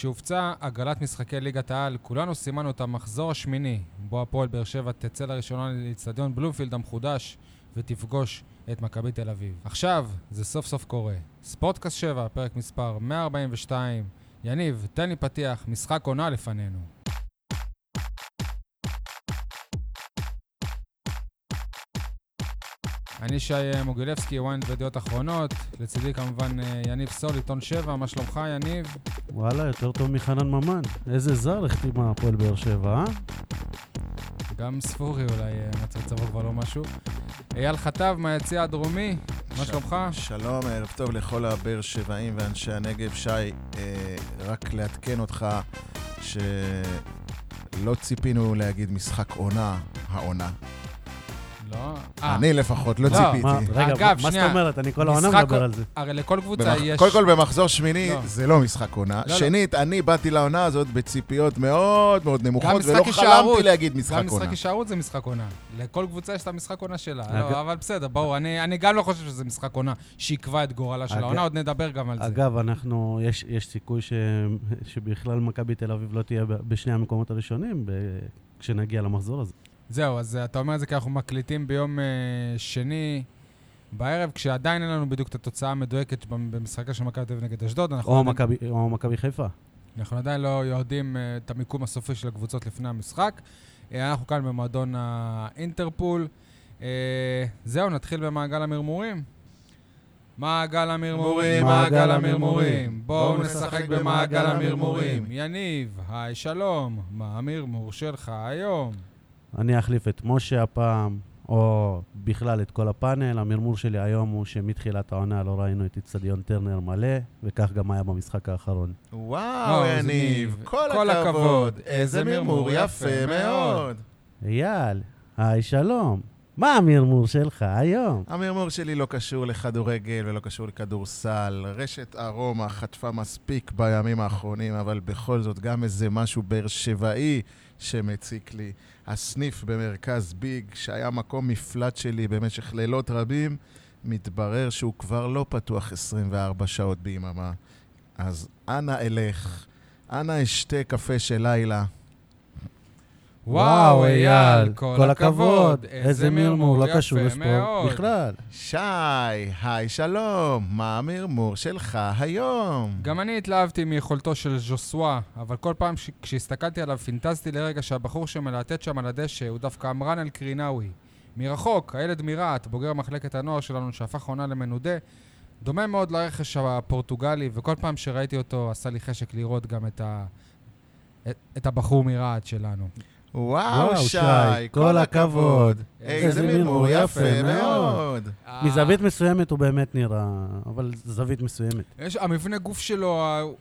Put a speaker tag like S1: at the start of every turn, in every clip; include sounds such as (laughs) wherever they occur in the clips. S1: כשהופצה הגרלת משחקי ליגת העל, כולנו סימנו את המחזור השמיני, בו הפועל באר שבע תצא לראשונה לאצטדיון בלומפילד המחודש ותפגוש את מכבי תל אביב. עכשיו, זה סוף סוף קורה. ספורטקאסט 7, פרק מספר 142. יניב, תן לי פתיח, משחק עונה לפנינו. אני שי אה, מוגילבסקי, ויינד וידיעות אחרונות. לצידי כמובן אה, יניב סול, עיתון 7, מה שלומך יניב?
S2: וואלה, יותר טוב מחנן ממן. איזה זר החתימה הפועל באר שבע, אה?
S1: גם ספורי אולי אה, מצב צבא כבר לא משהו. אייל חטב מהיציע הדרומי, מה
S3: ש-
S1: שלומך?
S3: שלום, ערב טוב לכל הבאר שבעים ואנשי הנגב. שי, אה, רק לעדכן אותך שלא ציפינו להגיד משחק עונה, העונה.
S1: לא. אה,
S3: אני לפחות לא
S1: לא,
S2: מה,
S3: ציפיתי.
S2: רגע,
S1: אגב,
S2: מה- מה זאת
S1: שנייה.
S2: אומרת? אני כל העונה
S1: משחק-
S2: מדבר על זה.
S1: הרי לכל קבוצה
S3: במח-
S1: יש...
S3: קודם כל, במחזור שמיני
S1: לא.
S3: זה לא משחק עונה.
S1: לא, לא.
S3: שנית, אני באתי לעונה הזאת בציפיות מאוד מאוד נמוכות,
S1: משחק
S3: ולא
S1: הישארות.
S3: חלמתי להגיד משחק
S1: גם משחק
S3: עונה.
S1: הישארות זה משחק עונה. לכל קבוצה יש את המשחק עונה שלה.
S2: אגב-
S1: לא, אבל בסדר, ברור. אני אני גם לא חושב שזה משחק עונה שיקבע את גורלה של
S2: אגב-
S1: העונה, עוד נדבר גם על זה.
S2: אגב, אנחנו, יש, יש סיכוי ש, שבכלל מכבי תל אביב לא תהיה ב- בשני המקומות הראשונים ב, כשנגיע למחזור הזה.
S1: זהו, אז אה, אתה אומר את זה כי אנחנו מקליטים ביום אה, שני בערב, כשעדיין אין לנו בדיוק את התוצאה המדויקת במשחקה של מכבי תל אביב נגד אשדוד. אנחנו
S2: או
S1: עדיין-
S2: מכבי או מכבי חיפה.
S1: אנחנו עדיין לא יודעים אה, את המיקום הסופי של הקבוצות לפני המשחק. אה, אנחנו כאן במועדון האינטרפול. אה, זהו, נתחיל במעגל המרמורים. מעגל המרמורים, מעגל
S2: מעגל
S1: המרמורים.
S2: המרמורים.
S1: בואו
S3: בואו
S1: נשחק
S3: נשחק
S1: במעגל
S3: במעגל
S1: המרמורים.
S3: המרמורים.
S1: יניב, היי שלום, מה המרמור שלך היום?
S2: אני אחליף את משה הפעם, או בכלל את כל הפאנל. המרמור שלי היום הוא שמתחילת העונה לא ראינו את אצטדיון טרנר מלא, וכך גם היה במשחק האחרון.
S3: וואו,
S1: וואו,
S3: יניב,
S1: יניב, כל
S3: כל
S1: הכבוד.
S3: הכבוד. איזה מרמור יפה מאוד.
S2: אייל, היי שלום, מה המרמור שלך היום?
S3: המרמור שלי לא קשור לכדורגל ולא קשור לכדורסל. רשת ארומה חטפה מספיק בימים האחרונים, אבל בכל זאת גם איזה משהו באר שבעי שמציק לי. הסניף במרכז ביג, שהיה מקום מפלט שלי במשך לילות רבים, מתברר שהוא כבר לא פתוח 24 שעות ביממה. אז אנא אלך, אנא אשתה קפה של לילה.
S1: וואו, אייל, כל הכבוד.
S2: איזה מרמור, לא
S1: יפה
S2: קשור
S1: מאוד.
S2: לספורט בכלל.
S3: שי, היי שלום, מה המרמור שלך היום?
S1: גם אני התלהבתי מיכולתו של ז'וסווה, אבל כל פעם ש- כשהסתכלתי עליו פינטזתי לרגע שהבחור שמלהטט שם על הדשא הוא דווקא אמרן אל-קרינאווי. מרחוק, הילד מרהט, בוגר מחלקת הנוער שלנו שהפך עונה למנודה, דומה מאוד לרכש הפורטוגלי, וכל פעם שראיתי אותו עשה לי חשק לראות גם את, ה... את, את הבחור מרהט שלנו.
S3: וואו,
S2: וואו,
S3: שי,
S2: שי,
S3: כל
S2: כל
S3: הכבוד.
S2: הכבוד.
S3: איזה מרמור יפה מאוד.
S1: אה,
S2: מזווית מסוימת הוא באמת נראה, אבל זווית מסוימת.
S1: אה, יש, המבנה גוף שלו, ה- הוא-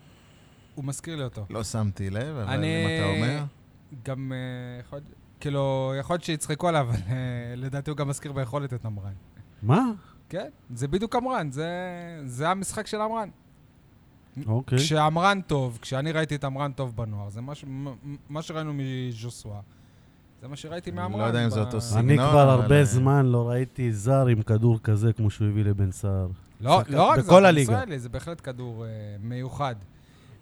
S1: הוא מזכיר לי אותו.
S3: לא שמתי לב, אבל
S1: אני-
S3: אם אתה אומר...
S1: גם אה, יכול להיות, כאילו, יכול להיות שיצחקו עליו, אבל אה, לדעתי הוא גם מזכיר ביכולת את אמרן.
S2: מה?
S1: כן, זה בדיוק אמרן, זה, זה המשחק של אמרן.
S3: כן.
S2: אוקיי.
S1: כשאמרן טוב, כשאני ראיתי את אמרן טוב בנוער, זה מה, ש- מ- מה שראינו מז'וסווה. זה מה שראיתי
S3: אני
S1: מאמרן.
S3: לא יודע אם
S1: ב-
S3: זה אותו סגנון.
S2: אני כבר
S3: אבל,
S2: הרבה
S3: אה,
S2: זמן לא ראיתי זר עם כדור כזה כמו שהוא הביא לבן סער.
S1: לא,
S2: שחקן-
S1: לא רק זה,
S2: בכל
S1: זה
S2: הליגה.
S1: ישראלי, זה בהחלט כדור אה, מיוחד.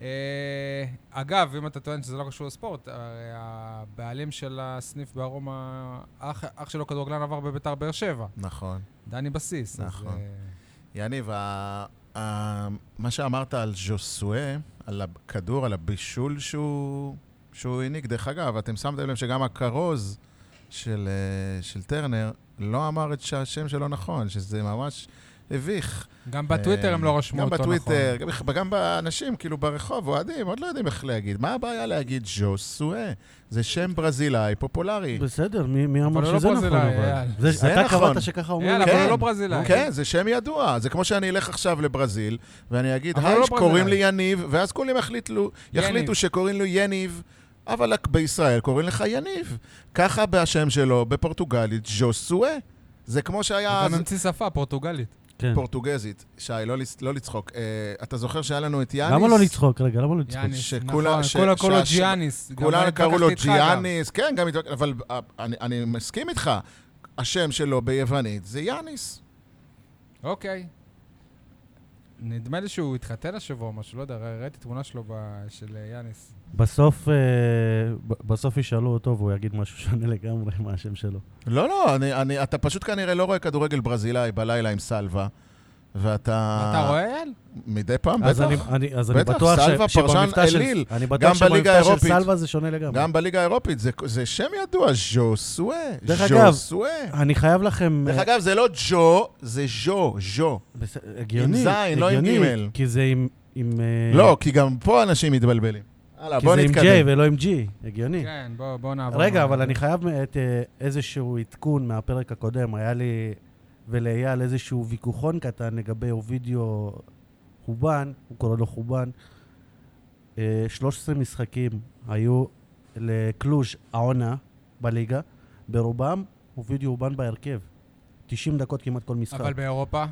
S1: אה, אגב, אם אתה טוען שזה לא קשור לספורט, הרי הבעלים של הסניף בארומה, אח, אח שלו כדורגלן עבר בביתר באר שבע,
S3: נכון.
S1: דני בסיס. אז, אה,
S3: נכון. יניב, ה- ה- מה שאמרת על ז'וסואה, על הכדור, על הבישול שהוא שהוא העניק, דרך אגב, אתם שמתם לב שגם הכרוז של אה, של טרנר לא אמר את שהשם שלו נכון, שזה ממש מביך.
S1: גם בטוויטר הם
S3: אה,
S1: לא רשמו אותו נכון.
S3: גם בטוויטר, גם בכ- גם באנשים, כאילו ברחוב, אוהדים, עוד לא יודעים איך להגיד. מה הבעיה להגיד ז'וסואה? זה שם ברזילאי פופולרי.
S2: בסדר, מי מי
S1: אבל הוא
S2: אמר שזה
S1: לא
S2: נכון
S1: ברזילאי,
S2: אבל?
S1: אייל.
S2: זה-
S3: כן. זה
S2: אתה
S3: נכון.
S2: קבעת שככה אומרים?
S1: יאללה, אבל הוא
S3: כן.
S1: לא ברזילאי.
S3: כן, זה שם ידוע. זה כמו שאני אלך עכשיו לברזיל, ואני אגיד,
S1: אבל
S3: היי,
S1: לא
S3: קוראים לי
S1: ברזילאי."
S3: יניב, ואז כולם יחליטו,
S1: יניב.
S3: יחליטו שקוראים לו יניב, אבל רק בישראל קוראים לך יניב. ככה בשם שלו, בפורטוגלית, ז'וסואה. זה כמו שהיה
S1: אתה
S3: אז
S1: ממציא שפה פורטוגלית.
S2: כן.
S3: פורטוגזית. שי, לא לצ- לא לצחוק. אה, אתה זוכר שהיה לנו את יאניס?
S2: למה לא לצחוק? רגע, למה לא לצחוק?
S1: יאניס,
S3: שכולה-
S1: נכון.
S3: ש-
S1: כולם קראו לו
S3: שהש-
S1: ג'יאניס. גם
S3: כולם
S1: אני
S3: קראו לו
S1: התווכחתי איתך גם.
S3: ג'יאניס, כן, גם התווכחתי, אבל אה, אני- אני מסכים איתך, השם שלו ביוונית זה יאניס.
S1: אוקיי. נדמה לי שהוא התחתן השבוע או משהו, לא יודע, רא- ראיתי תמונה שלו ב- של אה, יאניס.
S2: בסוף, אה, ב- בסוף ישאלו אותו והוא יגיד משהו שונה לגמרי מהשם שלו.
S3: לא, לא, אני, אני, אתה פשוט כנראה לא רואה כדורגל ברזילאי בלילה עם סלווה, ואתה...
S1: אתה רואה, אייל?
S3: מדי פעם,
S2: אז
S3: בטח.
S2: אני, אני, אז אני
S3: בטח,
S2: בטוח
S3: סלווה,
S2: ש, שבמבטא
S3: פרשן
S2: של,
S3: אליל.
S2: אני
S3: גם
S2: בטוח
S3: בליגה
S2: שבמבטא של
S3: האירופית.
S2: סלווה זה שונה לגמרי.
S3: גם בליגה האירופית, זה, זה שם ידוע, ז'וסואה.
S2: דרך אגב-
S3: ז'וסואה.
S2: אני חייב לכם...
S3: דרך
S2: אה,
S3: אגב, זה לא ג'ו, זה ז'ו, ז'ו.
S2: בס... הגיוני,
S3: עם זין, לא עם
S2: הגיוני,
S3: גימל.
S2: כי זה עם... עם אה,
S3: לא, כי גם פה אנשים מתבלבלים. הלאה,
S2: כי
S3: בוא
S2: זה עם J
S3: נתקדם.
S2: ולא עם G, הגיוני.
S1: כן, בוא- בוא נעבור.
S2: רגע,
S1: מה-
S2: אבל אני חייב את אה, איזשהו עדכון מהפרק הקודם. היה לי ולאייל איזשהו ויכוחון קטן לגבי אובידיו חובן, הוא קורא לו חובן. אה, 13 משחקים היו לקלוז' העונה בליגה, ברובם אובידיו חובן בהרכב. 90 דקות כמעט כל משחק.
S1: אבל באירופה?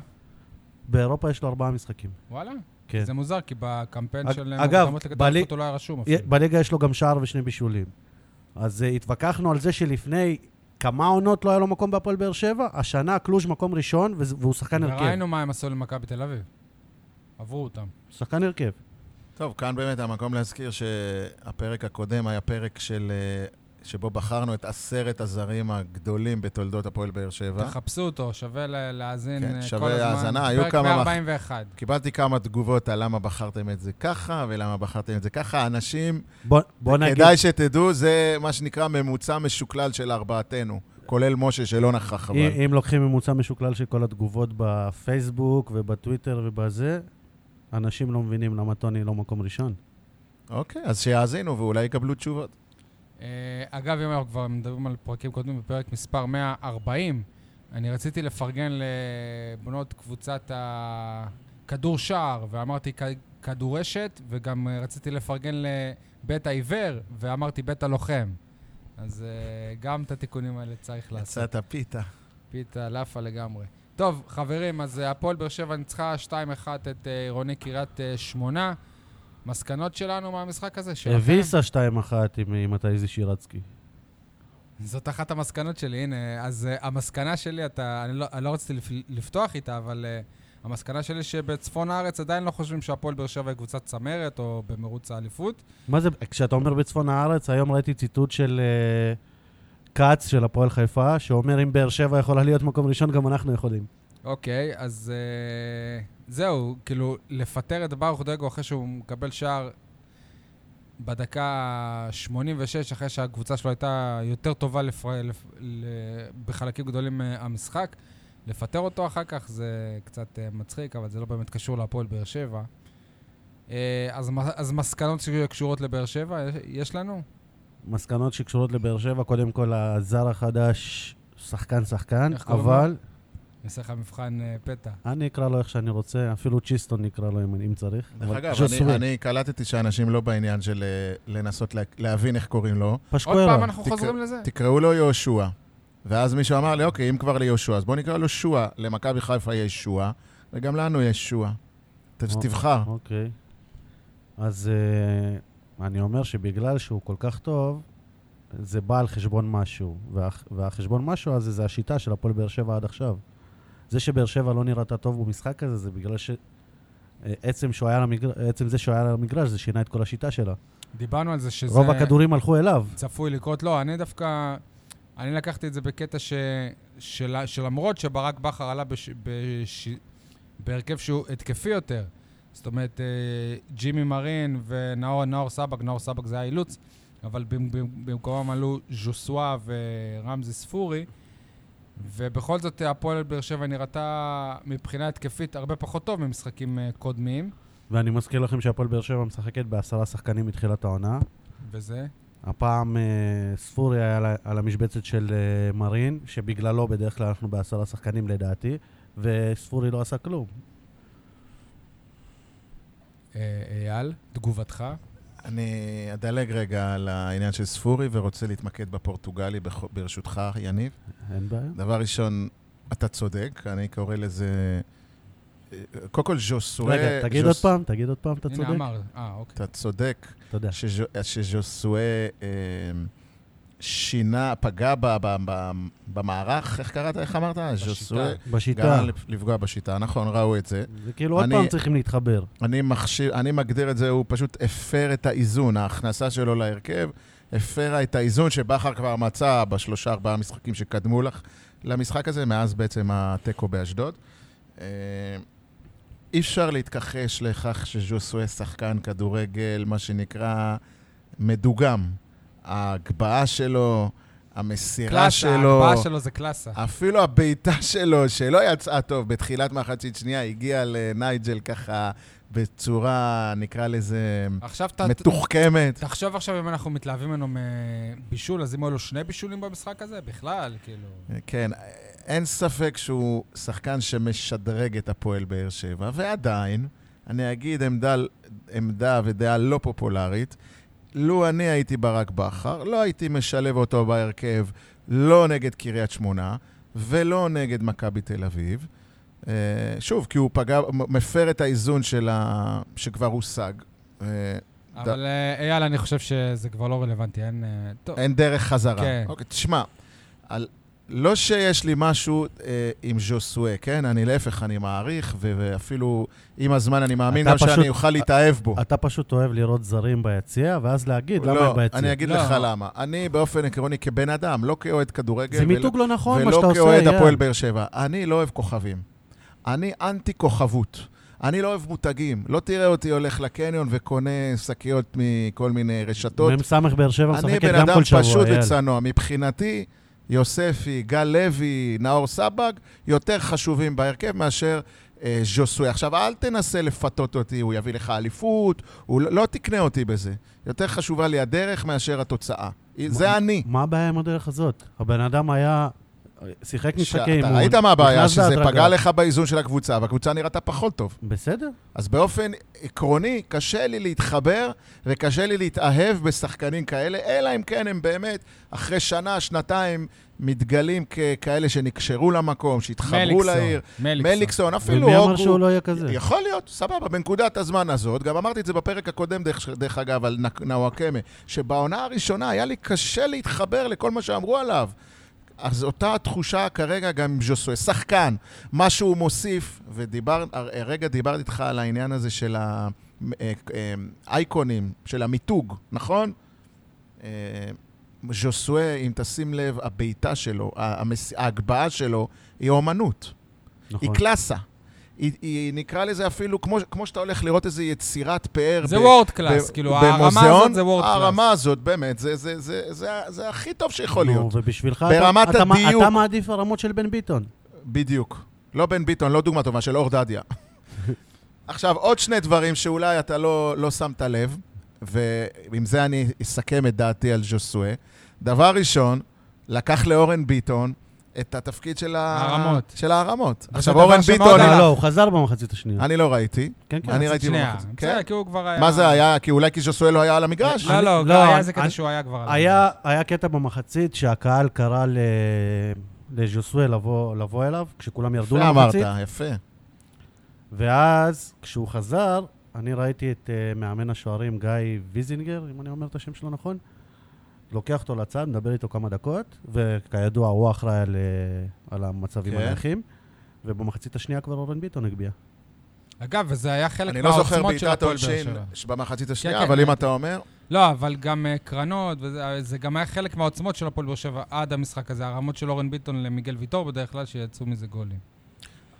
S2: באירופה יש לו ארבעה משחקים.
S1: וואלה.
S2: כן.
S1: זה מוזר, כי בקמפיין
S2: אג-
S1: של
S2: אגב,
S1: מוקדמות לגדל
S2: בלי-
S1: אליפות הוא לא היה רשום אפילו.
S2: בליגה יש לו גם שער ושני בישולים. אז אה, התווכחנו על זה שלפני כמה עונות לא היה לו מקום בהפועל באר שבע, השנה קלוז' מקום ראשון, וזה- והוא שחקן
S3: כן.
S2: הרכב.
S1: וראינו מה הם עשו למכבי תל אביב. עברו אותם.
S2: שחקן הרכב.
S3: טוב, כאן באמת המקום להזכיר שהפרק הקודם היה פרק של... אה, שבו בחרנו את עשרת הזרים הגדולים בתולדות הפועל באר שבע.
S1: תחפשו אותו, שווה ל- להאזין
S3: כן,
S1: אה, כל הזמן.
S3: שווה האזנה, היו
S1: פרק
S3: כמה מח-
S1: 141.
S3: קיבלתי כמה תגובות על למה בחרתם את זה ככה ולמה בחרתם את זה ככה. אנשים,
S2: בוא- בוא נגיד...
S3: כדאי שתדעו, זה מה שנקרא ממוצע משוקלל של ארבעתנו, כולל משה שלא נכח אבל.
S2: אם אם לוקחים ממוצע משוקלל של כל התגובות בפייסבוק ובטוויטר ובזה, אנשים לא מבינים למה טוני לא מקום ראשון.
S3: אוקיי, אז שיאזינו ואולי יקבלו תשובות.
S1: אה, אגב, אם אנחנו כבר מדברים על פרקים קודמים, בפרק מספר 140, אני רציתי לפרגן לבנות קבוצת הכדור שער, ואמרתי כ- כדורשת, וגם אה, רציתי לפרגן לבית העיוור, ואמרתי בית הלוחם. אז אה, גם את התיקונים האלה צריך לעשות.
S3: יצאת פיתה.
S1: פיתה לאפה לגמרי. טוב, חברים, אז אה, הפועל באר שבע ניצחה 2-1 את אה, עירוני קריית אה, שמונה. מסקנות שלנו מהמשחק הזה? שלכם?
S2: הביסה 2-1 עם- עם התאיזי שירצקי.
S1: זאת אחת המסקנות שלי, הנה. אז uh, המסקנה שלי, אתה, אני, לא, אני לא רציתי לפ, לפתוח איתה, אבל uh, המסקנה שלי שבצפון הארץ עדיין לא חושבים שהפועל באר שבע היא קבוצת צמרת או במרוץ האליפות.
S2: מה זה, כשאתה אומר בצפון הארץ, היום ראיתי ציטוט של אה, כץ של הפועל חיפה, שאומר אם באר שבע יכולה להיות מקום ראשון, גם אנחנו יכולים.
S1: אוקיי, אז uh, זהו, כאילו, לפטר את ברוך דגו אחרי שהוא מקבל שער בדקה 86, אחרי שהקבוצה שלו הייתה יותר טובה לפר... לפ... ל... בחלקים גדולים מהמשחק, לפטר אותו אחר כך זה קצת אה, מצחיק, אבל זה לא באמת קשור להפועל באר שבע. אה, אז, מ- אז מסקנות שקשורות לבאר שבע, יש- יש לנו?
S2: מסקנות שקשורות לבאר שבע, קודם כל הזר החדש, שחקן שחקן,
S1: איך קוראים
S2: אבל
S1: אני אעשה לך מבחן אה, פתע.
S2: אני אקרא לו איך שאני רוצה, אפילו צ'יסטון נקרא לו אם, אם צריך.
S3: דרך
S2: אבל
S3: אגב,
S2: ז'וסווה.
S3: אני, אני קלטתי שאנשים לא בעניין של אה, לנסות לה, להבין איך קוראים לו.
S1: עוד פעם
S2: פשקוורה.
S1: אנחנו
S3: תקרא-
S1: חוזרים לזה?
S3: תקראו לו יהושע. ואז מישהו אמר לי, אוקיי, אם כבר ליהושע, אז בוא נקרא לו שועה. למכבי חיפה יש שועה, וגם לנו יש שועה. ת-
S2: או-
S3: תבחר.
S2: אוקיי. אז אה, אני אומר שבגלל שהוא כל כך טוב, זה בא על חשבון משהו. והח- והחשבון משהו הזה זה השיטה של הפועל באר שבע עד עכשיו. זה שבאר שבע לא נראתה טוב במשחק הזה, זה בגלל ש... אה, עצם, שהוא היה למגר... עצם זה שהוא היה על המגרש, זה שינה את כל השיטה שלה.
S1: דיברנו על זה שזה...
S2: רוב הכדורים הלכו אליו.
S1: צפוי לקרות. לא, אני דווקא... אני לקחתי את זה בקטע ש... של... שלמרות שברק בכר עלה בש... בש... בהרכב שהוא התקפי יותר, זאת אומרת, אה, ג'ימי מרין ונאור נאור סבק, נאור סבק זה היה אילוץ, אבל במ- במ- במקומם עלו ז'וסואה ורמזי ספורי, ובכל זאת אה, הפועל באר שבע נראתה מבחינה התקפית הרבה פחות טוב ממשחקים אה, קודמים,
S2: ואני מזכיר לכם שהפועל באר שבע משחקת בעשרה שחקנים מתחילת העונה.
S1: וזה...
S2: הפעם אה, ספורי היה על ה- על המשבצת של אה, מרין, שבגללו בדרך כלל אנחנו בעשרה שחקנים לדעתי, וספורי לא עשה כלום.
S1: אה, אייל, תגובתך.
S3: אני אדלג רגע על העניין של ספורי, ורוצה להתמקד בפורטוגלי, בכ- ברשותך, יניב.
S2: אין בעיה.
S3: דבר ראשון, אתה צודק, אני קורא לזה... אה, קודם כל, ז'וסואה...
S2: רגע, תגיד עוד
S3: ז'וס-
S2: פעם, תגיד עוד פעם, אתה
S1: הנה,
S2: צודק.
S1: אמר. אה, אוקיי.
S3: אתה צודק.
S2: תודה.
S3: שז'ו- שז'וסואה, אה, שינה, פגע ב, ב, ב, במערך, איך קראת, איך אמרת? ז'וסווה.
S2: בשיטה.
S3: גרם לפ- לפגוע בשיטה, נכון, ראו את זה.
S2: זה כאילו עוד
S3: אני-
S2: פעם צריכים להתחבר.
S3: אני מחשיב, אני מגדיר את זה, הוא פשוט הפר את האיזון, ההכנסה שלו להרכב הפרה את האיזון שבכר כבר מצא בשלושה ארבעה משחקים שקדמו לך למשחק הזה, מאז בעצם התיקו באשדוד. אה, אי אפשר להתכחש לכך שז'וסווה שחקן כדורגל, מה שנקרא, מדוגם. ההגבהה שלו, המסירה
S1: קלאסה,
S3: שלו...
S1: ההגבהה שלו זה קלאסה.
S3: אפילו הבעיטה שלו, שלא יצאה טוב בתחילת מחצית שנייה, הגיעה לנייג'ל ככה בצורה, נקרא לזה,
S1: עכשיו ת-
S3: מתוחכמת.
S1: תחשוב עכשיו אם אנחנו מתלהבים ממנו מבישול, אז אם היו לו שני בישולים במשחק הזה, בכלל, כאילו...
S3: כן, אין ספק שהוא שחקן שמשדרג את הפועל באר שבע, ועדיין, אני אגיד עמדה, עמדה ודעה לא פופולרית, לו אני הייתי ברק בכר, לא הייתי משלב אותו בהרכב, לא נגד קריית שמונה ולא נגד מכבי תל אביב. אה, שוב, כי הוא פגע, מ- מפר את האיזון של ה... שכבר הושג. אה,
S1: אבל אה, אייל, אני חושב שזה כבר לא רלוונטי, אין... אה, טוב,
S3: אין דרך חזרה.
S1: כן.
S3: אוקיי, תשמע, על... לא שיש לי משהו אה, עם ז'וסואה, כן? אני להפך, אני מעריך, ו- ואפילו עם הזמן אני מאמין
S2: אתה
S3: גם
S2: פשוט-
S3: שאני אוכל להתאהב בו.
S2: אתה פשוט אוהב לראות זרים ביציע, ואז להגיד למה
S3: לא,
S2: הם ביציע.
S3: אני אגיד
S1: לא.
S3: לך למה. אני באופן עקרוני כבן אדם, לא כאוהד כדורגל.
S2: זה
S3: ולא-
S2: מיתוג לא נכון, מה שאתה
S3: ולא
S2: עושה,
S3: כאוהד הפועל
S2: אייל.
S3: באר שבע. אני לא אוהב כוכבים. אני אנטי כוכבות. אני לא אוהב מותגים. לא תראה אותי הולך לקניון וקונה שקיות מכל מיני רשתות.
S2: מ"ס באר שבע
S3: אני
S2: משחקת
S3: בן
S2: גם
S3: אדם
S2: כל שבוע,
S3: פשוט
S2: אייל.
S3: וצנוע. מבחינתי, יוספי, גל לוי, נאור סבג, יותר חשובים בהרכב מאשר אה, ז'וסוי. עכשיו, אל תנסה לפתות אותי, הוא יביא לך אליפות, הוא לא, לא תקנה אותי בזה. יותר חשובה לי הדרך מאשר התוצאה. זה אני.
S2: מה הבעיה עם הדרך הזאת? הבן אדם היה... שיחק משחקי אימון.
S3: אתה ראית מה הבעיה?
S2: נכנס
S3: שזה
S2: להדרגה.
S3: פגע לך באיזון של הקבוצה, והקבוצה נראתה פחות טוב.
S2: בסדר.
S3: אז באופן עקרוני, קשה לי להתחבר וקשה לי להתאהב בשחקנים כאלה, אלא אם כן הם באמת, אחרי שנה, שנתיים, מתגלים ככאלה שנקשרו למקום, שהתחברו
S1: מליקסון,
S3: לעיר. מליקסון, אפילו
S2: ומי אמר שהוא
S3: הוגו.
S2: לא יהיה כזה?
S3: יכול להיות, סבבה, בנקודת הזמן הזאת, גם אמרתי את זה בפרק הקודם, דרך, דרך אגב, על נק- נאווקמה, שבעונה הראשונה היה לי קשה להתחבר לכל מה שאמרו עליו. אז אותה התחושה כרגע גם עם ז'וסוי. שחקן, מה שהוא מוסיף, והרגע דיברתי איתך על העניין הזה של האייקונים, של המיתוג, נכון? אה, ז'וסוי, אם תשים לב, הבעיטה שלו, ה- המס- ההגבהה שלו, היא אומנות.
S2: נכון.
S3: היא קלאסה. היא, היא נקרא לזה אפילו, כמו, כמו שאתה הולך לראות איזו יצירת פאר.
S1: זה
S3: ב-
S1: וורד
S3: ב-
S1: קלאס, כאילו הרמה
S3: במוזיאון, אה,
S1: הזאת זה וורד קלאס.
S3: הרמה הזאת, באמת, זה, זה, זה, זה, זה, זה הכי טוב שיכול
S2: נו,
S3: להיות.
S2: ובשבילך
S3: ברמת
S2: אתה, אתה, מה-
S3: הדיוק.
S2: אתה מעדיף הרמות של בן ביטון.
S3: בדיוק. לא בן ביטון, לא דוגמה טובה, של אור דדיה.
S1: (laughs)
S3: עכשיו, עוד שני דברים שאולי אתה לא, לא שמת לב, ועם זה אני אסכם את דעתי על ז'וסואה. דבר ראשון, לקח לאורן ביטון את התפקיד של, ה-
S1: הערמות.
S3: של הערמות.
S1: וזה
S3: עכשיו,
S1: דבר
S3: אורן
S1: שמאוד
S3: ביטון,
S1: עלה.
S2: לא, לא, הוא חזר במחצית השנייה.
S3: אני לא ראיתי.
S2: כן, כן.
S3: אני ראיתי
S1: שנייה.
S3: במחצית. כן.
S1: בסדר, כי הוא כבר היה...
S3: מה זה היה? כי אולי כי ז'וסואל לא היה על המגרש?
S1: לא, לא,
S2: אני-
S1: לא, היה
S2: לא,
S1: איזה קטע
S2: אני-
S1: שהוא היה כבר... על
S2: היה, היה קטע במחצית שהקהל קרא ל... לז'וסווה לבוא, לבוא אליו, כשכולם ירדו
S3: יפה אמרת,
S2: למחצית.
S3: יפה.
S2: ואז, כשהוא חזר, אני ראיתי את uh, מאמן השוערים גיא ויזינגר, אם אני אומר את השם שלו נכון, לוקח אותו לצד, מדבר איתו כמה דקות, וכידוע, הוא האחראי על, uh, על המצבים
S3: כן.
S2: הנייחים, ובמחצית השנייה כבר אורן ביטון הגביה.
S1: זה. אגב, וזה היה חלק
S3: אני לא זוכר
S1: מהעוצמות של
S3: בעיטת
S1: הפועל באר
S3: עונשין
S1: שבע.
S3: במחצית השנייה,
S1: כן,
S3: אבל
S1: כן.
S3: אם אתה אומר...
S1: לא, אבל גם אה, קרנות, וזה זה גם היה חלק מהעוצמות של הפועל באר שבע עד המשחק הזה. הרמות של אורן ביטון למיגל ויטור בדרך כלל, שיצאו מזה גולים.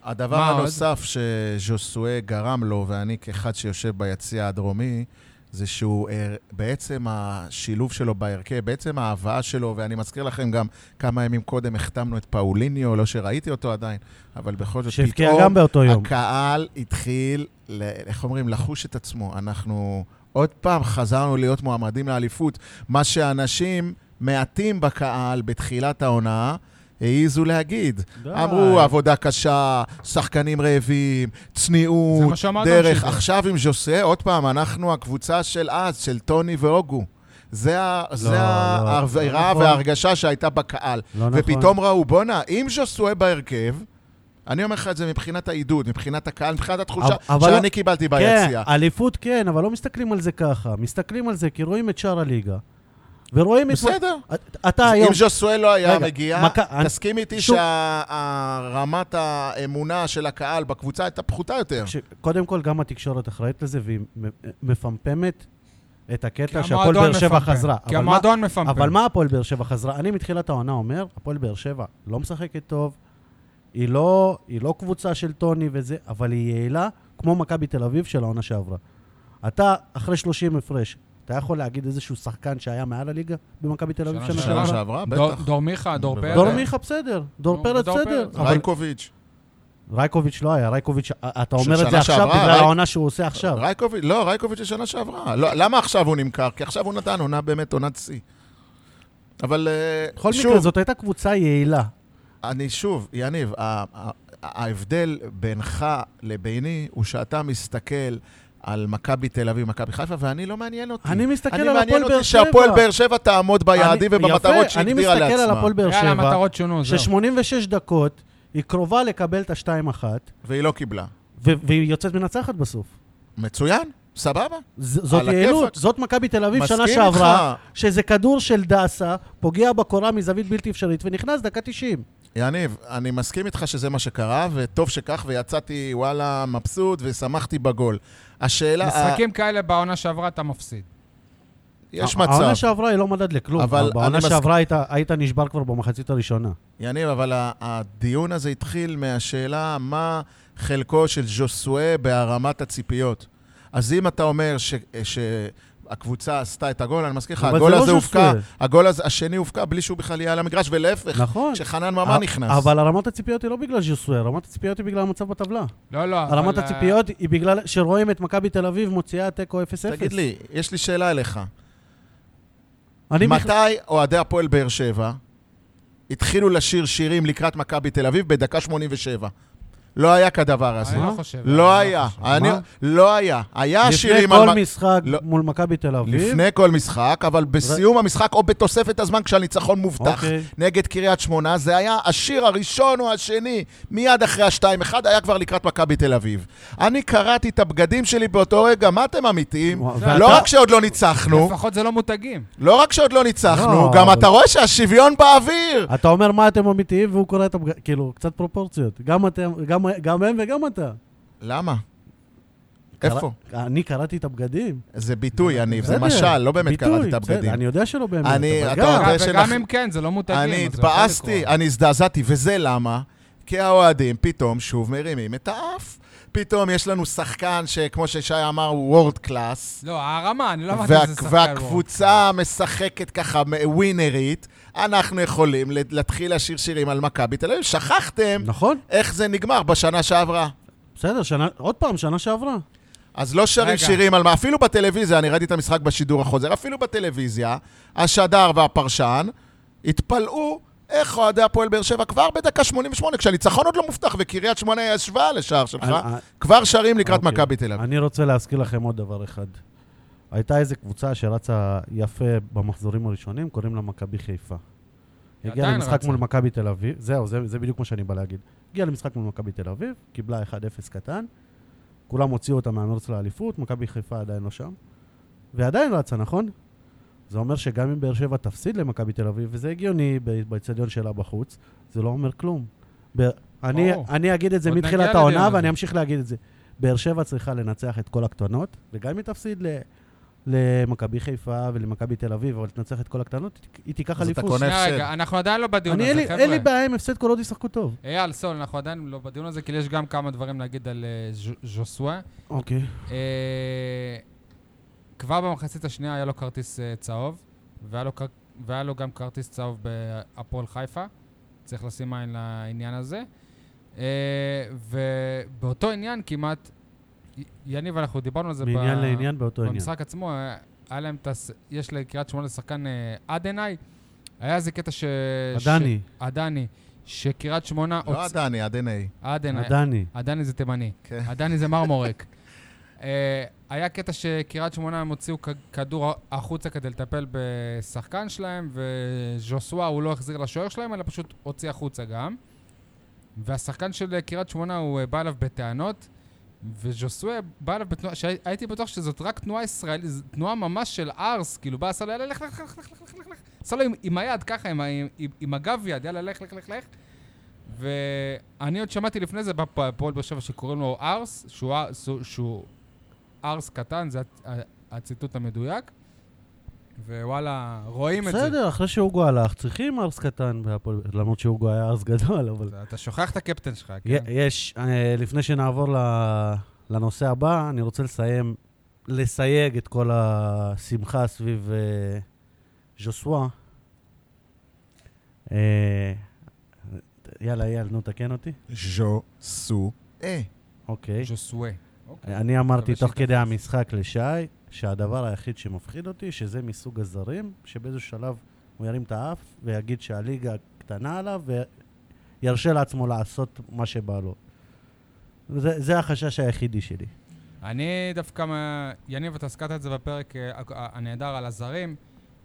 S3: הדבר
S1: מה עוד?
S3: הנוסף שז'וסואה גרם לו, ואני כאחד שיושב ביציע הדרומי, זה שהוא אה, בעצם השילוב שלו בהרכב, בעצם ההבאה שלו, ואני מזכיר לכם גם כמה ימים קודם החתמנו את פאוליניו, לא שראיתי אותו עדיין, אבל בכל זאת,
S2: שהבקיע
S3: פתאום
S2: גם באותו יום.
S3: הקהל התחיל, ל- איך אומרים, לחוש את עצמו. אנחנו עוד פעם חזרנו להיות מועמדים לאליפות, מה שאנשים מעטים בקהל בתחילת העונה העזו להגיד.
S2: די. לא
S3: אמרו, עבודה קשה, שחקנים רעבים,
S1: זה מה
S3: צניעות,
S1: שאמרת.
S3: דרך.
S1: שזה.
S3: עכשיו עם ז'וסה, עוד פעם, אנחנו הקבוצה של אז, של טוני והוגו. זה ה-
S2: לא,
S3: זה האווירה
S2: נכון.
S3: וההרגשה שהייתה בקהל.
S2: לא נכון.
S3: ופתאום ראו, בואנה, אם ז'וסואה בהרכב, אני אומר לך את זה מבחינת העידוד, מבחינת הקהל, מבחינת התחושה
S2: אבל- אבל
S3: שאני קיבלתי ביציאה.
S2: כן, אליפות כן, אבל לא מסתכלים על זה ככה. מסתכלים על זה כי רואים את שאר הליגה. ורואים את...
S3: בסדר.
S2: את- אתה היום...
S3: אם ז'וסואל לא היה
S2: רגע,
S3: מגיע,
S2: מכה- אני-
S3: תסכים איתי
S2: שוב-
S3: שרמת האמונה של הקהל בקבוצה הייתה פחותה יותר.
S2: ש- קודם כל, גם התקשורת אחראית לזה, והיא מ- מפמפמת את
S1: כי
S2: הקטע שהפועל
S1: המועדון
S2: באר שבע
S1: מפמפם.
S2: חזרה.
S1: כי
S2: אבל מה-
S1: המועדון מפמפם.
S2: אבל מה הפועל באר שבע חזרה? אני מתחילת העונה אומר, הפועל באר שבע לא משחקת טוב, היא לא, היא לא קבוצה של טוני וזה, אבל היא יעילה כמו מכבי תל אביב של העונה שעברה. אתה, אחרי 30 הפרש, אתה יכול להגיד איזשהו שחקן שהיה מעל הליגה במכבי תל אביב
S1: שנה
S2: שנה שעברה?
S3: שנה שעברה,
S1: דור-
S3: בטח.
S1: דור מיכה, דור
S3: בוודאי.
S1: פרץ.
S2: דור מיכה בסדר, דור
S1: נו,
S2: פרץ
S1: דור
S2: בסדר.
S1: פרץ.
S2: אבל
S3: רייקוביץ'.
S2: רייקוביץ' לא היה, רייקוביץ', אתה
S3: של
S2: אומר את
S3: שנה
S2: זה עכשיו
S3: שעברה,
S2: בגלל
S3: ריי-
S2: העונה שהוא עושה עכשיו.
S3: רייקוביץ', לא, רייקוביץ' של שנה שעברה. לא, למה עכשיו הוא נמכר? כי עכשיו הוא נתן עונה באמת עונת שיא. אבל אה,
S2: בכל מקרה,
S3: שוב,
S2: זאת הייתה קבוצה יעילה.
S3: אני שוב, יניב, ה- ה- ההבדל בינך לביני הוא שאתה מסתכל על מכבי תל אביב, מכבי חיפה, ואני לא מעניין אותי.
S2: אני מסתכל
S3: אני
S2: על הפועל
S3: מעניין
S2: באר
S3: אותי
S2: שבע.
S3: שהפועל באר שבע תעמוד ביעדים
S2: אני-
S3: ובמטרות
S2: יפה, אני
S3: שהגדירה לעצמה.
S2: מסתכל על הפועל באר
S1: יאללה,
S2: שבע,
S1: המטרות שונו, זהו.
S2: ש-86 דקות, היא קרובה לקבל את ה-2-1,
S3: והיא לא קיבלה.
S2: ו- והיא יוצאת מנצחת בסוף.
S3: מצוין, סבבה.
S2: ז- זאת
S3: על
S2: יעילות,
S3: הכיפאק.
S2: זאת מכבי תל אביב שנה
S3: מסכים
S2: שעברה, שזה כדור של דסה, פוגע בקורה מזווית בלתי אפשרית, ונכנס דקה 90.
S3: יניב, אני מסכים איתך שזה מה שקרה, וטוב שכך, ויצאתי, וואלה, מבסוט, ושמחתי בגול. השאלה...
S1: משחקים כאלה בעונה שעברה אתה מפסיד.
S3: ה- יש
S2: העונה
S3: מצב.
S2: שעברה היא לא מדד לכלום,
S3: אבל
S2: אבל
S3: אני
S2: בעונה
S3: מסכים.
S2: שעברה היית- היית נשבר כבר במחצית הראשונה.
S3: יניב, אבל ה- הדיון הזה התחיל מהשאלה מה חלקו של ז'וסואה בהרמת הציפיות. אז אם אתה אומר ש... ש... הקבוצה עשתה את הגול, אני מזכיר לך,
S2: אבל
S3: הגול
S2: זה לא
S3: הזה
S2: ז'וסואה.
S3: הופקע, הגול הזה- השני הופקע בלי שהוא בכלל יהיה על המגרש, ולהפך,
S2: נכון.
S3: כשחנן ממן נכנס.
S2: אבל הרמת הציפיות היא לא בגלל ז'וסואר, הרמת הציפיות היא בגלל המצב בטבלה.
S1: לא, לא. אבל,
S2: הרמת
S1: אה,
S2: הציפיות היא בגלל שרואים את מכבי תל אביב מוציאה תיקו 0-0.
S3: תגיד לי, יש לי שאלה אליך.
S2: אני
S3: מתי אוהדי הפועל באר שבע התחילו לשיר שירים לקראת מכבי תל אביב בדקה 87? לא היה כדבר הזה.
S1: אני לא חושב. אני
S3: לא היה.
S1: חושב.
S3: אני-
S2: מה?
S3: לא היה. היה
S2: לפני
S3: שירים על...
S2: כל
S3: מ-
S2: משחק
S3: לא.
S2: מול מכבי תל אביב.
S3: לפני כל משחק, אבל בסיום המשחק או בתוספת הזמן כשהניצחון מובטח
S2: אוקיי.
S3: נגד קריית שמונה, זה היה השיר הראשון או השני, מיד אחרי ה-2-1, היה כבר לקראת מכבי תל אביב. אני קראתי את הבגדים שלי באותו רגע, מה אתם אמיתיים?
S2: וואו, ואתה-
S3: לא רק שעוד לא ניצחנו,
S1: לפחות זה לא מותגים.
S3: לא רק שעוד לא ניצחנו,
S2: לא,
S3: גם
S2: אבל-
S3: אתה רואה שהשוויון באוויר.
S2: אתה אומר מה אתם אמיתיים והוא קורא את הבגד... כאילו, קצת פרופורציות. גם אתם, גם, גם הם וגם אתה.
S3: למה?
S2: קרא-
S3: איפה?
S2: אני קראתי את הבגדים.
S3: זה ביטוי, יניב, זה
S2: בסדר,
S3: משל, לא באמת
S2: ביטוי,
S3: קראתי את
S2: בסדר,
S3: הבגדים.
S2: אני יודע שלא באמת,
S3: אני-
S2: אבל
S3: אתה
S2: גם...
S3: יודע-
S1: וגם
S3: אה, זה של אח-
S1: אם כן, זה לא מותגים.
S3: אני
S1: אז זה יכול
S3: התבאסתי,
S1: לקרות.
S3: אני הזדעזעתי, וזה למה? כי האוהדים פתאום שוב מרימים את האף. פתאום יש לנו שחקן שכמו ששי אמר, הוא וורד קלאס.
S1: לא, הרמה, אני לא אמרתי
S3: וה-
S1: שזה שחקן. וורד.
S3: והקבוצה משחקת ככה מ- ווינרית, אנחנו יכולים לת- להתחיל לשיר שירים על מכבי תל אביב. שכחתם
S2: נכון,
S3: איך זה נגמר בשנה שעברה.
S2: בסדר, שנה, עוד פעם, שנה שעברה.
S3: אז לא שרים
S1: רגע.
S3: שירים על מה, אפילו בטלוויזיה, אני ראיתי את המשחק בשידור החוזר, אפילו בטלוויזיה, השדר והפרשן התפלאו איך אוהדי הפועל באר שבע כבר בדקה 88, כשהניצחון עוד לא מובטח וקריית שמונה ישבה לשער שלך,
S2: אני-
S3: כבר שרים לקראת
S2: אוקיי.
S3: מכבי תל אביב.
S2: אני רוצה להזכיר לכם עוד דבר אחד. הייתה איזו קבוצה שרצה יפה במחזורים הראשונים, קוראים לה מכבי חיפה.
S1: היא
S2: הגיעה
S1: עדיין
S2: למשחק
S1: רצה.
S2: מול מכבי תל אביב, זהו, זה, זה בדיוק מה שאני בא להגיד. הגיעה למשחק מול מכבי תל אביב, קיבלה 1-0 קטן, כולם הוציאו אותה מהמרוץ לאליפות, מכבי חיפה עדיין לא שם, ועדיין רצה, נכון? זה אומר שגם אם באר שבע תפסיד למכבי תל אביב, וזה הגיוני ב- באצטדיון שלה בחוץ, זה לא אומר כלום. ב- אני,
S1: ברור.
S2: אני אגיד את זה
S1: עוד נגיע
S2: מתחילת
S1: לדיון
S2: העונה,
S1: הזה.
S2: ואני אמשיך להגיד את זה. באר שבע צריכה לנצח את כל הקטנות, וגם אם היא תפסיד ל- למכבי חיפה ולמכבי תל אביב, אבל תנצח את כל הקטנות, היא תיקח
S3: אז אתה
S2: אליפות.
S3: קונה-
S1: שנייה,
S3: הפסד.
S1: רגע, אנחנו עדיין לא בדיון
S2: אני, אין
S1: הזה,
S2: לי- אין לי
S1: חבר'ה.
S2: בעיה עם הפסד כל עוד ישחקו טוב.
S1: אייל, סול, אנחנו עדיין לא בדיון הזה, כי יש גם כמה דברים להגיד על אה, ז'- ז'וסווה.
S2: אוקיי.
S1: אה, כבר במחצית השנייה היה לו כרטיס אה, צהוב, והיה לו, כר- והיה לו גם כרטיס צהוב בהפועל חיפה. צריך לשים עין לעניין הזה. אה, ובאותו עניין כמעט, י- יניב, אנחנו דיברנו על זה ב-
S2: מעניין לעניין באותו עניין.
S1: במשחק עצמו, אה, היה להם את הס... יש לקריית שמונה שחקן אה, עדנאי. היה איזה קטע ש...
S2: עדני,
S1: ש... עדני. שקריית שמונה...
S3: לא עדני, עדני.
S1: עדנאי.
S2: עדני.
S1: עדני זה תימני.
S3: כן.
S1: עדני זה מרמורק. אה, היה קטע שקריית שמונה הם הוציאו כ- כדור החוצה כדי לטפל בשחקן שלהם, וז'וסווה הוא לא החזיר לשוער שלהם, אלא פשוט הוציא החוצה גם. והשחקן של אה, קריית שמונה, הוא אה, בא אליו בטענות, וז'וסווה בא אליו בתנועה, שהייתי בטוח שזאת רק תנועה ישראלית, זו תנועה ממש של ארס, כאילו בא, עשה לו, יאללה, לך, לך, לך, לך, לך, לך, לך, עשה לו עם- עם היד, ככה, עם ה- עם- עם- עם הגב יד, יאללה, לך, לך, לך, לך. ואני עוד שמעתי לפני זה בפועל באר שבע שקוראים לו ארס, שהוא אר- שהוא- שהוא ארס קטן, זה הצ- ה- הציטוט המדויק. ווואלה, רואים את זה.
S2: בסדר, אחרי שהוגו הלך, צריכים ארס קטן בהפועל, למרות שהוגו היה ארס גדול, אבל...
S1: אתה- אתה שוכח את הקפטן שלך,
S2: י-
S1: כן?
S2: יש, אה, לפני שנעבור ל- לנושא הבא, אני רוצה לסיים, לסייג את כל השמחה סביב אה, ז'וסווה. אה, יאללה, אייל, נו, תקן אותי.
S3: ז'ו סו אה.
S2: אוקיי.
S1: ז'וסווה.
S2: אני אמרתי
S1: מקווה
S2: תוך כדי
S1: שהתאפס.
S2: המשחק לשי, שהדבר היחיד שמפחיד אותי, שזה מסוג הזרים, שבאיזשהו שלב הוא ירים את האף ויגיד שהליגה קטנה עליו וירשה לעצמו לעשות מה שבא לו. זה, זה החשש היחידי שלי.
S1: אני דווקא, מה- יניב, אתה הזכרת את זה בפרק אה, הק- ה- הנהדר על הזרים,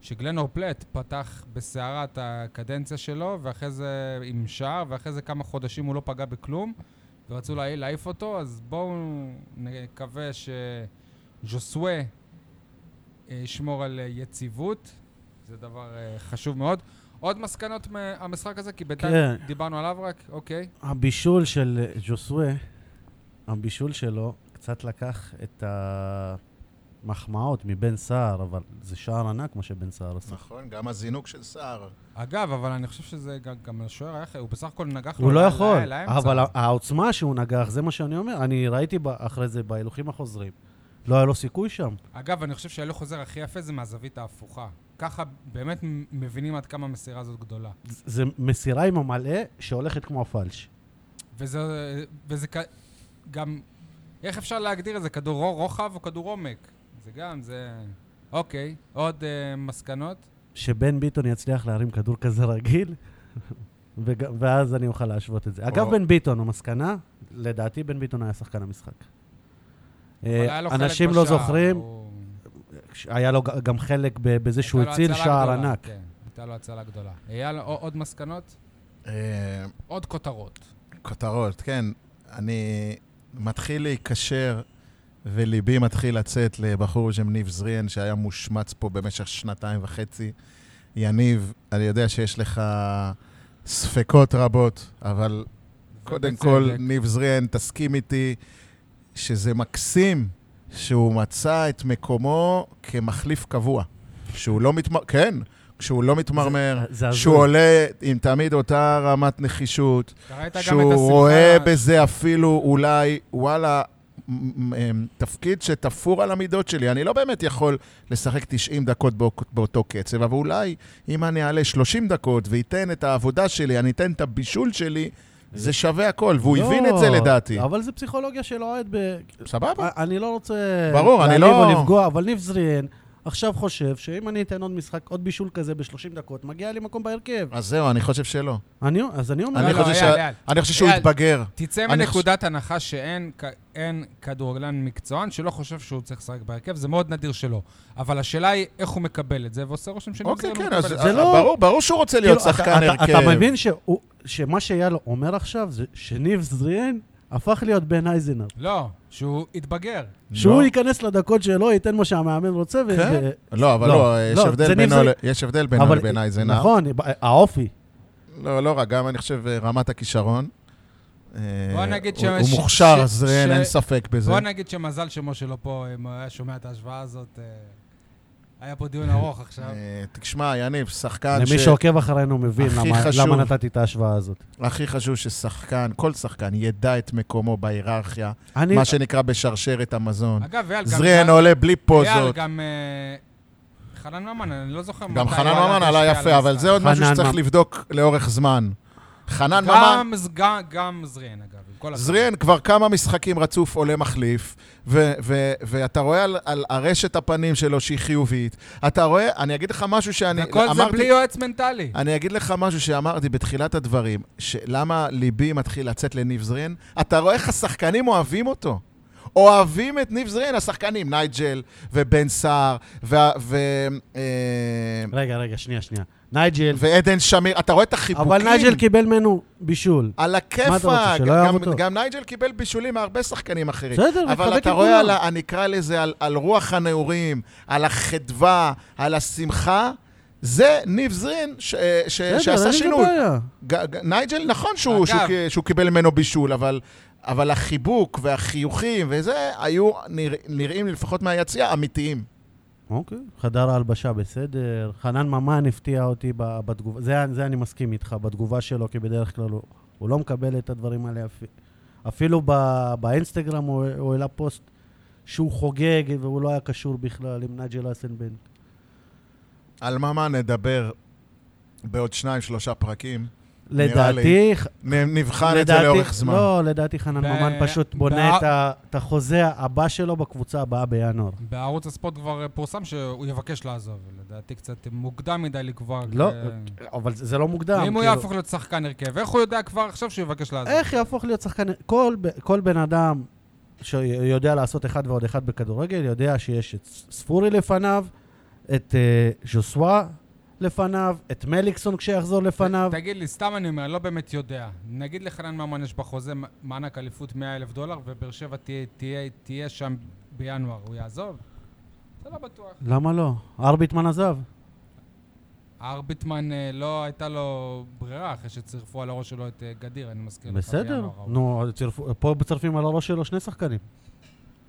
S1: שגלנור פלט פתח בסערה את הקדנציה שלו, ואחרי זה עם שער, ואחרי זה כמה חודשים הוא לא פגע בכלום, ורצו לה- להעיף אותו, אז בואו נקווה שז'וסווה אה, ישמור על אה, יציבות, זה דבר אה, חשוב מאוד. עוד מסקנות מהמשחק הזה? כי בינתיים
S2: כן.
S1: דיברנו עליו רק, אוקיי.
S2: הבישול של אה, ז'וסווה, הבישול שלו קצת לקח את המחמאות מבן סער, אבל זה שער ענק מה שבן סער עשה.
S3: נכון, גם הזינוק של סער.
S1: אגב, אבל אני חושב שזה גם, גם לשוער היה חי- הוא בסך הכל נגח
S2: הוא
S1: לו
S2: לא
S1: ל-
S2: יכול,
S1: ל- לאמצע.
S2: אבל העוצמה שהוא נגח, זה מה שאני אומר. אני ראיתי ב- אחרי זה בהילוכים החוזרים. לא היה לו סיכוי שם.
S1: אגב, אני חושב שההילוך חוזר הכי יפה זה מהזווית ההפוכה. ככה באמת מ- מבינים עד כמה המסירה הזאת גדולה.
S2: ז- זה מסירה עם המלא שהולכת כמו הפלש.
S1: וזה, וזה כ- גם... איך אפשר להגדיר את זה? כדור רו- רוחב או כדור עומק? זה גם, זה... אוקיי, עוד אה, מסקנות?
S2: שבן ביטון יצליח להרים כדור כזה רגיל, (laughs) וג- ואז אני אוכל להשוות את זה. אגב,
S3: או-
S2: בן ביטון, המסקנה, לדעתי בן ביטון היה שחקן המשחק.
S1: אבל
S2: אה,
S1: היה לו חלק
S2: אנשים לא
S1: בשער,
S2: זוכרים,
S1: הוא-
S2: היה לו ג- גם חלק ב- בזה שהוא
S1: הייתה לו
S2: הציל
S1: הצלה
S2: שער
S1: גדולה,
S2: ענק.
S1: כן, הייתה לו הצלה גדולה. אייל, ע- עוד מסקנות?
S3: אה,
S1: עוד כותרות.
S3: כותרות, כן. אני מתחיל להיקשר, וליבי מתחיל לצאת לבחור בשם ניב זריאן, שהיה מושמץ פה במשך שנתיים וחצי. יניב, אני יודע שיש לך ספקות רבות, אבל קודם
S1: ובצדק.
S3: כל, ניב זריאן, תסכים איתי שזה מקסים שהוא מצא את מקומו כמחליף קבוע. שהוא לא מתמרמר, כן, שהוא לא מתמרמר,
S2: זה- זה הזוי.
S3: שהוא עולה עם תמיד אותה רמת נחישות,
S1: אתה ראית גם את
S3: שהוא
S1: השמחה-
S3: רואה בזה אפילו אולי, וואלה, מ- מ- תפקיד שתפור על המידות שלי. אני לא באמת יכול לשחק 90 דקות בא- באותו קצב, אבל אולי אם אני אעלה 30 דקות ואתן את העבודה שלי, אני אתן את הבישול שלי, זה שווה הכל, והוא
S2: לא,
S3: הבין את זה לדעתי.
S2: אבל זה פסיכולוגיה של אוהד ב...
S3: סבבה.
S2: אני לא רוצה...
S3: ברור, אני לא-
S2: להעליב או לפגוע, אבל ניב זריאן עכשיו חושב שאם אני אתן עוד משחק, עוד בישול כזה ב-30 דקות, מגיע לי מקום בהרכב.
S3: אז זהו, אני חושב שלא.
S2: אני, אז אני אומר...
S1: לא,
S3: אני
S1: לא,
S3: חושב
S1: אייל,
S3: שה-
S1: אייל.
S3: אני חושב שהוא
S1: אייל.
S3: התבגר.
S1: תצא
S3: אני
S1: מנקודת הנחה שאין כ- אין כדורגלן מקצוען שלא חושב שהוא צריך לשחק בהרכב, זה מאוד נדיר שלא. אבל השאלה היא איך הוא מקבל את זה, ועושה רושם שאני
S3: אוקיי, כן, אז
S1: מקבל את
S2: זה
S1: זה.
S3: אז
S2: לא-
S3: ברור- ברור שהוא רוצה להיות
S2: כאילו, אתה-
S3: שחקן
S2: אתה-
S3: הרכב.
S2: אתה מבין שהוא- שמה שאייל אומר עכשיו זה שניב זריאן הפך להיות בן אייזנר.
S1: לא, שהוא התבגר.
S2: שהוא
S3: לא.
S2: ייכנס לדקות שלו, ייתן מה שהמאמן רוצה, ו...
S3: כן?
S2: ו-
S3: לא, אבל
S2: לא,
S3: לא, יש
S2: לא,
S3: הבדל
S2: זה ניב
S3: בינו
S2: זריאן.
S3: ל- יש הבדל בינו
S2: אבל-
S3: לבין אייזנר.
S2: נכון, האופי.
S3: לא, לא רק, גם אני חושב אה, רמת הכישרון. אה,
S1: בוא נגיד
S3: הוא-
S1: ש-
S3: הוא מוכשר,
S1: ש-
S3: אז אין
S1: ש-
S3: אין ספק בזה.
S1: בוא נגיד שמזל שמשה לא פה, אם הוא היה שומע את ההשוואה הזאת. אה, היה פה דיון
S3: (laughs)
S1: ארוך עכשיו.
S3: אה, תשמע, יניב, שחקן
S2: למי
S3: ש...
S2: שעוקב אחרינו מבין
S3: הכי
S2: למה-
S3: חשוב.
S2: למה נתתי את ההשוואה הזאת.
S3: הכי חשוב ששחקן, כל שחקן, ידע את מקומו בהיררכיה,
S2: אני-
S3: מה שנקרא בשרשרת המזון.
S1: אגב, אייל, גם...
S3: זריאן
S1: גם-
S3: עולה בלי
S1: אייל,
S3: פוזות.
S1: גם... אה, חנן ממן, אני לא זוכר
S3: גם
S1: מתי
S3: חנן
S1: הוא
S3: ממן
S1: להשפיע
S3: עלה
S1: על
S3: יפה, אבל
S1: המשחק.
S3: זה עוד משהו
S2: חנן
S3: שצריך
S2: ממן.
S3: לבדוק לאורך זמן. חנן ממן...
S1: גם, ז- גם, גם זריאן, אגב. עם כל הכבוד.
S3: זריאן כבר כמה משחקים רצוף עולה מחליף, ו- ו- ואתה רואה על, על הרשת הפנים שלו שהיא חיובית. אתה רואה, אני אגיד לך משהו שאני
S1: וכל זה בלי
S3: אמרתי,
S1: יועץ מנטלי.
S3: אני אגיד לך משהו שאמרתי בתחילת הדברים, שלמה ליבי מתחיל לצאת לניב זריאן? אתה רואה איך השחקנים אוהבים אותו. אוהבים את ניב זריאן, השחקנים, נייג'ל ובן סער וה- ו- אה,
S2: רגע, רגע, שנייה, שנייה. נייג'ל,
S3: ועדן שמיר. אתה רואה את החיבוקים?
S2: אבל נייג'ל קיבל ממנו בישול.
S3: על
S2: מה אתה רוצה,
S3: הכיפאק.
S2: שלא יאהב
S3: גם-
S2: אותו?
S3: גם נייג'ל קיבל בישולים מהרבה שחקנים אחרים.
S2: בסדר,
S3: אבל אתה רואה, על, ה- אני אקרא לזה, על, על רוח הנעורים, על החדווה, על השמחה, זה ניב זרין ש, אה, ש, שעשה שינוי. ג, ג, נייג'ל, נכון שהוא,
S1: אגב.
S3: שהוא, שהוא, שהוא קיבל ממנו בישול, אבל, אבל החיבוק והחיוכים וזה היו נרא, נראים, לפחות מהיציע, אמיתיים.
S2: אוקיי. חדר ההלבשה בסדר. חנן ממן הפתיע אותי ב- בתגובה, זה, זה אני מסכים איתך, בתגובה שלו, כי בדרך כלל הוא, הוא לא מקבל את הדברים האלה. אפ- אפילו ב, באינסטגרם הוא, הוא העלה פוסט שהוא חוגג והוא לא היה קשור בכלל עם נייג'ל אסנבן.
S3: על מה מה נדבר בעוד שניים, שלושה פרקים. נראה
S2: לדעתי,
S3: נ- נבחן את זה לאורך זמן.
S2: לא, לדעתי חנן
S1: ב-
S2: ממן פשוט
S1: ב-
S2: בונה את ה- את החוזה הבא שלו בקבוצה הבאה בינואר.
S1: בערוץ הספורט כבר אה, פורסם שהוא יבקש לעזוב. לדעתי קצת מוקדם מדי לקבוע.
S2: לא,
S1: כ-
S2: אבל זה זה לא מוקדם.
S1: אם הוא
S2: כאילו.
S1: יהפוך להיות שחקן הרכב, איך הוא יודע כבר עכשיו שהוא יבקש לעזוב?
S2: איך יהפוך להיות שחקן... כל, ב- כל בן אדם שיודע לעשות אחד ועוד אחד בכדורגל, יודע שיש את ס- ספורי לפניו, את אה, ז'וסווה לפניו, את מליקסון כשיחזור לפניו.
S1: תגיד לי, סתם אני אומר, אני לא באמת יודע. נגיד לחנן ממן יש בחוזה מ- מענק אליפות 100 אלף דולר, ובאר שבע תהיה- תהיה- תהיה שם בינואר, הוא יעזוב? זה לא בטוח.
S2: למה לא? ארביטמן עזב.
S1: ארביטמן אה, לא הייתה לו ברירה אחרי שצירפו על הראש שלו את אה, גדיר, אני מזכיר לך.
S2: בסדר.
S1: בינואר ההוא.
S2: נו, צירפו- פה מצרפים על הראש שלו שני שחקנים.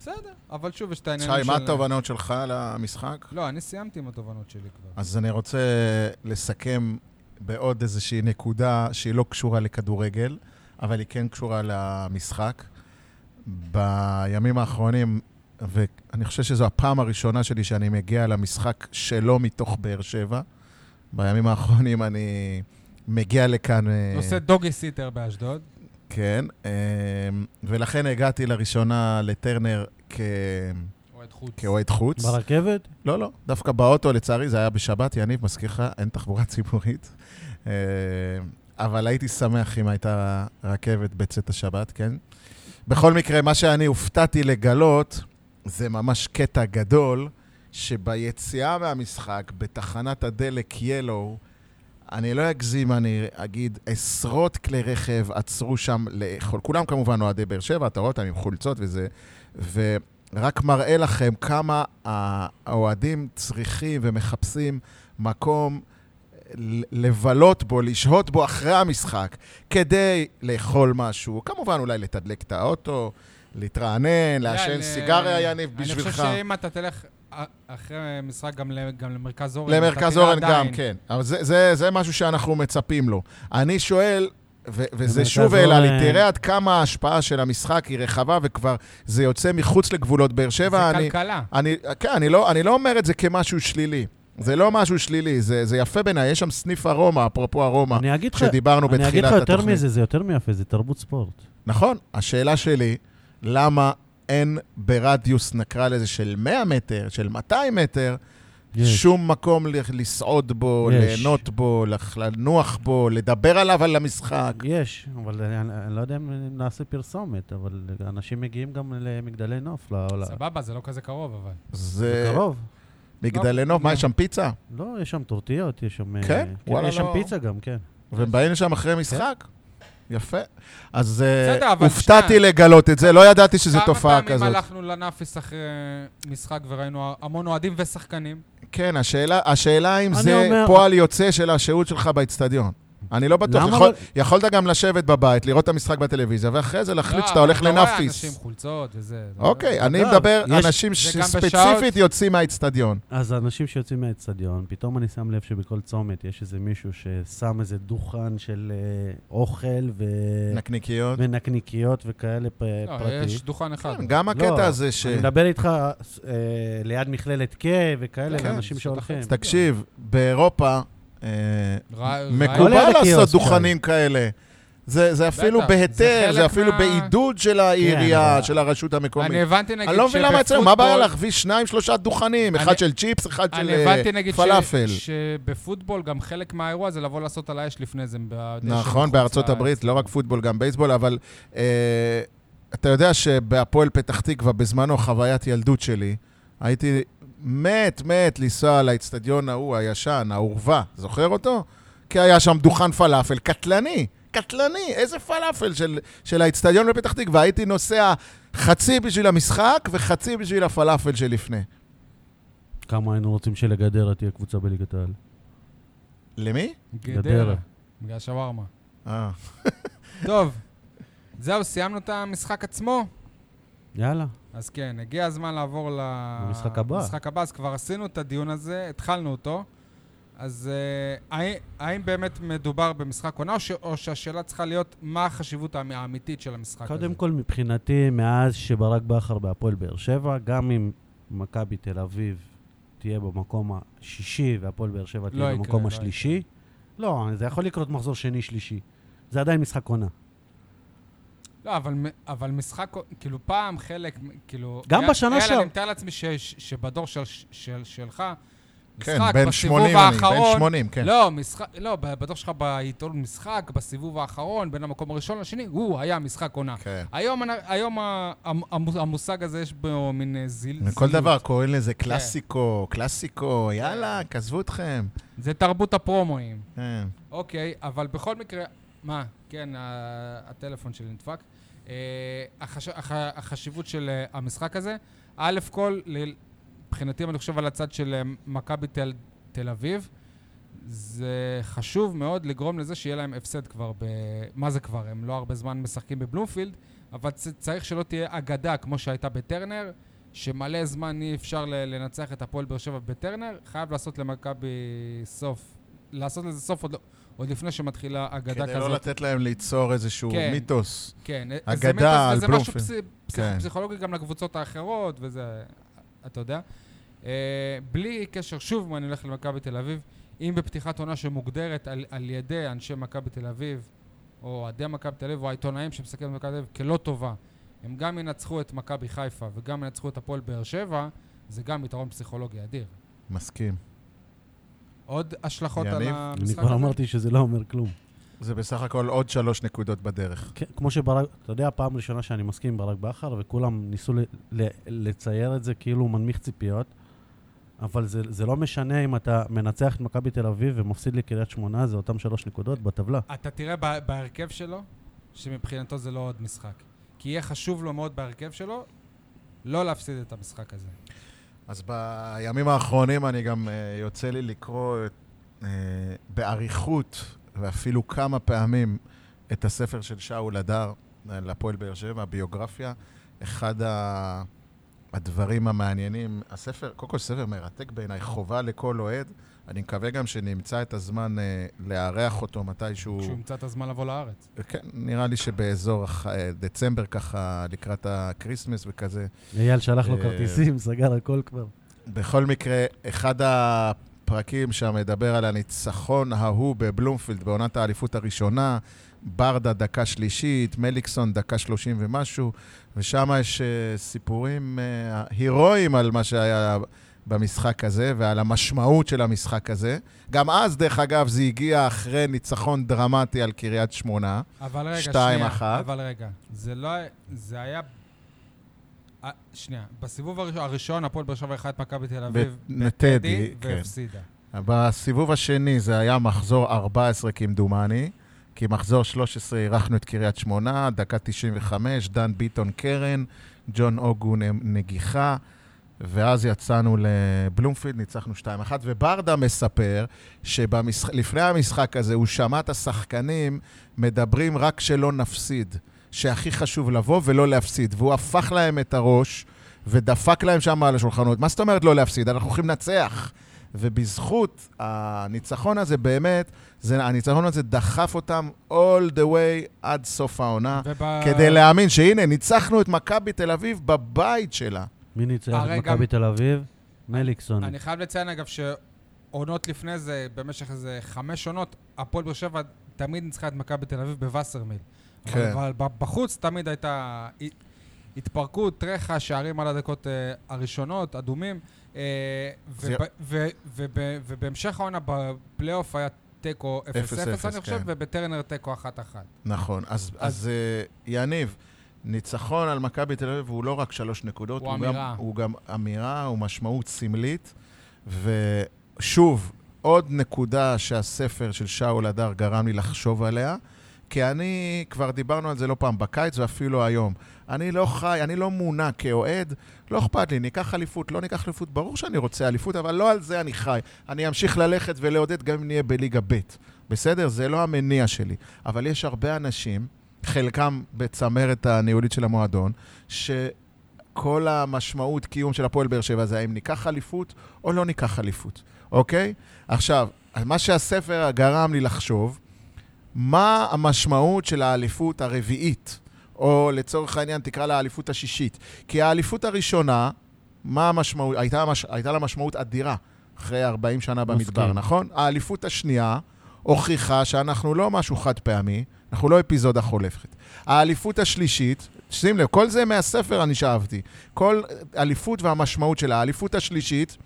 S1: בסדר, אבל שוב יש את העניינים
S3: שי,
S1: של...
S3: מה התובנות שלך על המשחק?
S1: לא, אני סיימתי עם התובנות שלי כבר.
S3: אז אני רוצה לסכם בעוד איזושהי נקודה שהיא לא קשורה לכדורגל, אבל היא כן קשורה למשחק. בימים האחרונים, ואני חושב שזו הפעם הראשונה שלי שאני מגיע למשחק שלא מתוך באר שבע. בימים האחרונים אני מגיע לכאן... אה,
S1: נושא דוגי סיטר באשדוד.
S3: כן, אה, ולכן הגעתי לראשונה לטרנר כ-
S1: אוהד חוץ.
S3: כאוהד חוץ.
S2: ברכבת?
S3: לא, לא. דווקא באוטו, לצערי, זה היה בשבת, יניב, מזכיר לך, אין תחבורה ציבורית. אה, אבל הייתי שמח אם הייתה רכבת בצאת השבת, כן? בכל מקרה, מה שאני הופתעתי לגלות, זה ממש קטע גדול, שביציאה מהמשחק, בתחנת הדלק ילו, אני לא אגזים, אני אגיד, עשרות כלי רכב עצרו שם לאכול. כולם כמובן אוהדי באר שבע, אתה רואה אותם עם חולצות וזה. ו... רק מראה לכם כמה האוהדים צריכים ומחפשים מקום ל- לבלות בו, לשהות בו אחרי המשחק, כדי לאכול משהו, כמובן אולי לתדלק את האוטו, להתרענן, לעשן
S1: יאללה,
S3: סיגריה, יניב, בשבילך.
S1: אה, אני חושב שאם אתה תלך אה, אחרי משחק גם ל- גם למרכז אורן, אתה
S3: למרכז
S1: תראה
S3: אורן גם,
S1: עדיין.
S3: כן. אבל זה, זה, זה משהו שאנחנו מצפים לו. אני שואל, ו- וזה
S2: למרכז
S3: שוב העלה לי,
S2: אורן.
S3: תראה עד כמה ההשפעה של המשחק היא רחבה, וכבר זה יוצא מחוץ לגבולות באר שבע.
S1: זה
S3: אני,
S1: כלכלה.
S3: אני, כן, אני לא, אני לא אומר את זה כמשהו שלילי. זה לא משהו שלילי, זה, זה יפה בעיניי. יש שם סניף ארומה, אפרופו ארומה,
S2: אני אגיד לך...
S3: שדיברנו
S2: אני אגיד
S3: בתחילת
S2: לך
S3: התוכנית.
S2: יותר מזה, זה יותר מיפה, זה תרבות ספורט.
S3: נכון, השאלה שלי, למה אין ברדיוס, נקרא לזה, של 100 מטר, של 200 מטר,
S2: יש.
S3: שום מקום ל- לסעוד בו,
S2: יש.
S3: ליהנות בו, לח- לנוח בו, לדבר עליו על המשחק.
S2: יש, אבל אני, אני, אני לא יודע אם נעשה פרסומת, אבל אנשים מגיעים גם למגדלי נוף, לא, לא.
S1: סבבה, זה לא כזה קרוב, אבל.
S3: זה
S2: קרוב.
S3: מגדלי נוף, מה, יש שם פיצה?
S2: לא, יש שם טורטיות, יש שם... אה,
S3: כן? וואלה,
S2: יש שם
S3: לא.
S2: פיצה גם, כן.
S3: והם באים לשם אחרי משחק? יפה. אז אה,
S1: בסדר, אבל
S3: הופתעתי
S1: שנייה.
S3: לגלות את זה, לא ידעתי שזו תופעה
S1: כמה פעמים
S3: כזאת.
S1: הלכנו לנאפיס אחרי משחק וראינו המון אוהדים ושחקנים?
S3: כן, השאלה- השאלה אם
S2: אני
S3: זה
S2: אומר-
S3: פועל יוצא של השהות שלך באצטדיון. אני לא בטוח,
S2: למה
S3: יכול-
S2: אבל-
S3: יכולת גם לשבת בבית, לראות את המשחק בטלוויזיה, ואחרי זה להחליט
S1: לא,
S3: שאתה הולך
S1: אתה רואה אנשים
S3: לנאפיס.
S1: חולצות וזה. לא- אתה
S3: אוקיי,
S1: רואה?
S3: אני
S2: אגב,
S3: מדבר,
S2: לא, יש-
S3: אנשים
S1: זה גם
S3: שספציפית
S1: בשעות-
S3: יוצאים מהאצטדיון.
S2: אז האנשים שיוצאים מהאצטדיון, פתאום אני שם לב שבכל צומת יש איזה מישהו ששם איזה דוכן של אה, אוכל ו...
S3: נקניקיות.
S2: ונקניקיות וכאלה פ...
S1: לא,
S2: פרטי.
S1: יש דוכן אחד.
S3: כן, גם הקטע
S2: לא,
S3: הזה ש...
S2: אני מדבר איתך אה, ליד מכללת K וכאלה,
S3: כן,
S2: לאנשים
S1: זה
S2: שהולכים.
S1: דחף.
S3: תקשיב, באירופה אה,
S1: רא-
S2: לא ליד
S3: מקובל
S2: הקיוסק,
S3: לעשות
S2: שי.
S3: דוכנים כאלה. זה זה אפילו
S1: בטח, זה
S3: בהיתר, זה
S1: חלק
S3: אפילו
S1: מה- כן,
S3: בעידוד של
S2: אבל-
S3: העירייה, של הרשות
S1: אני
S3: המקומית.
S1: הבנתי נגיד
S3: אני לא מבין למה אצלנו, מה
S1: שבפוטבול-
S3: הבעיה להכביש שניים, שלושה דוכנים?
S1: אני-
S3: אחד של צ'יפס, אחד של
S1: אני
S3: אה,
S1: הבנתי נגיד ש-
S3: פלאפל.
S1: שבפוטבול גם חלק מהאירוע זה לבוא לעשות על האש לפני זה. בדשא
S3: נכון,
S1: מחוץ
S3: בארצות
S1: לארץ.
S3: הברית, לא רק פוטבול, גם בייסבול, אבל אה, אתה יודע שבהפועל פתח תקווה, בזמנו חוויית ילדות שלי, הייתי מת, מת לנסוע לאצטדיון ההוא, הישן, האורווה, זוכר אותו? כי היה שם דוכן פלאפל קטלני, קטלני, איזה פלאפל של, של האצטדיון בפתח תקווה. הייתי נוסע חצי בשביל המשחק וחצי בשביל הפלאפל שלפני.
S2: כמה היינו רוצים שלגדרה תהיה קבוצה בליגת העל.
S3: למי?
S2: גדרה.
S1: גדרה. בגלל שווארמה.
S3: אה,
S1: טוב, זהו, סיימנו את המשחק עצמו?
S2: יאללה.
S1: אז כן, הגיע הזמן לעבור ל...
S2: למשחק הבא.
S1: למשחק הבא, אז כבר עשינו את הדיון הזה, התחלנו אותו. אז uh, האם, האם באמת מדובר במשחק עונה, או, ש, או שהשאלה צריכה להיות מה החשיבות האמ- האמיתית של המשחק הזה?
S2: קודם כל, מבחינתי, מאז שברק בכר בהפועל באר שבע, גם אם מכבי תל אביב תהיה במקום השישי והפועל באר שבע תהיה
S1: לא יקרה,
S2: במקום
S1: לא
S2: השלישי, לא, זה יכול לקרות מחזור שני-שלישי. זה עדיין משחק עונה.
S1: לא, אבל, מ- אבל משחק, כאילו פעם חלק, כאילו...
S2: גם
S1: יאל-
S2: בשנה
S1: יאללה,
S2: שעב-
S1: אני מתאר לעצמי ש, ש, שבדור של, של, שלך,
S3: כן,
S1: משחק
S3: בן
S1: בסיבוב
S3: 80 אני, בן
S1: האחרון-
S3: 80, כן.
S1: לא, משחק, לא, ב- בדוח שלך בעיתון משחק, בסיבוב האחרון, בין המקום הראשון לשני, הוא היה משחק עונה.
S3: כן.
S1: היום, אנ- היום ה- המ- המוס- המושג הזה יש בו מין אה, זיל...
S3: כל
S1: זילות.
S3: דבר קוראים לזה
S1: כן.
S3: קלאסיקו, קלאסיקו, יאללה, כזבו אתכם.
S1: זה תרבות הפרומואים.
S3: כן.
S1: אוקיי, אבל בכל מקרה... מה? כן, ה- הטלפון שלי נדפק. אה, החש- הח- החשיבות של אה, המשחק הזה, א' כל, ל- מבחינתי, אם אני חושב על הצד של אה, מכבי תל- תל אביב, זה חשוב מאוד לגרום לזה שיהיה להם הפסד כבר ב... מה זה כבר? הם לא הרבה זמן משחקים בבלומפילד, אבל צ- צריך שלא תהיה אגדה כמו שהייתה בטרנר, שמלא זמן אי אפשר ל- לנצח את הפועל באר שבע בטרנר, חייב לעשות למכבי סוף. לעשות לזה סוף עוד, לא- עוד לפני שמתחילה אגדה
S3: כדי
S1: כזאת.
S3: לא לתת להם ליצור איזשהו
S1: כן.
S3: מיתוס.
S1: כן,
S3: אגדה
S1: זה מיתוס,
S3: על
S1: וזה משהו
S3: בלומפילד.
S1: פס- פס-
S3: כן.
S1: פסיכולוגי גם לקבוצות האחרות, וזה, אתה יודע. אה, בלי קשר, שוב, אם אני הולך למכבי תל אביב, אם בפתיחת עונה שמוגדרת על, על ידי אנשי מכבי תל אביב, או אוהדי מכבי תל אביב, או העיתונאים שמסתכלים על מכבי תל אביב כלא טובה, הם גם ינצחו את מכבי חיפה וגם ינצחו את הפועל באר שבע, זה גם יתרון פסיכולוגי אדיר.
S3: מסכים.
S1: עוד השלכות על
S3: יניב?
S2: אני
S1: המשחק
S2: כבר
S1: הזה?
S2: אמרתי שזה לא אומר כלום.
S3: זה בסך הכל עוד שלוש נקודות בדרך.
S2: כן, כמו שברק, אתה יודע, פעם ראשונה שאני מסכים עם ברק בכר, וכולם ניסו ל, ל, לצייר את זה כאילו הוא מנמיך ציפיות, אבל זה, זה לא משנה אם אתה מנצח את מכבי תל אביב ומפסיד לקריית שמונה, זה אותם שלוש נקודות בטבלה.
S1: אתה תראה ב- בהרכב שלו, שמבחינתו זה לא עוד משחק. כי יהיה חשוב לו מאוד בהרכב שלו, לא להפסיד את המשחק הזה.
S3: אז בימים האחרונים אני גם אה, יוצא לי לקרוא את, אה, באריכות, ואפילו כמה פעמים, את הספר של שאול הדר, אה, לפועל באר שבע, ביוגרפיה. אחד ה... הדברים המעניינים, הספר, קודם כל ספר מרתק בעיניי, חובה לכל אוהד. אני מקווה גם שנמצא את הזמן אה, לארח אותו מתישהו.
S1: כשהוא ימצא את הזמן לבוא לארץ.
S3: כן, נראה לי שבאזור הח- אה, דצמבר ככה, לקראת הקריסמס וכזה.
S2: אייל שלח לו
S3: אה,
S2: כרטיסים, (laughs) סגר הכל כבר.
S3: בכל מקרה, אחד הפרקים שם מדבר על הניצחון ההוא בבלומפילד בעונת האליפות הראשונה, ברדה דקה שלישית, מליקסון דקה שלושים ומשהו, ושם יש אה, סיפורים אה, הירואיים על מה שהיה במשחק הזה ועל המשמעות של המשחק הזה. גם אז, דרך אגב, זה הגיע אחרי ניצחון דרמטי על קריית שמונה.
S1: אבל רגע,
S3: שתיים,
S1: שנייה.
S3: אחת.
S1: אבל רגע, זה לא... זה היה... אה, שנייה, בסיבוב הראשון, הראשון הפועל באר שבע אירחה את מכבי תל אביב.
S3: בטדי, כן.
S1: והפסידה.
S3: בסיבוב השני זה היה מחזור 14 כמדומני, כי מחזור 13 אירחנו את קריית שמונה, דקה 95, דן ביטון קרן, ג'ון אוגו נ- נגיחה, ואז יצאנו לבלומפילד, ניצחנו 2-1, וברדה מספר שלפני המשחק הזה הוא שמע את השחקנים מדברים רק שלא נפסיד, שהכי חשוב לבוא ולא להפסיד, והוא הפך להם את הראש ודפק להם שם על השולחנות. מה זאת אומרת לא להפסיד? אנחנו הולכים לנצח. ובזכות הניצחון הזה באמת, זה, הניצחון הזה דחף אותם all the way עד סוף העונה,
S1: וב...
S3: כדי להאמין שהנה, ניצחנו את מכבי תל אביב בבית שלה.
S2: מי ניצח
S1: הרי
S2: את
S1: גם-
S2: מכבי תל אביב? מליקסון.
S1: אני חייב לציין, אגב, שעונות לפני זה, במשך איזה חמש עונות, הפועל באר שבע תמיד ניצחה את מכבי תל אביב בווסרמיל.
S3: כן.
S1: כן. אבל ב- בחוץ תמיד הייתה הת- התפרקות, טרחה, שערים על הדקות אה, הראשונות, אדומים. אה,
S3: זה-
S1: וב- ו- וב- ובהמשך העונה בפלייאוף היה תיקו 0-0,
S3: 0-0,
S1: אני חושב,
S3: כן.
S1: ובטרנר תיקו 1-1.
S3: נכון. אז, אז, אז uh, יניב, ניצחון על מכבי תל אביב הוא לא רק שלוש נקודות,
S1: הוא
S3: גם,
S1: אמירה.
S3: הוא גם אמירה, הוא משמעות סמלית. ושוב, עוד נקודה שהספר של שאול הדר גרם לי לחשוב עליה, כי אני, כבר דיברנו על זה לא פעם בקיץ ואפילו היום. אני לא חי, אני לא מונע כאוהד, לא אכפת לי, ניקח אליפות, לא ניקח אליפות, ברור שאני רוצה אליפות, אבל לא על זה אני חי. אני אמשיך ללכת ולעודד גם אם נהיה בליגה ב', בסדר? זה לא המניע שלי. אבל יש הרבה אנשים, חלקם בצמרת הניהולית של המועדון, שכל המשמעות קיום של הפועל באר שבע זה האם ניקח אליפות או לא ניקח אליפות, אוקיי? עכשיו, מה שהספר גרם לי לחשוב, מה המשמעות של האליפות הרביעית, או לצורך העניין תקרא לה האליפות השישית? כי האליפות הראשונה, מה המשמעות? הייתה, מש, הייתה לה משמעות אדירה אחרי 40 שנה במדבר,
S2: מסכים.
S3: נכון? האליפות השנייה הוכיחה שאנחנו לא משהו חד פעמי, אנחנו לא אפיזודה חולפת. האליפות השלישית, שים לב, כל זה מהספר אני שאבתי. כל אליפות והמשמעות שלה. האליפות השלישית,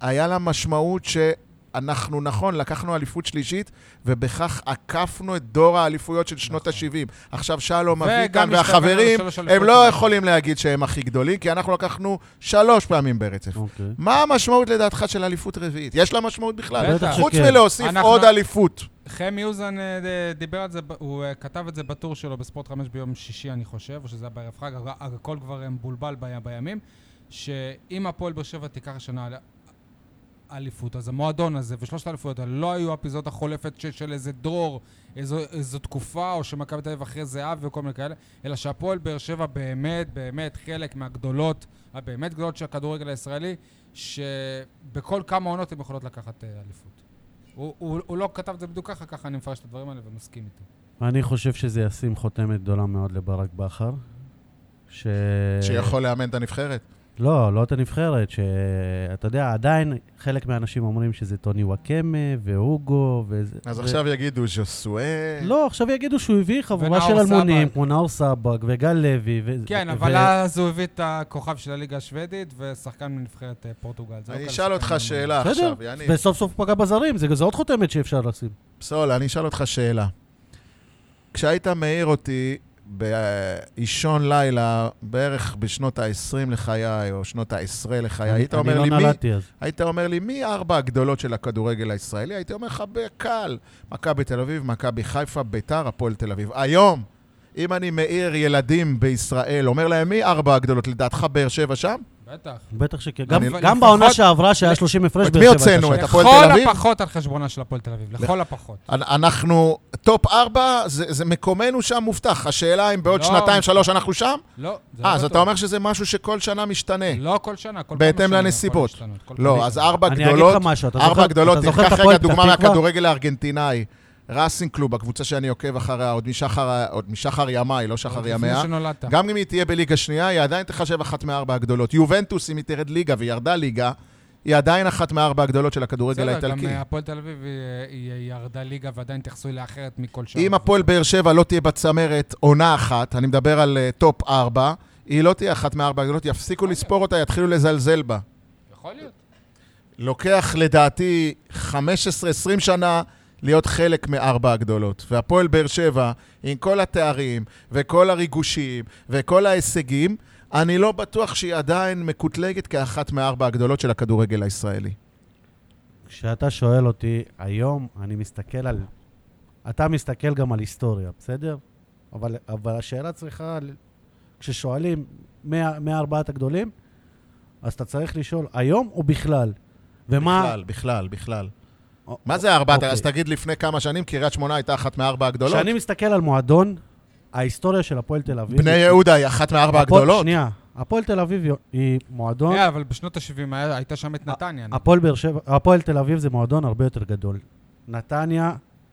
S3: היה לה משמעות שאנחנו, נכון, לקחנו אליפות שלישית, ובכך עקפנו את דור האליפויות של שנות
S1: נכון.
S3: ה-70. עכשיו שלום
S1: וגם
S3: אביטן
S1: השתווינו
S3: והחברים,
S1: לשלוש אליפויות
S3: הם לא
S1: שלנו.
S3: יכולים להגיד שהם הכי גדולים, כי אנחנו לקחנו שלוש פעמים ברצף.
S2: אוקיי.
S3: מה המשמעות לדעתך של אליפות רביעית? יש לה משמעות בכלל.
S1: בטח.
S3: חוץ
S2: שכן.
S3: מלהוסיף
S1: אנחנו-
S3: עוד אליפות.
S1: חמי אוזן אה, ד- דיבר על זה, ב- הוא אה, כתב את זה בטור שלו בספורט 5 ביום שישי, אני חושב, או שזה היה בערב חג, הר- הכל כבר אה, מבולבל ב- בימים, שאם הפועל באר שבע תיקח השנה אל- אליפות, אז המועדון הזה ושלושת האליפויות האלה לא היו אפיזודה חולפת ש- של איזה דרור, איזו, איזו תקופה, או שמכבי תל אביב אחרי זהב וכל מיני כאלה, אלא שהפועל באר שבע באמת, באמת חלק מהגדולות, הבאמת גדולות של הכדורגל הישראלי, שבכל כמה עונות הן יכולות לקחת אה, אליפות. הוא, הוא, הוא לא כתב את זה בדיוק ככה, ככה אני מפרש את הדברים האלה ומסכים איתו.
S2: אני חושב שזה ישים חותמת גדולה מאוד לברק בכר. ש...
S3: שיכול לאמן את הנבחרת.
S2: לא, לא את הנבחרת, שאתה יודע, עדיין חלק מהאנשים אומרים שזה טוני וואקמה והוגו וזה.
S3: אז
S2: ו-
S3: עכשיו יגידו ז'וסואה.
S2: לא, עכשיו יגידו שהוא הביא חבורה של
S1: ונאור
S2: אלמונים,
S1: סבג.
S2: כמו נאור סבג וגל לוי. ו-
S1: כן,
S2: ו-
S1: אבל
S2: ו-
S1: אז הוא הביא את הכוכב של הליגה השוודית ושחקן מנבחרת אה, פורטוגל. זה לא
S3: אני
S1: קל
S3: אשאל אותך
S1: לשחקן
S3: שאלה
S2: בסדר.
S3: עכשיו, יניב.
S2: וסוף סוף פגע בזרים, זה, זה עוד חותמת שאפשר לשים.
S3: פסול, אני אשאל אותך שאלה. כשהיית מעיר אותי באישון לילה, בערך בשנות ה-20 לחיי, או שנות ה-10 לחיי, היית
S2: אני-
S3: אומר לי,
S2: אני
S3: מי,
S2: לא נולדתי אז.
S3: היית אומר לי, מי ארבע הגדולות של הכדורגל הישראלי? הייתי אומר לך, בקל. מכבי תל אביב, מכבי חיפה, ביתר, הפועל תל אביב. היום, אם אני מעיר ילדים בישראל, אומר להם, מי ארבע הגדולות? לדעתך באר שבע שם?
S1: בטח.
S2: בטח שכן. גם,
S3: אני-
S2: גם
S1: לפחות-
S2: בעונה שעברה, שהיה 30 הפרש,
S3: את
S2: באר
S3: מי
S2: שבע
S3: הוצאנו?
S2: הייתה
S3: את
S2: שם.
S3: הפועל
S1: לכל
S3: תל אביב?
S1: הפחות על חשבונה של הפועל תל אביב, לכל הפחות.
S3: אנ- אנחנו, טופ ארבע, זה, זה מקומנו שם מובטח. השאלה אם בעוד
S1: לא.
S3: שנתיים, שלוש אנחנו שם?
S1: לא, זה לא
S3: אה, אז
S1: בטוח.
S3: אתה אומר שזה משהו שכל שנה משתנה.
S1: לא כל שנה, כל
S3: בהתאם
S1: כמה שנים יכול
S3: לנסיבות.
S1: להשתנות, כל
S3: לא,
S1: כמה
S3: אז
S1: שנים.
S3: ארבע
S2: אני אגיד לך
S3: גדולות,
S2: משהו, אתה זוכר-
S3: ארבע
S2: אתה
S3: גדולות,
S2: זוכר את
S3: תיקח רגע
S2: הפועל פתח
S3: דוגמה
S2: תקווה?
S3: מהכדורגל הארגנטינאי. ראסינג קלוב, הקבוצה שאני עוקב אחריה עוד משחר, עוד משחר ימיי, לא שחר
S1: עוד
S3: ימיה.
S1: לפני שנולדת.
S3: גם אם היא תהיה בליגה שנייה, היא עדיין תחשב אחת מארבע הגדולות. יובנטוס, אם היא תרד ליגה וירדה ליגה, היא עדיין אחת מארבע הגדולות של הכדורגל
S1: בסדר,
S3: האיטלקי.
S1: גם אה, הפועל תל אביב היא- היא ירדה ליגה ועדיין התייחסו אליה אחרת מכל שנה.
S3: אם הפועל באר שבע לא תהיה בצמרת עונה אחת, אני מדבר על אה, טופ ארבע, היא לא תהיה אחת מארבע הגדולות, יפסיקו לספור אותה, יתחילו לזלזל בה.
S1: יכול להיות.
S3: לוקח לדעתי 15-20 שנה להיות חלק מארבע הגדולות. והפועל באר שבע, עם כל התארים, וכל הריגושים, וכל ההישגים, אני לא בטוח שהיא עדיין מקוטלגת כאחת מארבע הגדולות של הכדורגל הישראלי.
S2: כשאתה שואל אותי, היום אני מסתכל על... אתה מסתכל גם על היסטוריה, בסדר? אבל, אבל השאלה צריכה, ל- כששואלים מה- מהארבעת הגדולים, אז אתה צריך לשאול, היום או בכלל? ומה...
S3: בכלל, בכלל, בכלל.
S2: או-
S3: מה זה ארבעת?
S2: אוקיי.
S3: אז תגיד לפני כמה שנים, קריית שמונה הייתה אחת מארבע הגדולות.
S2: כשאני מסתכל על מועדון, ההיסטוריה של הפועל תל אביב...
S3: בני יהודה היא אחת מארבע
S2: הפועל-
S3: הגדולות.
S2: שנייה, הפועל תל אביב היא מועדון...
S1: אה, אבל בשנות ה-70 הייתה שם
S3: אה,
S1: את נתניה. נכון? נו.
S2: הפועל באר שבע, הפועל תל אביב זה מועדון הרבה יותר גדול. נתניה,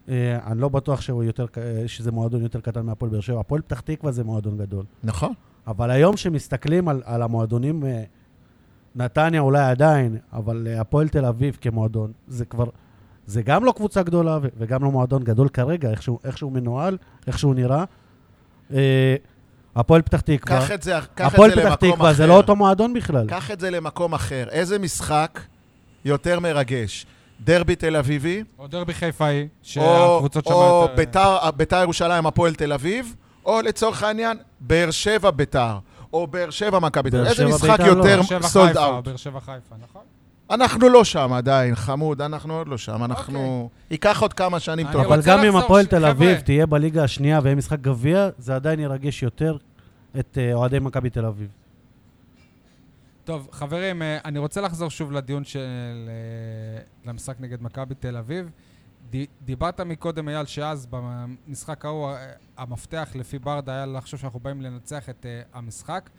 S2: אה, אני לא בטוח שהוא יותר, ק- אה, שזה מועדון יותר קטן מהפועל באר שבע. הפועל פתח תקווה זה מועדון גדול.
S3: נכון.
S2: אבל היום כשמסתכלים על, על המועדונים, אה, נתניה אולי עדיין, אבל אה, הפועל תל אביב כמועדון, זה כבר, זה גם לא קבוצה גדולה ו- וגם לא מועדון גדול כרגע, איך שהוא, איך שהוא מנוהל, איך שהוא נראה. אה, הפועל פתח תקווה,
S3: קח את זה קח את זה למקום
S2: הפועל
S3: אחר.
S2: פתח תקווה זה לא אותו מועדון בכלל.
S3: קח את זה למקום אחר. איזה משחק יותר מרגש? דרבי תל אביבי,
S1: או דרבי חיפאי,
S3: או,
S1: שהקבוצות שם...
S3: או
S1: יותר-
S3: ביתר, ביתר ירושלים, הפועל תל אביב, או לצורך העניין, באר שבע ביתר, או באר שבע מכבי תל
S2: באר
S3: אביב. איזה
S2: שבע
S3: משחק
S2: ביתר לא,
S3: יותר
S2: באר
S3: סולד
S1: חיפה,
S3: אאוט?
S1: באר שבע חיפה, נכון?
S3: אנחנו לא שם עדיין, חמוד, אנחנו עוד לא שם. אנחנו... ייקח עוד כמה שנים
S1: אוקיי. אני
S3: טובות.
S2: אבל
S1: רוצה
S2: גם אם
S1: לחזור,
S2: הפועל
S1: ש-
S2: תל אביב
S1: חבר'ה.
S2: תהיה בליגה השנייה ויהיה משחק גביע, זה עדיין ירגש יותר את אה, אוהדי מכבי תל אביב.
S1: טוב, חברים, אה, אני רוצה לחזור שוב לדיון של... אה, למשחק נגד מכבי תל אביב. ד- דיברת מקודם, אייל, שאז במשחק ההוא, אה, המפתח לפי ברדה היה לחשוב שאנחנו באים לנצח את אה, המשחק.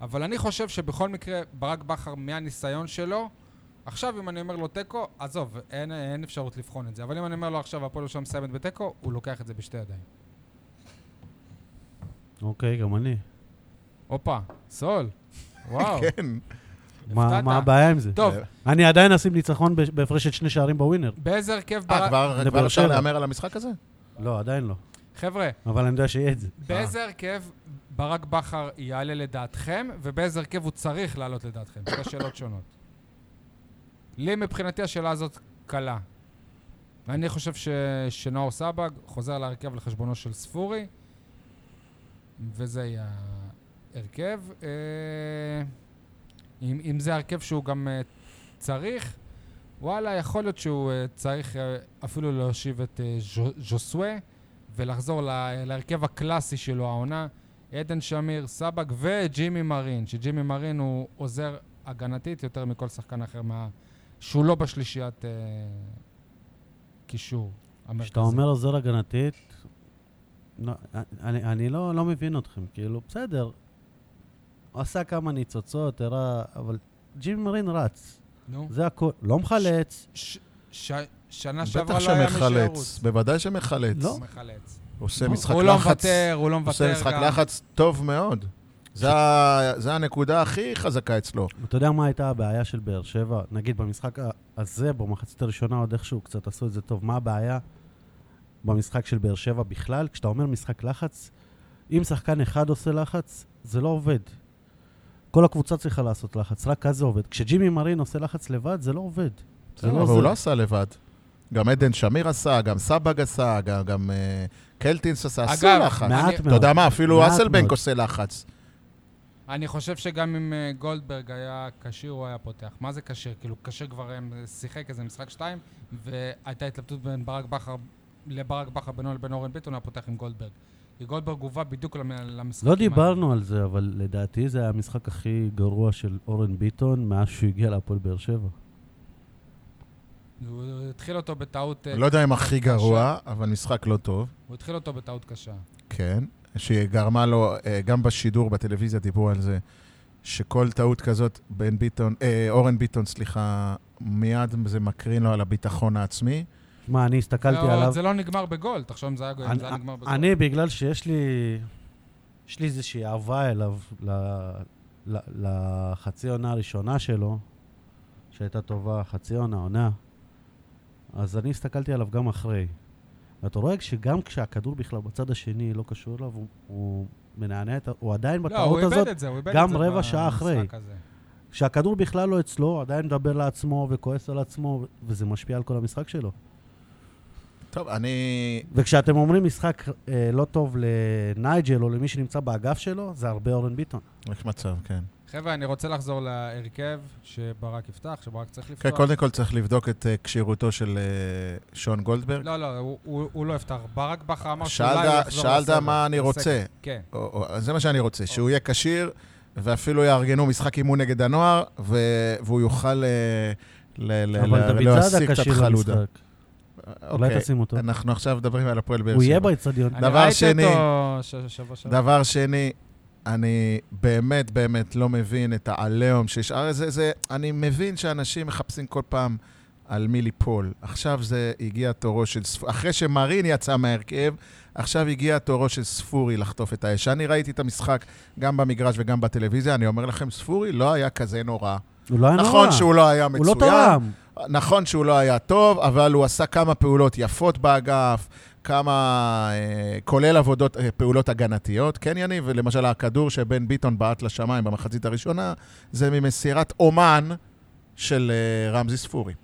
S1: אבל אני חושב שבכל מקרה, ברק בכר, מהניסיון שלו, עכשיו אם אני אומר לו תיקו, עזוב, אין, אין אפשרות לבחון את זה. אבל אם אני אומר לו עכשיו, הפועל שם מסיימת בתיקו, הוא לוקח את זה בשתי ידיים.
S2: אוקיי, גם אני.
S1: הופה,
S3: (laughs)
S1: סול. וואו,
S3: כן. אה,
S2: מה
S1: הפתעת.
S2: מה הבעיה עם זה?
S1: טוב,
S2: אני עדיין אשים ניצחון ב- בהפרש של שני שערים בווינר.
S1: באיזה הרכב
S3: אה,
S1: ברק...
S3: כבר
S2: לבאר
S3: כבר אפשר
S2: שבע.
S3: להמר על המשחק הזה?
S2: לא, עדיין לא.
S1: חבר'ה,
S2: אבל אני יודע שיהיה את זה.
S1: באיזה הרכב ברק בכר יעלה לדעתכם, ובאיזה הרכב הוא צריך לעלות לדעתכם? שתי שאלות שונות. לי מבחינתי השאלה הזאת קלה. אני חושב ש... שנאור סבג חוזר להרכב לחשבונו של ספורי, וזה יהיה ההרכב. אה, אם, אם זה הרכב שהוא גם אה, צריך, וואלה, יכול להיות שהוא אה, צריך אה, אפילו להושיב את אה, ז'ו- ז'וסווה. ולחזור לה- להרכב הקלאסי שלו העונה, עדן שמיר, סבק וג'ימי מרין, שג'ימי מרין הוא עוזר הגנתית יותר מכל שחקן אחר מה... שהוא לא בשלישיית אה, קישור המרכזית.
S2: כשאתה אומר עוזר הגנתית, לא, אני, אני לא, לא מבין אתכם, כאילו, בסדר. הוא עשה כמה ניצוצות, הראה, אבל ג'ימי מרין רץ,
S1: נו.
S2: זה הכל. לא מחלץ,
S1: ש- ש- שנה
S3: בטח
S1: שעברה לא היה מי
S3: שמחלץ,
S1: שירוץ.
S3: בוודאי שמחלץ.
S2: לא.
S1: מחלץ.
S3: עושה
S2: הוא
S3: משחק
S1: הוא לא
S3: לחץ.
S1: מוותר, הוא לא מוותר
S3: עושה משחק
S1: גם.
S3: לחץ טוב מאוד. זה ה- זה הנקודה הכי חזקה אצלו.
S2: אתה יודע מה הייתה הבעיה של באר שבע? נגיד במשחק ה- הזה, במחצית הראשונה, עוד איכשהו קצת עשו את זה טוב. מה הבעיה במשחק של באר שבע בכלל? כשאתה אומר משחק לחץ, אם שחקן אחד עושה לחץ, זה לא עובד. כל הקבוצה צריכה לעשות לחץ, רק אז זה עובד. כשג'ימי מרין עושה לחץ לבד, זה לא עובד. זה לא
S3: אבל הוא
S2: עוזר.
S3: לא עשה לבד. גם עדן שמיר עשה, גם סבג עשה, גם- גם אה, קלטינס עשה, עשו
S1: אגב,
S3: לחץ.
S1: אני-
S2: מעט מאוד.
S3: אתה יודע מה, אפילו
S2: מעט
S3: אסלבנק
S2: מאוד.
S3: עושה לחץ.
S1: אני חושב שגם אם אה, גולדברג היה כשיר, הוא היה פותח. מה זה כשיר? כאילו, כשיר כבר אה, שיחק איזה משחק שתיים, והייתה התלבטות בין ברק בכר לברק בכר בינו לבין אורן ביטון, היה פותח עם גולדברג. כי גולדברג הובא בדיוק למ- למשחקים
S2: לא
S1: האלה.
S2: דיברנו על זה, אבל לדעתי זה היה המשחק הכי גרוע של אורן ביטון מאז שהוא הגיע להפועל באר שבע.
S1: הוא הוא התחיל אותו בטעות... אה,
S3: אני לא יודע אם הכי גרוע, אבל משחק לא טוב.
S1: הוא התחיל אותו בטעות קשה.
S3: כן, שגרמה לו, אה, גם בשידור בטלוויזיה דיברו על זה, שכל טעות כזאת, בן ביטון, אה, אורן ביטון, סליחה, מיד זה מקרין לו על הביטחון העצמי.
S2: שמע, אני הסתכלתי
S1: זה-
S2: עליו.
S1: זה לא נגמר בגול, תחשוב אם זה היה אם לא, זה היה נגמר
S2: אני,
S1: בגול.
S2: אני, בגלל שיש לי, יש לי איזושהי אהבה אליו ל, ל, לחצי עונה הראשונה שלו, שהייתה טובה, חצי עונה, עונה, אז אני הסתכלתי עליו גם אחרי. ואתה רואה שגם כשהכדור בכלל בצד השני לא קשור אליו, הוא, הוא מנענע את ה... הוא עדיין
S1: לא, הוא
S2: בטעות
S1: איבד
S2: הזאת,
S1: את זה, הוא איבד את זה.
S2: גם רבע שעה
S1: במשחק
S2: אחרי.
S1: הזה.
S2: כשהכדור בכלל לא אצלו, הוא עדיין מדבר לעצמו וכועס על עצמו, ו- וזה משפיע על כל המשחק שלו.
S3: טוב, אני...
S2: וכשאתם אומרים משחק אה, לא טוב לנייג'ל או למי שנמצא באגף שלו, זה הרבה אורן ביטון.
S3: יש מצב, כן.
S1: חבר'ה, אני רוצה לחזור להרכב שברק יפתח, שברק צריך לפתוח.
S3: כן, קודם כל צריך לבדוק את אה, כשירותו של אה, שון גולדברג.
S1: לא, לא, הוא- הוא הוא לא יפתח. ברק בכר אמר שאולי הוא
S3: שאלת,
S1: יחזור
S3: שאלת
S1: לסגל.
S3: מה אני
S1: לסגל.
S3: רוצה.
S1: כן.
S3: או, או, זה מה שאני רוצה,
S1: אוקיי.
S3: שהוא יהיה כשיר, ואפילו יארגנו משחק אימון נגד הנוער, ו, והוא יוכל אה, ל- ל-
S2: אבל
S3: ל- לא,
S2: דוד
S3: להשיג
S2: זאדה
S3: קצת
S2: כשיר
S3: חלודה.
S2: למשחק. אולי
S3: אוקיי,
S2: תשים אותו.
S3: אנחנו עכשיו מדברים על הפועל באר
S2: הוא
S3: שבע.
S2: יהיה באצטדיון.
S1: אני
S3: דבר שני-
S1: ראיתי אותו ש- שבוע שעבר.
S3: דבר שני, אני באמת באמת לא מבין את העליהום שיש. הרי זה, זה, אני מבין שאנשים מחפשים כל פעם על מי ליפול. עכשיו זה הגיע תורו של ספורי, אחרי שמרין יצא מההרכב, עכשיו הגיע תורו של ספורי לחטוף את האש. אני ראיתי את המשחק גם במגרש וגם בטלוויזיה, אני אומר לכם, ספורי לא היה כזה נורא.
S2: הוא לא היה נורא.
S3: נכון שהוא לא היה
S2: הוא לא
S3: מצוין,
S2: תרם.
S3: נכון שהוא לא היה טוב, אבל הוא עשה כמה פעולות יפות באגף, כמה, אה, כולל עבודות, אה, פעולות הגנתיות, כן יניב? ולמשל הכדור שבן ביטון בעט לשמיים במחצית הראשונה, זה ממסירת אומן של אה, רמזי ספורי.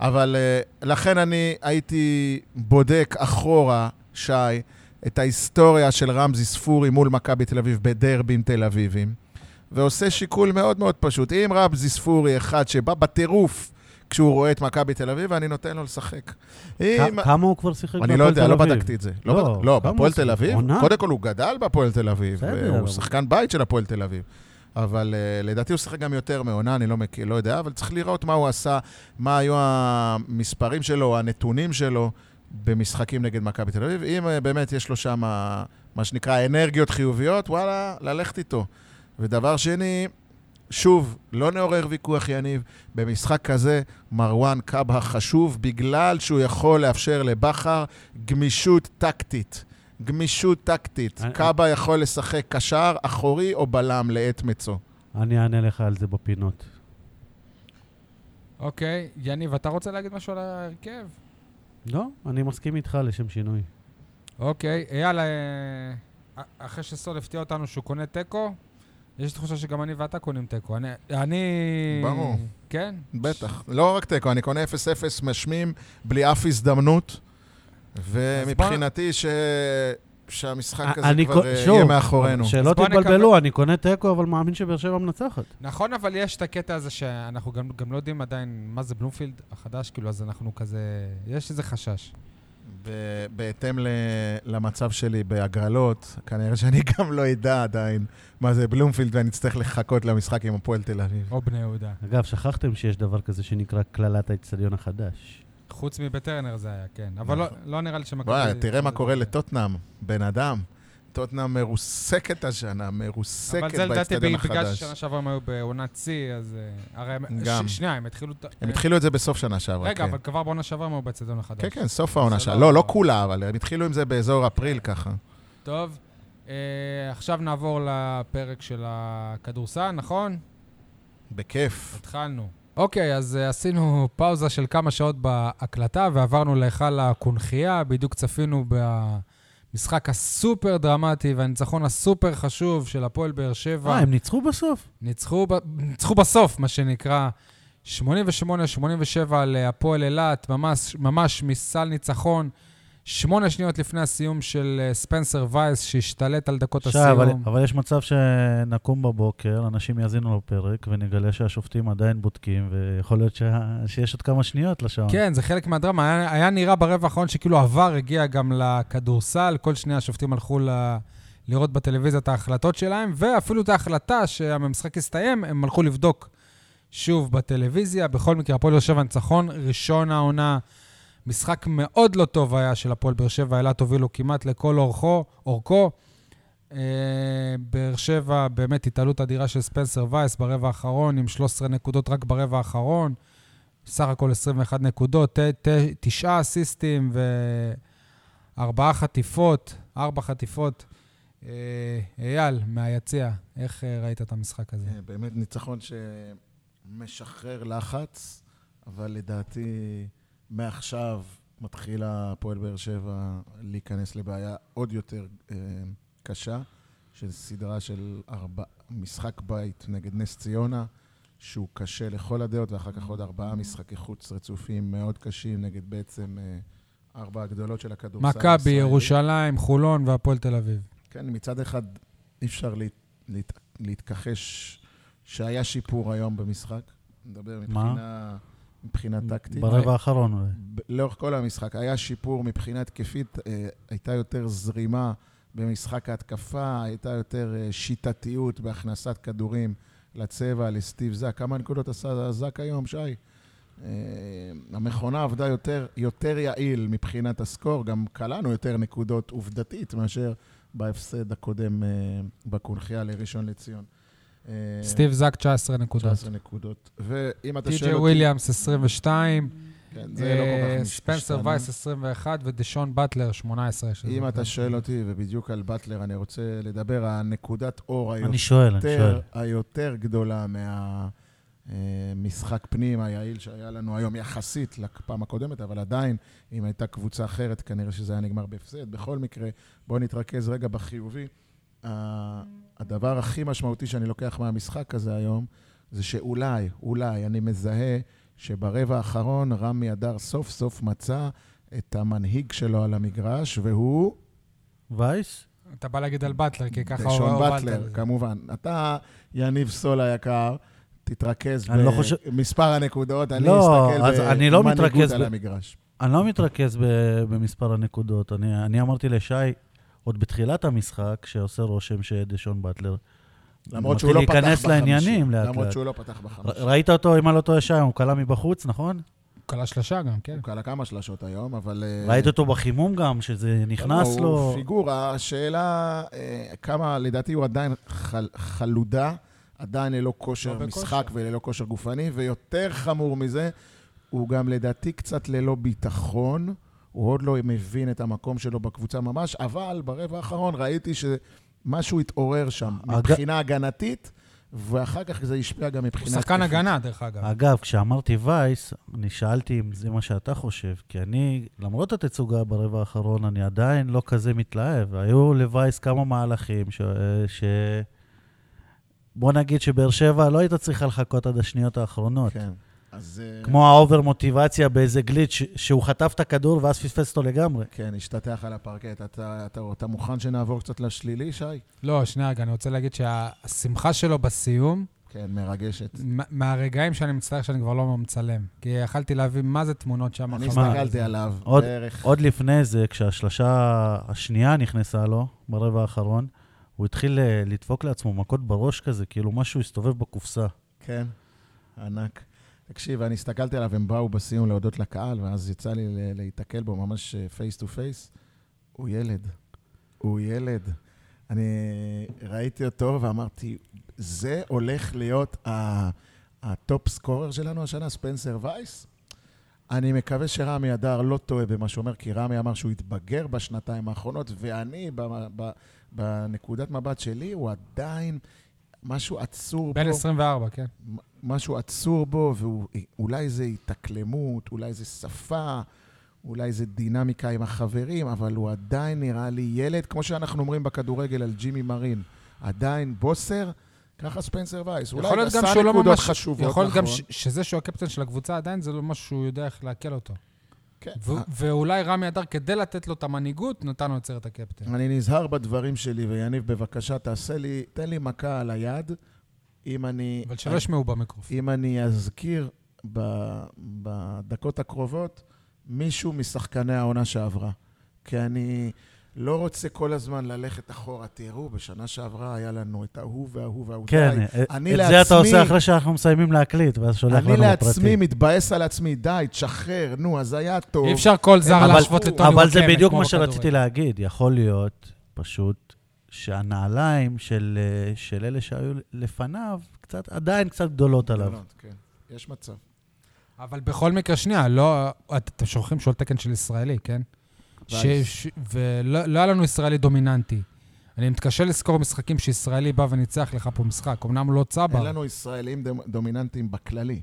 S3: אבל אה, לכן אני הייתי בודק אחורה, שי, את ההיסטוריה של רמזי ספורי מול מכבי תל אביב בדרבים תל אביבים, ועושה שיקול מאוד מאוד פשוט. אם רמזי ספורי אחד שבא בטירוף כשהוא רואה את מכבי תל אביב, אני נותן לו לשחק. אם...
S2: כ- כמה הוא כבר שיחק
S3: אני
S2: בהפועל
S3: לא יודע,
S2: תל
S3: לא
S2: אביב?
S3: בדקתי את זה. לא,
S2: לא,
S3: בדק- לא
S2: כמה
S3: בהפועל
S2: זה?
S3: תל אביב,
S2: עונה?
S3: קודם כל הוא גדל בהפועל תל אביב, אה,
S2: בסדר,
S3: הוא
S2: אבל-
S3: שחקן בית של הפועל תל אביב. אבל אה, לדעתי הוא שיחק גם יותר מעונה, אני לא, מכיר, לא יודע, אבל צריך לראות מה הוא עשה, מה היו המספרים שלו, הנתונים שלו במשחקים נגד מכבי תל אביב. אם אה, באמת יש לו שם, מה שנקרא, אנרגיות חיוביות, וואלה, ללכת איתו. ודבר שני, שוב, לא נעורר ויכוח, יניב, במשחק כזה מרואן קאבה חשוב בגלל שהוא יכול לאפשר לבכר גמישות טקטית. גמישות טקטית.
S2: אני-
S3: קאבה יכול לשחק קשר, אחורי או בלם לעת מצו.
S2: אני אענה לך על זה בפינות.
S1: אוקיי, יניב, אתה רוצה להגיד משהו על ההרכב?
S2: לא, אני מסכים איתך לשם שינוי.
S1: אוקיי, אייל, אה, אחרי שסול הפתיע אותנו שהוא קונה תיקו, יש תחושה שגם אני ואתה קונים תיקו. אני... אני...
S3: ברור.
S1: כן?
S3: בטח. לא רק תיקו, אני קונה 0-0 משמים בלי אף הזדמנות, ומבחינתי ש... שהמשחק הזה
S2: אני
S3: כבר
S2: קו-
S3: אה,
S2: שוב,
S3: יהיה מאחורינו.
S2: שלא
S1: אז בוא
S2: תתבלבלו, אני קונה תיקו, אבל מאמין שבאר שבע מנצחת.
S1: נכון, אבל יש את הקטע הזה שאנחנו גם, גם לא יודעים עדיין מה זה בלומפילד החדש, כאילו, אז אנחנו כזה... יש איזה חשש.
S3: ב- בהתאם ל- למצב שלי בהגרלות, כנראה שאני גם לא אדע עדיין מה זה בלומפילד ואני אצטרך לחכות למשחק עם הפועל תל אביב.
S1: או בני יהודה.
S2: אגב, שכחתם שיש דבר כזה שנקרא קללת האצטדיון החדש.
S1: חוץ מבטרנר זה היה, כן. אבל לא,
S3: נכון.
S1: לא נראה לי שמכבי... לא-
S3: וואי, תראה מה קורה
S1: אבל
S3: לטוטנאם, בן אדם. טוטנאם מרוסקת השנה, מרוסקת
S1: זה לדעתי
S3: באצטדיון
S1: בגלל
S3: החדש.
S1: ששנה שעברה הם היו בעונת שיא, אז... אה, הרי הם...
S3: גם.
S1: ש... שנייה, הם התחילו... את-
S3: הם התחילו את זה בסוף שנה שעברה,
S1: רגע,
S3: כן.
S1: אבל כבר בעונה שעברה הם היו באצטדיון החדש.
S3: כן, כן, סוף
S1: זה
S3: העונה שלה.
S1: לא-
S3: לא, לא כולה, אבל הם התחילו עם זה באזור אפריל ככה.
S1: טוב, אה, עכשיו נעבור לפרק של הכדורסל, נכון?
S3: בכיף.
S1: התחלנו. אוקיי, אז אה, עשינו פאוזה של כמה שעות בהקלטה ועברנו להיכל הקונכייה, בדיוק צפינו במשחק הסופר דרמטי והניצחון הסופר חשוב של הפועל באר שבע.
S2: אה, הם ניצחו בסוף?
S1: ניצחו, ב- ניצחו בסוף, מה שנקרא. 88-87 להפועל אה, אילת, ממש, ממש מסל ניצחון. שמונה שניות לפני הסיום של אה, ספנסר וייס, שהשתלט על דקות
S2: עכשיו, אבל,
S1: הסיום.
S2: אבל יש מצב שנקום בבוקר, אנשים יאזינו לפרק, ונגלה שהשופטים עדיין בודקים, ויכול להיות שה... שיש עוד כמה שניות לשעון.
S1: כן, זה חלק מהדרמה. היה, היה נראה ברבע האחרון שכאילו עבר הגיע גם לכדורסל, כל שני השופטים הלכו ל... לראות בטלוויזיה את ההחלטות שלהם, ואפילו את ההחלטה שהמשחק הסתיים, הם הלכו לבדוק שוב בטלוויזיה. בכל מקרה, הפועל באר שבע ניצחון, ראשון העונה. משחק מאוד לא טוב היה של הפועל באר שבע, אילת הובילו כמעט לכל אורכו. אורכו. אה, באר שבע, באמת התעלות אדירה של ספנסר וייס ברבע האחרון, עם 13 נקודות רק ברבע האחרון. סך הכל 21 נקודות, ת- ת- תשעה אסיסטים וארבעה חטיפות, ארבע חטיפות. אה, אייל, מהיציע, איך אה, ראית את המשחק הזה?
S3: אה, באמת ניצחון שמשחרר לחץ, אבל לדעתי מעכשיו מתחילה הפועל באר שבע להיכנס לבעיה עוד יותר אה, קשה, של סדרה של ארבע, משחק בית נגד נס ציונה, שהוא קשה לכל הדעות, ואחר כך עוד ארבעה משחקי חוץ רצופים מאוד קשים נגד בעצם אה, ארבע הגדולות של הכדורסל.
S1: מכבי,
S3: הישראלי.
S1: ירושלים, חולון והפועל תל אביב.
S3: כן, מצד אחד אי אפשר להת, להת, להתכחש שהיה שיפור היום במשחק. נדבר מבחינה, מבחינה טקטית.
S2: ברבע האחרון אולי.
S3: ב- לאורך כל המשחק היה שיפור מבחינה התקפית, אה, הייתה יותר זרימה במשחק ההתקפה, הייתה יותר אה, שיטתיות בהכנסת כדורים לצבע, לסטיב זק. כמה נקודות עשה זק היום, שי? אה, המכונה עבדה יותר, יותר יעיל מבחינת הסקור, גם קלענו יותר נקודות עובדתית מאשר בהפסד הקודם אה, בקונחייה לראשון לציון. אה,
S1: סטיב זק, 19 נקודות.
S3: 19 נקודות. ואם אתה שואל
S1: טי.ג'יי
S3: אותי...
S1: וויליאמס, 22.
S3: כן, זה לא כל
S1: אה,
S3: כך מש-
S1: ספנסר
S3: השתנה.
S1: וייס, 21, ודשון באטלר, 18. שזה-
S3: אם אתה שואל אותי, ובדיוק על באטלר, אני רוצה לדבר, הנקודת אור
S2: אני שואל, אני
S3: היותר,
S2: שואל.
S3: היותר גדולה מהמשחק פנים היעיל שהיה לנו היום, יחסית לפעם הקודמת, אבל עדיין, אם הייתה קבוצה אחרת, כנראה שזה היה נגמר בהפסד. בכל מקרה, בואו נתרכז רגע בחיובי. ה- הדבר הכי משמעותי שאני לוקח מהמשחק הזה היום, זה שאולי, אולי, אני מזהה שברבע האחרון רמי אדר סוף סוף מצא את המנהיג שלו על המגרש, והוא
S2: וייס?
S1: אתה בא להגיד על באטלר, כי ככה
S3: שון
S1: הובלת.
S3: באטלר, כמובן. אתה, יניב סול היקר, תתרכז
S2: אני לא חושב-
S3: במספר הנקודות, אני
S2: לא, אז
S3: אסתכל
S2: אני לא מתרכז
S3: במנהיגות
S2: ב-
S3: על המגרש.
S2: אני לא מתרכז ב- במספר הנקודות. אני, אני אמרתי לשי, עוד בתחילת המשחק, שעושה רושם שדשון באטלר...
S3: למרות שהוא לא פתח
S2: מתחיל להיכנס
S3: בחמישי.
S2: לעניינים לאט
S3: למרות
S2: לאט.
S3: שהוא לא פתח
S2: ר-
S3: בחמישי.
S2: ראית אותו, אם אני לא טועה, שי, הוא כלה מבחוץ, נכון?
S1: הוא כלה שלשה גם, כן.
S3: הוא קלע כמה שלשות היום, אבל... אה,
S2: ראית אותו בחימום גם, שזה נכנס
S3: הוא-
S2: לו...
S3: הוא פיגורה, השאלה אה, כמה, לדעתי הוא עדיין חל- חלודה, עדיין ללא
S1: לא
S3: כושר
S1: בכושר.
S3: משחק וללא כושר גופני, ויותר חמור מזה, הוא גם לדעתי קצת ללא ביטחון. הוא עוד לא מבין את המקום שלו בקבוצה ממש, אבל ברבע האחרון ראיתי שמשהו התעורר שם
S2: אג-
S3: מבחינה הגנתית, ואחר כך זה השפיע גם
S1: הוא
S3: מבחינה...
S1: שחקן
S3: התקפית.
S1: הגנה, דרך אגב.
S3: אה.
S2: אגב, כשאמרתי וייס, אני שאלתי אם זה מה שאתה חושב, כי אני, למרות התצוגה ברבע האחרון, אני עדיין לא כזה מתלהב. היו לווייס כמה מהלכים ש... ש... בוא נגיד שבאר שבע לא הייתה צריכה לחכות עד השניות האחרונות.
S3: כן. אז... אה,
S2: כמו האובר מוטיבציה באיזה גליץ' שהוא חטף את הכדור ואז פספס אותו לגמרי.
S3: כן, השתטח על הפרקט. אתה, אתה, אתה מוכן שנעבור קצת לשלילי, שי?
S1: לא, שנייה, רגע, אני רוצה להגיד שהשמחה שלו בסיום,
S3: כן, מרגשת.
S1: מה- מהרגעים שאני מצטער שאני כבר לא מצלם. כי יכלתי להביא מה זה תמונות שם.
S3: אני
S1: אחרי.
S3: הסתכלתי עליו
S2: עוד-
S3: בערך...
S2: עוד לפני זה, כשהשלשה השנייה נכנסה לו, ברבע האחרון, הוא התחיל אה, לדפוק לעצמו מכות בראש כזה, כאילו משהו הסתובב בקופסה.
S3: כן, ענק. תקשיב, אני הסתכלתי עליו, הם באו בסיום להודות לקהל, ואז יצא לי ל- להיתקל בו ממש אה, פייס טו פייס. הוא ילד. הוא ילד. אני ראיתי אותו ואמרתי, זה הולך להיות ה- הטופ סקורר שלנו השנה, ספנסר וייס? אני מקווה שרמי אדר לא טועה במה שהוא אומר, כי רמי אמר שהוא התבגר בשנתיים האחרונות, ואני, ב- ב- בנקודת מבט שלי, הוא עדיין משהו עצור
S1: בן
S3: פה.
S1: 24, כן.
S3: משהו עצור בו, ואולי זה התאקלמות, אולי זה שפה, אולי זה דינמיקה עם החברים, אבל הוא עדיין נראה לי ילד, כמו שאנחנו אומרים בכדורגל על ג'ימי מרין, עדיין בוסר, ככה ספנסר וייס. אולי
S1: יכול להיות
S3: עשה
S1: גם שהוא לא
S3: נקודות
S1: ממש...
S3: חשובות,
S1: יכול להיות גם
S3: נכון.
S1: ש- שזה שהוא הקפטן של הקבוצה, עדיין זה לא משהו שהוא יודע איך לעכל אותו.
S3: כן.
S1: ו- ואולי רמי אדר, כדי לתת לו את המנהיגות, נתן לו את סרט הקפטן.
S3: אני נזהר בדברים שלי, ויניב, בבקשה, תעשה לי, תן לי מכה על היד, אם אני...
S1: אבל שלא ישמעו במיקרופון.
S3: אם אני אזכיר ב- בדקות הקרובות מישהו משחקני העונה שעברה. כי אני לא רוצה כל הזמן ללכת אחורה. תראו, בשנה שעברה היה לנו את ההוא וההוא וההוא.
S2: כן,
S3: די.
S2: אה,
S3: אוקיי? אני
S2: את זה אתה
S3: לעצמי-
S2: עושה אחרי שאנחנו מסיימים להקליט, ואז שולח
S3: אני
S2: לנו
S3: לעצמי
S2: בפרטי.
S3: מתבאס על עצמי, די, תשחרר, נו, אז היה טוב.
S1: אי אפשר כל זר
S2: אבל-
S1: להשוות לטוני
S2: אבל זה
S1: וואקמה,
S2: בדיוק
S1: כמו
S2: מה
S1: בכדורגל.
S2: שרציתי להגיד. יכול להיות, פשוט, שהנעליים של אה, של אלה שהיו לפניו, קצת, עדיין קצת גדולות עליו.
S3: כן, יש מצב.
S1: אבל בכל מקרה, שנייה, לא... את- אתם שוכחים שהוא על תקן של ישראלי, כן? ש...
S3: וייס.
S1: ש... ולא לא היה לנו ישראלי דומיננטי. אני מתקשה לזכור משחקים שישראלי בא וניצח לך פה משחק. אמנם לא
S3: אין
S1: צבר.
S3: לנו ישראלים דומ- דומיננטיים בכללי.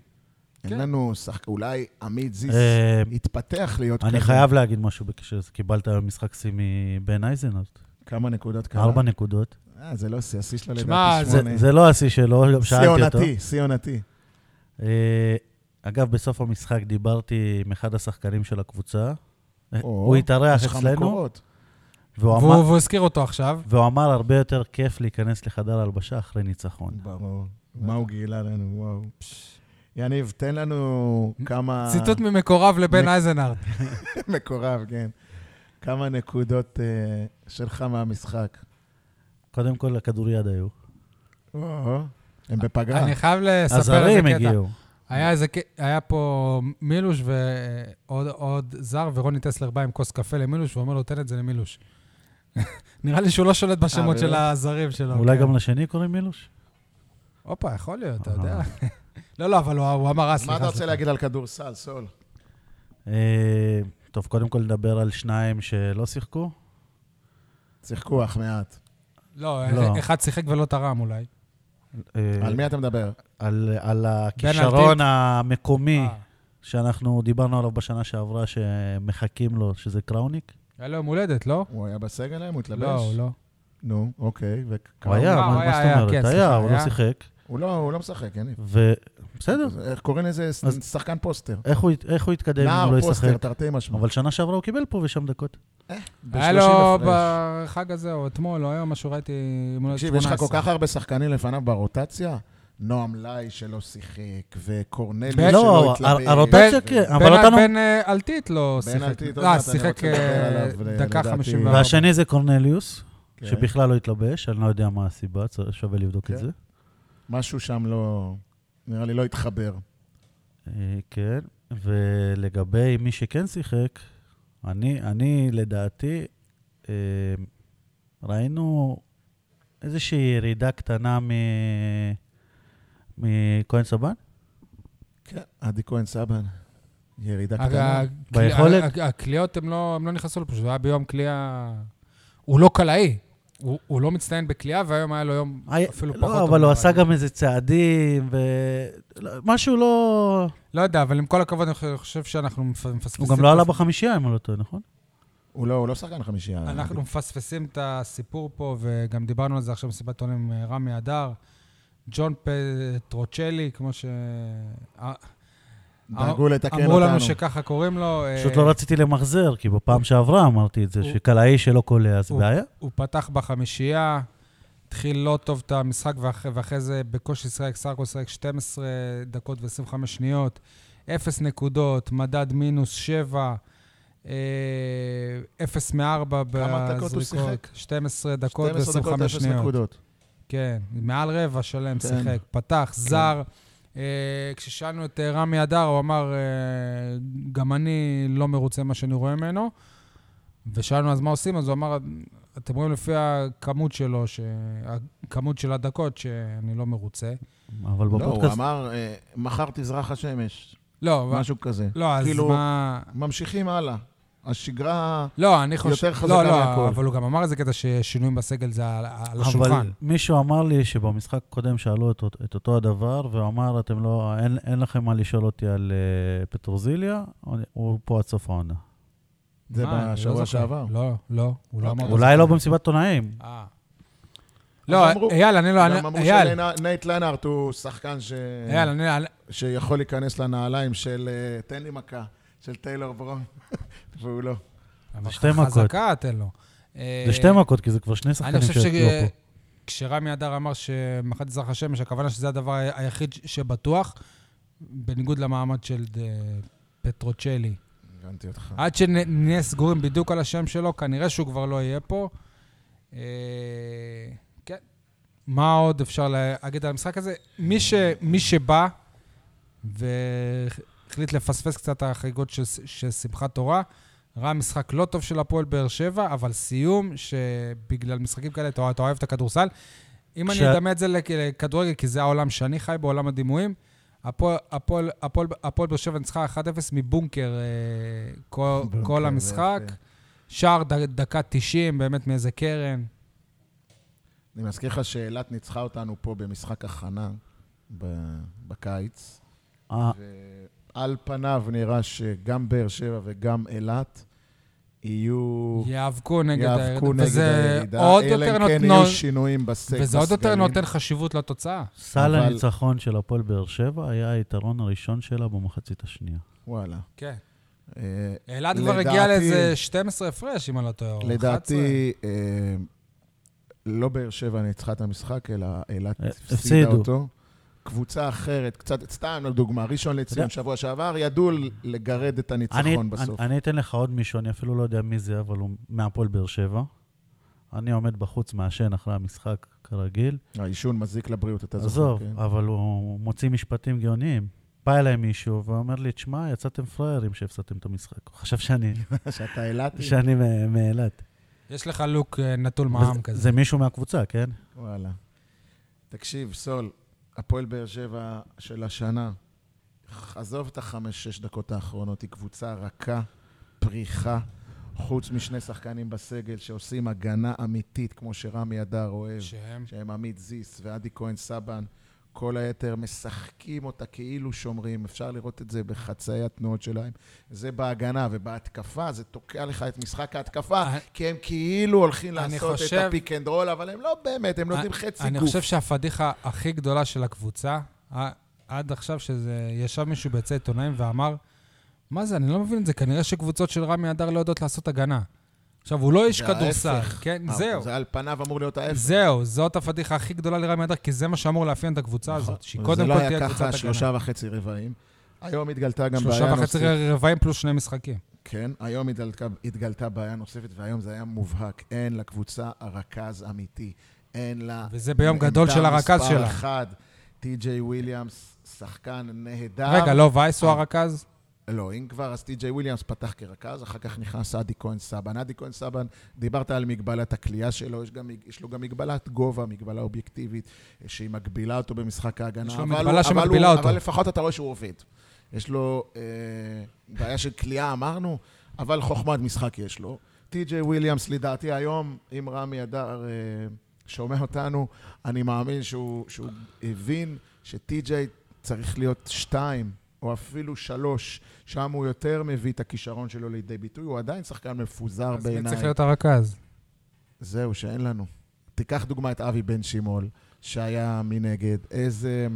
S3: אין
S1: כן.
S3: לנו שחק... אולי עמית זיס
S2: אה,
S3: התפתח להיות כזה.
S2: אני חייב להגיד משהו בקשר לזה. קיבלת היום משחק שיא מבן אייזנוט.
S3: כמה נקודות כאלה?
S2: ארבע נקודות.
S3: אה, זה לא שיא, השיא שלו
S1: שמע,
S3: לדעתי
S1: זה-
S2: זה-
S3: שמונה.
S2: זה לא השיא שלו, גם
S3: שיא
S2: שאלתי אותו.
S3: עונתי, שיא עונתי.
S2: אה, אגב, בסוף המשחק דיברתי עם אחד השחקנים של הקבוצה. אה,
S3: או,
S2: הוא התארח
S3: יש לך
S2: אצלנו,
S3: מקורות.
S2: והוא
S1: והוא
S2: אמר-
S1: והוא הזכיר אותו עכשיו.
S2: והוא אמר, הרבה יותר כיף להיכנס לחדר הלבשה אחרי ניצחון.
S3: ברור. מה הוא גילה לנו, וואו. יניב, תן לנו
S2: אה.
S3: כמה...
S1: ציטוט ממקורב לבן
S3: מק-
S1: אייזנארד.
S3: מקורב, כן. כמה נקודות אה, שלך מהמשחק.
S2: קודם כל, לכדוריד היו.
S3: או, הם בפגרה.
S1: אני חייב לספר איזה
S2: אה. הזרים
S1: קטע.
S2: הגיעו.
S1: היה איזה ק- היה פה מילוש ועוד עוד זר, ורוני טסלר בא עם כוס קפה למילוש, ואומר לו, תן את זה למילוש. (laughs) נראה לי שהוא לא שולט בשמות
S3: אה,
S1: של
S3: באמת?
S1: הזרים שלו.
S2: אולי
S1: כן.
S2: גם אה. לשני קוראים מילוש?
S1: הופה, יכול להיות, אתה יודע. (laughs) לא, לא, אבל הוא- הוא אמר, אה, סליחה.
S3: מה אתה רוצה
S1: סליחה.
S3: להגיד על כדורסל, סול?
S2: אה, טוב, קודם כל נדבר על שניים שלא שיחקו.
S3: שיחקו אך מעט.
S1: לא,
S2: לא.
S1: אחד שיחק ולא תרם אולי.
S2: אה,
S3: על מי אתה מדבר?
S2: על- על הכישרון המקומי
S1: אה,
S2: שאנחנו דיברנו עליו בשנה שעברה, שמחכים לו, שזה קראוניק.
S1: היה לו יום הולדת, לא?
S3: הוא היה בסגל היום? הוא התלבש?
S1: לא, הוא לא.
S3: נו, אוקיי.
S2: הוא
S3: וכמה-
S2: היה,
S1: הוא
S2: מה
S1: היה,
S2: מה
S1: היה,
S2: זאת אומרת?
S1: כן,
S2: היה,
S1: סליחה,
S2: הוא לא
S1: היה.
S2: שיחק.
S3: הוא לא, הוא לא משחק, יניב.
S2: ובסדר,
S3: אז איך קוראים לזה? ס-
S2: אז-
S3: שחקן פוסטר.
S2: איך הוא ית- איך הוא יתקדם אם הוא לא
S3: נער
S2: ישחק?
S3: פוסטר, תרתי משמע.
S2: אבל שנה שעברה הוא קיבל פה ושם דקות.
S1: היה
S3: ב-30
S1: לו
S3: הפרש.
S1: בחג הזה, או אתמול, או היום, משהו ראיתי, אם הוא לא
S3: תקשיב, יש לך כל כך הרבה שחקנים לפניו ברוטציה? נועם לאי שלא שיחק, וקורנלי
S1: בן-
S3: שלא
S2: לא,
S3: התלבט.
S2: הר- הרוטציה
S1: בן-
S2: כן, אבל
S1: בן-
S2: אותנו...
S1: בן אה, אלטית לא
S3: בן
S1: שיחק.
S3: אלטית, עוד
S1: לא,
S3: מעט אני
S1: שיחק
S3: רוצה לדבר
S1: אה,
S3: עליו, ל-
S1: דקה
S3: לדעתי.
S1: 54.
S2: והשני זה קורנליוס,
S3: כן.
S2: שבכלל לא התלבש, אני לא יודע מה הסיבה, צר- שווה לבדוק
S3: כן.
S2: את זה.
S3: משהו שם לא... נראה לי לא התחבר.
S2: אה, כן, ולגבי מי שכן שיחק, אני, אני לדעתי, אה, ראינו איזושהי ירידה קטנה מ... מכהן סבן?
S3: כן, עדי כהן סבן. ירידה
S1: הרי
S3: קטנה.
S1: הקל-
S2: ביכולת?
S1: ה- ה- הקליעות, הם לא הם לא נכנסו לפה, זה היה ביום קליעה... הוא לא קלעי. הוא- הוא לא מצטיין בקליעה, והיום היה לו יום
S2: היה-
S1: אפילו פחות.
S2: לא,
S1: טוב
S2: אבל הוא
S1: ממה
S2: עשה
S1: היה.
S2: גם איזה צעדים, ומשהו לא...
S1: לא יודע, אבל עם כל הכבוד, אני חושב- חושב שאנחנו מפ- מפספסים...
S2: הוא גם
S1: את
S2: לא עלה
S1: הס-
S2: בחמישייה, אם אני לא טועה, נכון?
S3: הוא לא, הוא לא שחקן חמישייה.
S1: אנחנו מפספסים את הסיפור פה, וגם דיברנו על זה עכשיו במסיבת עולם עם אה, רמי אדר. ג'ון פטרוצ'לי, כמו ש... אה,
S3: דאגו לתקן אותנו.
S1: אמרו לנו שככה קוראים לו. אה,
S2: פשוט לא רציתי למחזר, כי בפעם שעברה אמרתי את זה,
S1: הוא-
S2: שקלעי שלא קולע זה
S1: הוא-
S2: בעיה.
S1: הוא פתח בחמישייה, התחיל לא טוב את המשחק, ואח, ואחרי זה בקושי שיחק, סך הכל שיחק 12 דקות ו-25 שניות, 0 נקודות, מדד מינוס אה, 7, 0 מ-4
S3: כמה דקות הוא
S1: בזריקות,
S3: שיחק?
S1: 12 דקות
S3: 12 דקות,
S1: ו-25
S3: אפס
S1: שניות.
S3: נקודות.
S1: כן, מעל רבע שלם
S3: כן.
S1: שיחק, פתח, זר. אה, כששאלנו את אה, רמי אדר, הוא אמר, אה, גם אני לא מרוצה ממה שאני רואה ממנו. ושאלנו, אז מה עושים? אז הוא אמר, אתם רואים לפי הכמות שלו, ש- הכמות של הדקות, שאני לא מרוצה.
S2: אבל
S3: לא, הוא
S2: בפודקאסט...
S3: אמר, אה, מחר תזרח השמש,
S1: לא,
S3: משהו כזה.
S1: לא, אז
S3: כאילו-
S1: מה...
S3: ממשיכים הלאה. השגרה...
S1: לא, אני חושב...
S3: יותר
S1: לא,
S3: חזקה
S1: לא,
S3: מהכל.
S1: אבל הוא גם אמר איזה קטע ששינויים בסגל זה על- על
S2: אבל
S1: השולחן.
S2: מישהו אמר לי שבמשחק הקודם שאלו את, אות- את אותו הדבר, והוא אמר, אתם לא, אין, אין לכם מה לשאול אותי על uh, פטרוזיליה, הוא- הוא פה עד סוף העונה.
S3: זה
S1: מה, אני לא
S3: בשבוע
S1: זוכר.
S3: שעבר.
S1: לא, לא, הוא לא
S3: אוקיי.
S1: אמר...
S2: אולי לא במסיבת עיתונאים.
S1: אה. לא,
S3: אמרו.
S1: אייל, אני לא... אני-
S3: גם אמרו אה.
S1: אייל,
S3: שנייט לנארט הוא שחקן ש...
S1: אייל, אני... אני-
S3: שיכול להיכנס לנעליים של אה, תן לי מכה, של טיילור ברון, (laughs) והוא לא.
S1: אבל
S2: שתי מכות.
S1: חזקה תן לו.
S2: זה שתי מכות, כי זה כבר שני
S1: אה, אני
S2: שחקנים
S1: חושב
S2: שהיו פה.
S1: שכשרמי אדר אמר שמחת מזרח השמש, הכוונה שזה הדבר ה- היחיד ש- שבטוח, בניגוד למעמד של אה, פטרוצ'לי.
S3: הבנתי אותך.
S1: עד שנהיה סגורים בדיוק על השם שלו, כנראה שהוא כבר לא יהיה פה. אה, כן. מה עוד אפשר להגיד על המשחק הזה? מי, ש, מי שבא והחליט לפספס קצת את החגיגות של, של שמחת תורה, ראה משחק לא טוב של הפועל באר שבע, אבל סיום שבגלל משחקים כאלה אתה, אתה אוהב את הכדורסל. אם
S2: כש-
S1: אני אדמה את זה לכ- לכדורגל, כי זה העולם שאני חי בו, עולם הדימויים, הפועל- הפועל הפועל- הפועל באר שבע ניצחה 1-0 מבונקר אה, כל-
S3: בונקר,
S1: כל
S3: אוקיי, זה
S1: המשחק.
S3: יפה.
S1: שער ד- דקה 90, באמת מאיזה קרן.
S3: אני מזכיר לך שאילת ניצחה אותנו פה במשחק הכנה ב- בקיץ,
S2: אה,
S3: ועל פניו נראה שגם באר שבע וגם אילת יהיו...
S1: יאבקו נגד הירידה.
S3: יאבקו נגד הירידה,
S1: וזה עוד
S3: אלא
S1: יותר
S3: אם כן
S1: נותנו-
S3: יהיו שינויים בסגל.
S1: וזה עוד יותר
S3: בסגלים.
S1: נותן חשיבות לתוצאה.
S2: סל
S3: אבל-
S2: הניצחון של הפועל באר שבע היה היתרון הראשון שלה במחצית השנייה.
S3: וואלה.
S1: כן.
S3: אה,
S1: אלעד כבר
S3: לדעתי-
S1: הגיע לאיזה 12 הפרש, אם אני לא טועה. או 11.
S3: לדעתי, אה, לא באר שבע ניצחה את המשחק, אלא אילת
S2: אה,
S3: הפסידה
S2: הפסידו.
S3: אותו. קבוצה אחרת, קצת, סתם לדוגמה, ראשון
S2: אתה
S3: לציון
S2: יודע-
S3: שבוע שעבר, ידעו ל- לגרד את
S2: אני,
S3: הניצחון
S2: אני,
S3: בסוף.
S2: אני אתן לך עוד מישהו, אני אפילו לא יודע מי זה, אבל הוא מהפועל באר שבע. אני עומד בחוץ, מעשן אחרי המשחק, כרגיל.
S3: העישון מזיק לבריאות, אתה זוכר,
S2: עזוב,
S3: כן?
S2: (laughs) אבל הוא מוציא משפטים גאוניים. בא אליי מישהו ואומר לי, תשמע, יצאתם פראיירים שהפסדתם את המשחק. הוא חשב שאני,
S3: שאתה אילתי?
S2: שאני מ- מאילת.
S1: יש לך לוק אה, נטול מע"מ
S2: וזה-
S1: כזה.
S2: זה מישהו מהקבוצה, כן?
S3: וואלה. תקשיב, סול, הפועל באר שבע של השנה, עזוב את החמש-שש דקות האחרונות, היא קבוצה רכה, פריחה, חוץ משני שחקנים בסגל שעושים הגנה אמיתית, כמו שרמי אדר אוהב.
S1: שהם...
S3: שהם עמית זיס ועדי כהן סבן, כל היתר משחקים אותה כאילו שומרים, אפשר לראות את זה בחצאי התנועות שלהם. זה בהגנה, ובהתקפה זה תוקע לך את משחק ההתקפה,
S1: אני-
S3: כי הם כאילו הולכים
S1: אה, אני
S3: לעשות
S1: חושב- אה,
S3: את הפיק אנד רול, אבל הם לא באמת, הם נותנים חצי
S1: אני
S3: גוף.
S1: חושב שהפדיחה הכי גדולה של הקבוצה, ה- עד עכשיו שזה... ישב מישהו ביצי עיתונאים ואמר, מה זה, אני לא מבין את זה, כנראה שקבוצות של רמי הדר לא יודעות לעשות הגנה. עכשיו, הוא לא איש
S3: זה
S1: כדורסל,
S3: ההפך.
S1: כן?
S3: אה,
S1: זהו.
S3: זה על פניו אמור להיות ההפך.
S1: זהו, זאת הפדיחה הכי גדולה לרמי הדר, כי זה מה שאמור לאפיין את הקבוצה הזאת, שהיא קודם כל
S3: זה לא
S1: תהיה
S3: היה
S1: קבוצת הגנה.
S3: ככה שלושה וחצי רבעים. היום התגלתה גם בעיה
S1: שלושה
S3: נוספת.
S1: וחצי רבעים פלוס שני משחקים.
S3: כן, היום התגלתה, התגלתה בעיה נוספת, והיום זה היה מובהק. אין לקבוצה הרכז אמיתי. אין לה...
S1: וזה ביום גדול של הרכז
S3: מספר
S1: שלה.
S3: אחד, טי.ג'יי וויליאמס, שחקן נהדר.
S1: רגע, לא וייס הוא
S3: אה.
S1: הרכז?
S3: לא, אם כבר, אז טי.ג'יי וויליאמס פתח כרכז, אחר כך נכנס עדי כהן סבן. עדי כהן סבן, דיברת על מגבלת הכלייה שלו, יש, גם, יש לו גם מגבלת גובה, מגבלה אובייקטיבית, אה, שהיא מגבילה אותו במשחק ההגנה.
S1: יש לו
S3: אבל הוא-
S1: מגבלה
S3: אבל הוא-
S1: שמגבילה אותו.
S3: אבל לפחות אתה רואה שהוא עובד. יש לו אה, בעיה של כליאה, אמרנו, אבל חוכמת משחק יש לו. טי.ג'יי וויליאמס, לדעתי היום, אם רמי אדר אה, שומע אותנו, אני מאמין שהוא, שהוא הבין שטי.ג'יי צריך להיות שתיים, או אפילו שלוש, שם הוא יותר מביא את הכישרון שלו לידי ביטוי, הוא עדיין שחקן מפוזר
S1: אז מי
S3: בעיניי.
S1: צריך להיות הרכז?
S3: זהו, שאין לנו. תיקח דוגמא את אבי בן שימול, שהיה מנגד. איזה...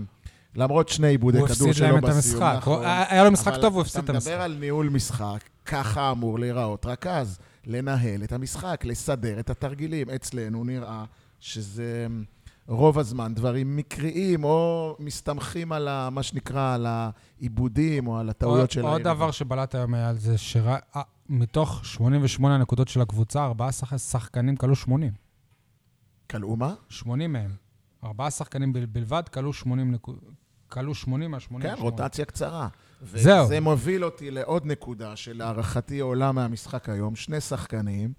S3: למרות שני עיבודי
S1: הוא
S3: כדור
S1: הפסיד
S3: שלו
S1: להם את
S3: בסיום,
S1: המשחק.
S3: נכון.
S1: הוא- היה לו משחק
S3: אבל
S1: טוב, הוא הפסיד את
S3: אתה מדבר
S1: המשחק.
S3: על ניהול משחק, ככה אמור להיראות רכז. לנהל את המשחק, לסדר את התרגילים. אצלנו נראה שזה אה, רוב הזמן דברים מקריים, או מסתמכים על ה, מה שנקרא, על העיבודים, או על
S1: עוד-
S3: הטעויות של
S1: עוד דבר שבלט היום היה על זה, אה, שמתוך 88 הנקודות של הקבוצה, ארבעה שח- שחקנים כלו 80.
S3: כלאו מה?
S1: 80 מהם. ארבעה שחקנים בל- בלבד כלו 80 נקודות. כלו 80 מה-88.
S3: כן, רוטציה קצרה.
S1: זהו.
S3: וזה מוביל אותי לעוד נקודה שלהערכתי עולה מהמשחק היום. שני שחקנים,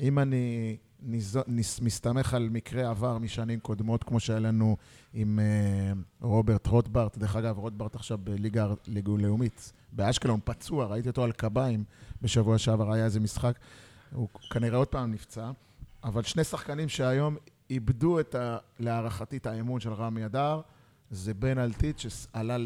S3: אם אני ניזו, נס, מסתמך על מקרה עבר משנים קודמות, כמו שהיה לנו עם אה, רוברט רוטברט, דרך אגב, רוטברט עכשיו בליגה הר- ליגה לאומית, באשקלון, פצוע, ראיתי אותו על קביים בשבוע שעבר, היה איזה משחק. הוא כנראה עוד פעם נפצע, אבל שני שחקנים שהיום איבדו את ה... להערכתי את האמון של רמי אדר, זה בן אלטית שעלה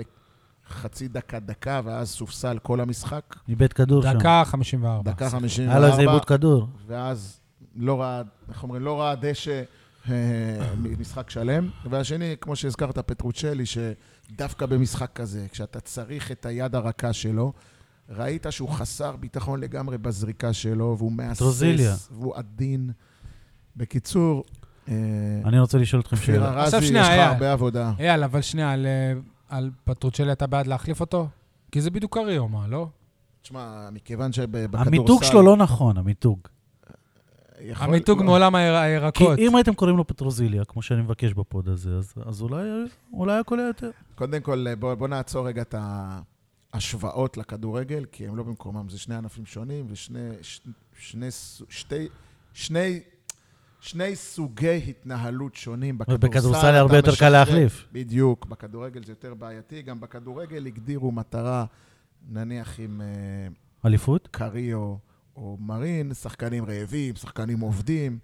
S3: לחצי דקה, דקה, ואז סופסל כל המשחק.
S2: איבד כדור שם.
S1: דקה 54.
S3: דקה
S2: היה לו איזה עיבוד
S3: 54,
S2: כדור.
S3: ואז לא ראה, איך אומרים, לא ראה דשא אה, משחק שלם. והשני, כמו שהזכרת, פטרוצ'לי, שדווקא במשחק כזה, כשאתה צריך את היד הרכה שלו, ראית שהוא חסר ביטחון לגמרי בזריקה שלו, והוא
S2: טרוזיליה.
S3: מהסס, והוא עדין. בקיצור, אה,
S2: אני רוצה לשאול אתכם
S3: כפיר
S2: שאלה.
S1: עכשיו
S3: ארזי, יש
S1: שנייה, אה,
S3: לך
S1: היה.
S3: הרבה עבודה.
S1: אייל, אבל שנייה, על, אה, על פטרוצ'לי אתה בעד להחליף אותו? כי זה בדיוק קריומה, לא?
S3: תשמע, מכיוון שבכדורסל...
S2: המיתוג שלו לא נכון, המיתוג.
S3: יכול-
S1: המיתוג
S3: לא.
S1: מעולם הירק-
S2: כי
S1: הירקות.
S2: אם הייתם קוראים לו פטרוזיליה, כמו שאני מבקש בפוד הזה, אז- אז אולי אולי הכל היה יותר.
S3: קודם כל, אה, בוא, בוא נעצור רגע את ההשוואות לכדורגל, כי הם לא במקומם, זה שני ענפים שונים ושני... ש, שני, ס- שתי, שני, שני סוגי התנהלות שונים.
S2: ובכדורסל היה הרבה יותר
S3: אתה
S2: קל
S3: משחרר-
S2: להחליף.
S3: בדיוק, בכדורגל זה יותר בעייתי. גם בכדורגל הגדירו מטרה, נניח עם אה,
S2: אליפות?
S3: קריו או מרין, שחקנים רעבים, שחקנים עובדים.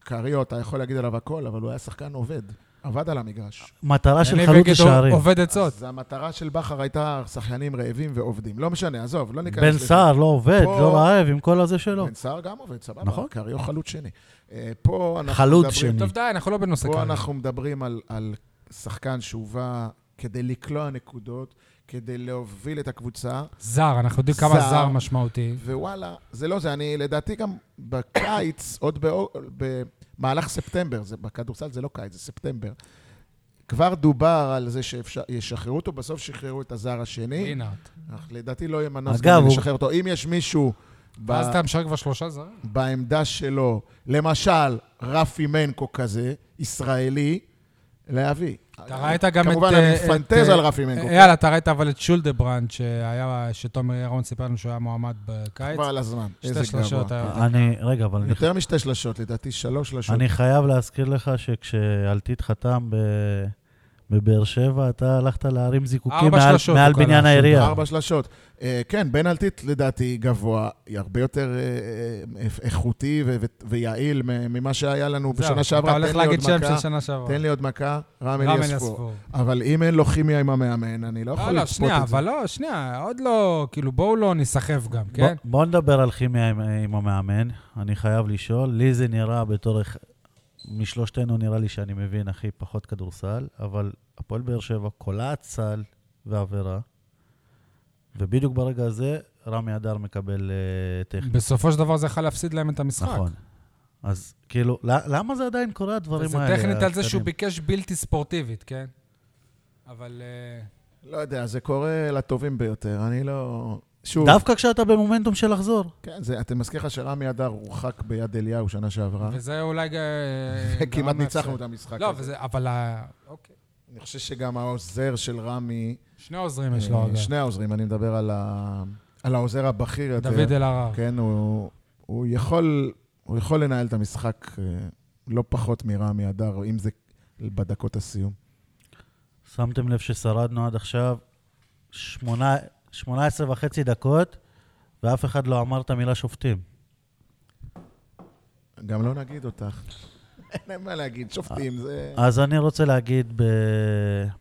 S3: קריו, אתה יכול להגיד עליו הכל, אבל הוא היה שחקן עובד, עבד על המגרש.
S2: מטרה של
S1: יניב
S2: חלוץ אה,
S1: יגיד,
S2: השערים.
S1: עובד עצות.
S3: אז המטרה של בכר הייתה שחיינים רעבים ועובדים. לא משנה, עזוב, לא ניכנס
S2: בן סער לא עובד,
S3: פה-
S2: לא רעב, עם כל הזה שלו.
S3: בן סער גם עובד, סבבה.
S2: נכון.
S3: נכון. קריו חלוץ שני. אה, פה אנחנו
S2: חלוץ
S3: מדברים,
S2: שני.
S1: טוב, די, אנחנו לא בנושא
S3: פה
S1: קריומה.
S3: אנחנו מדברים על, על שחקן שהובא כדי לקלוע נקודות, כדי להוביל את הקבוצה,
S1: זר, אנחנו יודעים כמה
S3: זר.
S1: זר משמעותי.
S3: ווואלה, זה לא זה. אני לדעתי גם בקיץ, עוד באו- במהלך ספטמבר, זה, בכדורסל זה לא קיץ, זה ספטמבר. כבר דובר על זה שישחררו אותו, בסוף שחררו את הזר השני.
S1: לינארט.
S3: אך לדעתי לא יהיה מנוס
S2: אגב,
S3: גם
S2: הוא-
S3: לשחרר אותו. אם יש מישהו ב-
S1: ואז אתה משחק כבר שלושה זרים.
S3: בעמדה שלו, למשל רפי מנקו כזה, ישראלי, להביא.
S1: אתה ראית גם את...
S3: כמובן,
S1: אה,
S3: אני
S1: את,
S3: מפנטז
S1: אה,
S3: על רפי מנקו. כן.
S1: אייל, אתה ראית אבל את שולדברנד, שהיה, שתומר ירון סיפר לנו שהוא היה מועמד בקיץ.
S3: כבר על הזמן, איזה
S1: שתי שלושות. אה,
S3: גבוה. אה,
S1: היה-
S2: אני, רגע, אבל אני-
S3: יותר משתי שלשות, לדעתי שלוש שלשות.
S2: אני חייב להזכיר לך שכשאלתית חתם ב- בבאר שבע, אתה הלכת להרים זיקוקים
S1: ארבע
S2: מעל,
S1: שלשות
S2: מעל
S1: הוא קלע,
S2: בניין
S1: שלושה,
S2: העירייה.
S3: ארבע שלשות. אה, כן, בנלטית לדעתי גבוה, היא הרבה יותר אה, אה, איכותי ו- ו- ויעיל מ- ממה שהיה לנו
S1: זהו,
S3: בשנה שעברה.
S1: אתה הולך
S3: תן לי
S1: להגיד
S3: עוד
S1: שם
S3: מכה,
S1: של שנה שעברה.
S3: תן לי עוד מכה, רם
S1: רם
S3: אליספור.
S1: אליספור.
S3: אבל אם אין לו כימיה עם המאמן, אני לא
S1: לא,
S3: יכול
S1: לא,
S3: לצפות
S1: שנייה,
S3: את זה.
S1: אבל לא, שנייה, עוד לא, כאילו, בואו לא ניסחף גם,
S2: בוא,
S1: כן?
S2: בוא נדבר על כימיה עם, עם המאמן, אני חייב לשאול. לי זה נראה בתור... איך- משלושתנו נראה לי שאני מבין הכי פחות כדורסל, אבל הפועל באר שבע קולעת סל ועבירה, ובדיוק ברגע הזה רמי אדר מקבל אה, טכני.
S1: בסופו של דבר זה יכול להפסיד להם את המשחק.
S2: נכון. אז כאילו, ל- למה זה עדיין קורה, הדברים
S1: זה
S2: האלה?
S1: טכנית על זה שהוא
S2: הקטנים?
S1: ביקש בלתי ספורטיבית, כן? אבל... אה,
S3: לא יודע, זה קורה לטובים ביותר, אני לא... שוב,
S2: דווקא כשאתה במומנטום של לחזור.
S3: כן, זה, אתם מזכיר לך שרמי אדר הורחק ביד אליהו שנה שעברה,
S1: וזה אולי... אה,
S3: (laughs)
S1: גרם
S3: וכמעט
S1: להפסד.
S3: ניצחנו את המשחק
S1: לא,
S3: הזה.
S1: וזה- אבל... ה- אוקיי.
S3: אני חושב שגם העוזר של רמי,
S1: שני עוזרים יש לו,
S3: אה,
S1: אגב.
S3: שני העוזרים, אני מדבר על, ה... על העוזר הבכיר יותר.
S1: דוד אלהרר.
S3: כן, הוא, הוא, יכול, הוא יכול לנהל את המשחק אה, לא פחות מרמי אדר, אם זה בדקות הסיום.
S2: שמתם לב ששרדנו עד עכשיו שמונה- 18 וחצי דקות, ואף אחד לא אמר את המילה שופטים.
S3: גם לא נגיד אותך. (laughs) אין להם מה להגיד, שופטים, זה...
S2: אז אני רוצה להגיד ב...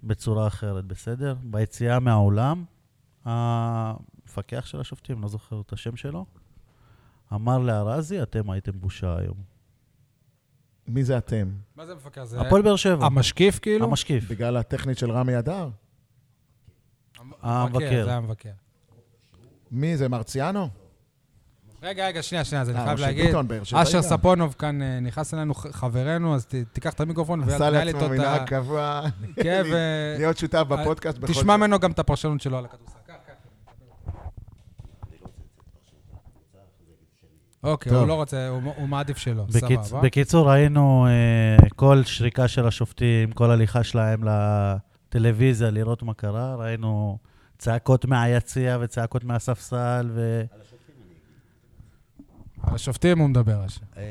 S2: בצורה אחרת, בסדר? ביציאה מהאולם, המפקח של השופטים, לא זוכר את השם שלו, אמר לארזי, אתם הייתם בושה היום.
S3: מי זה אתם?
S1: מה זה מפקח? זה
S2: הפועל באר שבע,
S1: המשקיף, כאילו?
S2: המשקיף.
S3: בגלל הטכנית של רמי אדר? אה,
S2: המבקר.
S1: זה המבקר.
S3: מי זה, מרציאנו?
S1: רגע, רגע, שנייה, שנייה, אז אני
S3: אה,
S1: חייב
S3: משה
S1: להגיד.
S3: ביטון, באר שבעי
S1: אשר
S3: גם.
S1: ספונוב כאן אה, נכנס אלינו, ח- חברנו, אז ת- תיקח את המיקרופון
S3: עשה
S1: ותנהל
S3: לעצמו
S1: איתו את ה...
S3: מנהג קבוע,
S1: כן, ו...
S3: (laughs) להיות שותף בפודקאסט בכל
S1: תשמע ממנו גם את הפרשנות שלו על הכדורסל. קח, קח. לא אוקיי,
S3: טוב.
S1: הוא לא רוצה, הוא- הוא מעדיף שלא,
S2: בקיצ...
S1: סבבה.
S2: בקיצור, ראינו אה, כל שריקה של השופטים, כל הליכה שלהם לטלוויזיה לראות מה קרה, ראינו צעקות מהיציע וצעקות מהספסל, ו...
S1: על השופטים הוא מדבר, אשר.
S4: אה,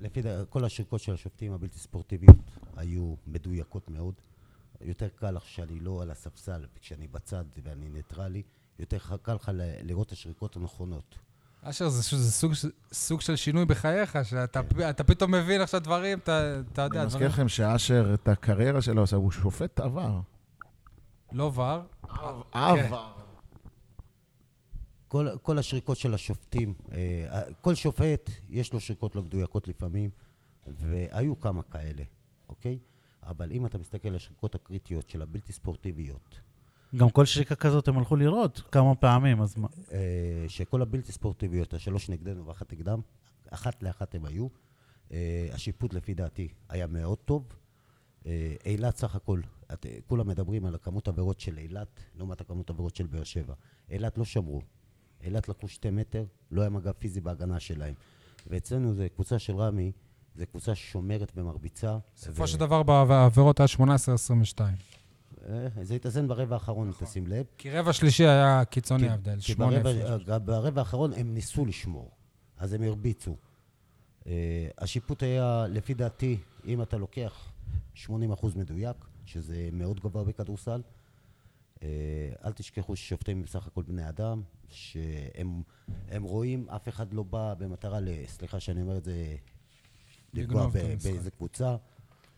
S4: לפי דע- כל השריקות של השופטים הבלתי ספורטיביות היו מדויקות מאוד. יותר קל לך שאני לא על הספסל, כשאני בצד ואני ניטרלי, יותר ח- קל לך ל- לראות את השריקות הנכונות.
S1: אשר, זה ש- זה סוג ש- סוג של שינוי בחייך, שאתה פ- אתה פתאום מבין עכשיו דברים, אתה אתה יודע,
S3: אני מזכיר
S1: דברים
S3: לכם שאשר, את הקריירה שלו עשה, הוא שופט עבר.
S1: לא ור.
S3: עבר.
S4: כל, כל השריקות של השופטים, אה, ה- כל שופט יש לו שריקות לא מדויקות לפעמים, והיו כמה כאלה, אוקיי? אבל אם אתה מסתכל על השריקות הקריטיות של הבלתי ספורטיביות,
S2: גם כל שריקה כזאת הם הלכו לראות כמה פעמים, אז מה?
S4: אה, שכל הבלתי ספורטיביות, השלוש נגדנו ואחת נגדם, אחת לאחת הם היו. אה, השיפוט לפי דעתי היה מאוד טוב. אה, אילת סך הכל, את, אה, כולם מדברים על הכמות עבירות של אילת לעומת הכמות עבירות של באר שבע. אילת לא שמרו. אילת לקחו שתי מטר, לא היה מגע פיזי בהגנה שלהם. ואצלנו זה קבוצה של רמי, זה קבוצה ששומרת ומרביצה.
S1: בסופו
S4: ו-
S1: של דבר בעבירות היה 18-22.
S4: אה, זה התאזן ברבע האחרון,
S1: נכון.
S4: תשים לב.
S1: כי רבע שלישי היה קיצוני
S4: כי-
S1: ההבדל,
S4: כי
S1: שמונה
S4: ברבע-
S1: הפרש.
S4: גם ברבע האחרון הם ניסו לשמור, אז הם הרביצו. אה, השיפוט היה, לפי דעתי, אם אתה לוקח 80% מדויק, שזה מאוד גבוה בכדורסל, אה, אל תשכחו ששופטים הם בסך הכל בני אדם, שהם הם רואים, אף אחד לא בא במטרה, ל- סליחה שאני אומר את זה, לפגוע
S1: לגנוב את
S4: ב-
S1: המשחק.
S4: באיזה קבוצה.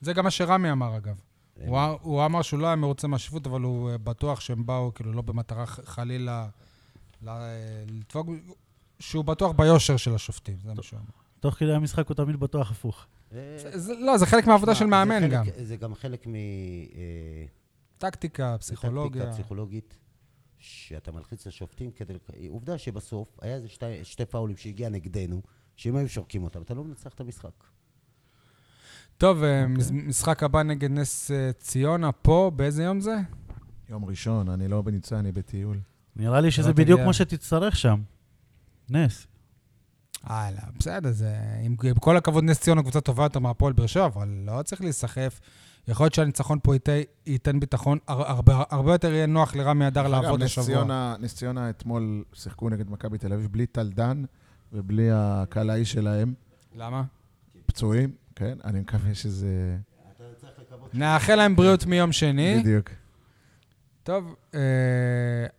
S1: זה גם מה שרמי אמר, אגב.
S4: אה,
S1: הוא ה- הוא אמר שהוא לא היה מרוצה מהשבות, אבל הוא אה, בטוח שהם באו, כאילו, לא במטרה ח- חלילה ל- אה, לדפוק, שהוא בטוח ביושר של השופטים, זה מה שהוא אמר.
S2: תוך כדי המשחק הוא תמיד בטוח הפוך.
S4: אה,
S1: זה- זה- לא, זה חלק מהעבודה של
S4: זה
S1: מאמן
S4: חלק-
S1: גם.
S4: זה גם חלק מ... אה,
S1: טקטיקה,
S4: זה טקטיקה
S1: פסיכולוגיה.
S4: פסיכולוגית, שאתה מלחיץ את השופטים כדי... לק- עובדה שבסוף היה איזה שתי, שתי פאולים שהגיע נגדנו, שאם היו שורקים אותם, אתה לא מנצח את המשחק.
S1: טוב, אה,
S4: אוקיי.
S1: מש- משחק הבא נגד נס אה, ציונה פה, באיזה יום זה?
S3: יום ראשון, אני לא בניצן, אני בטיול.
S2: נראה לי שזה
S1: לא תגיע.
S2: בדיוק כמו שתצטרך שם. נס.
S1: הלאה, בסדר, זה... עם, עם כל הכבוד, נס ציונה קבוצה טובה יותר מהפועל באר שבע, אבל לא צריך להיסחף. יכול להיות שהניצחון פה ייתן, ייתן ביטחון, הר, הרבה, הרבה יותר יהיה נוח לרמי אדר
S3: אגב,
S1: לעבוד
S3: נס
S1: השבוע.
S3: ציונה- נס ציונה אתמול שיחקו נגד מכבי תל אביב בלי טל דן ובלי הקהל האי שלהם,
S1: למה?
S3: פצועים, כן? אני מקווה שזה...
S4: לקוות ש...
S1: נאחל להם בריאות מיום שני.
S3: בדיוק.
S1: טוב, אה,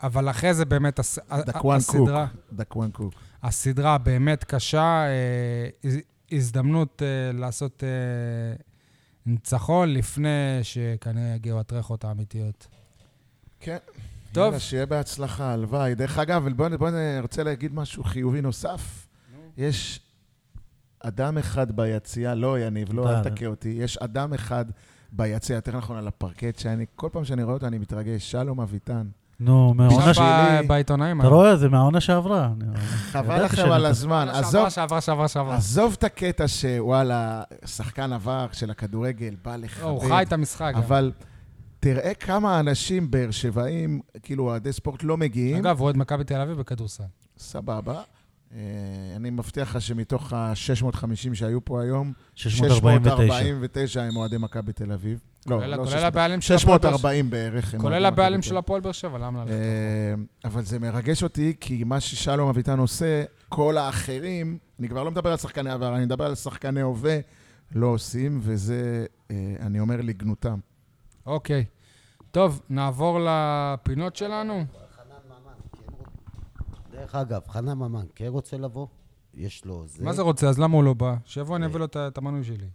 S1: אבל אחרי זה באמת הס- ה- ה-
S3: דקוואן קוק.
S1: הסדרה,
S3: דקוואן קוק.
S1: הסדרה באמת קשה, אה, הז- הזדמנות אה, לעשות אה, ניצחון לפני שכנראה יגיעו הטרחות האמיתיות.
S3: כן.
S1: טוב.
S3: יאללה, שיהיה בהצלחה, הלוואי. דרך אגב, בואו בוא, אני רוצה להגיד משהו חיובי נוסף. יש אדם אחד ביציע, לא יניב, לא, אל
S2: אתה-
S3: תכה אותי, יש אדם אחד ביציע, יותר נכון על הפרקט, שאני, כל פעם שאני רואה אותו אני מתרגש, שלום אביטן.
S2: נו,
S1: עכשיו
S2: מהעונה ש...
S3: שלי-
S1: ב- בעיתונאים.
S2: אתה לא רואה? זה מהעונה שעברה. אני-
S3: חבל
S2: ידעתי
S3: לכם
S2: שאני-
S3: על הזמן. כן, עזוב,
S1: שעברה, שעברה, שעברה, שעברה.
S3: עזוב את הקטע שוואלה, שחקן עבר של הכדורגל, בא
S1: לא, הוא חי
S3: לכבד,
S1: את המשחק. גם.
S3: אבל תראה כמה אנשים באר שבעים, כאילו אוהדי ספורט לא מגיעים.
S1: אגב, הוא אוהד מכבי תל אביב בכדורסל.
S3: לא, סבבה. אה, אני מבטיח לך שמתוך ה-650 שהיו פה היום,
S2: 649.
S3: 649 הם אוהדי מכבי תל אביב. לא,
S1: כולל
S3: לא
S1: כולל
S3: 600,
S1: הבעלים של הפועל באר שבע.
S3: 640 בערך. הם
S1: כולל
S3: אוהדי מכבי
S1: הבעלים
S3: תל
S1: של הפועל באר שבע, למה ללכת?
S3: כן. אה, אבל זה מרגש אותי, כי מה ששלום אביטן עושה, כל האחרים, אני כבר לא מדבר על שחקני עבר, אני מדבר על שחקני הווה, לא עושים, וזה, אה, אני אומר לגנותם.
S1: אוקיי. טוב, נעבור לפינות שלנו.
S4: חנן ממן, כן רוצ- דרך אגב, חנן ממן כן רוצה לבוא, יש לו זה,
S1: מה זה רוצה? אז למה הוא לא בא? שיבוא, אני אביא לו את ה- את המנוי שלי.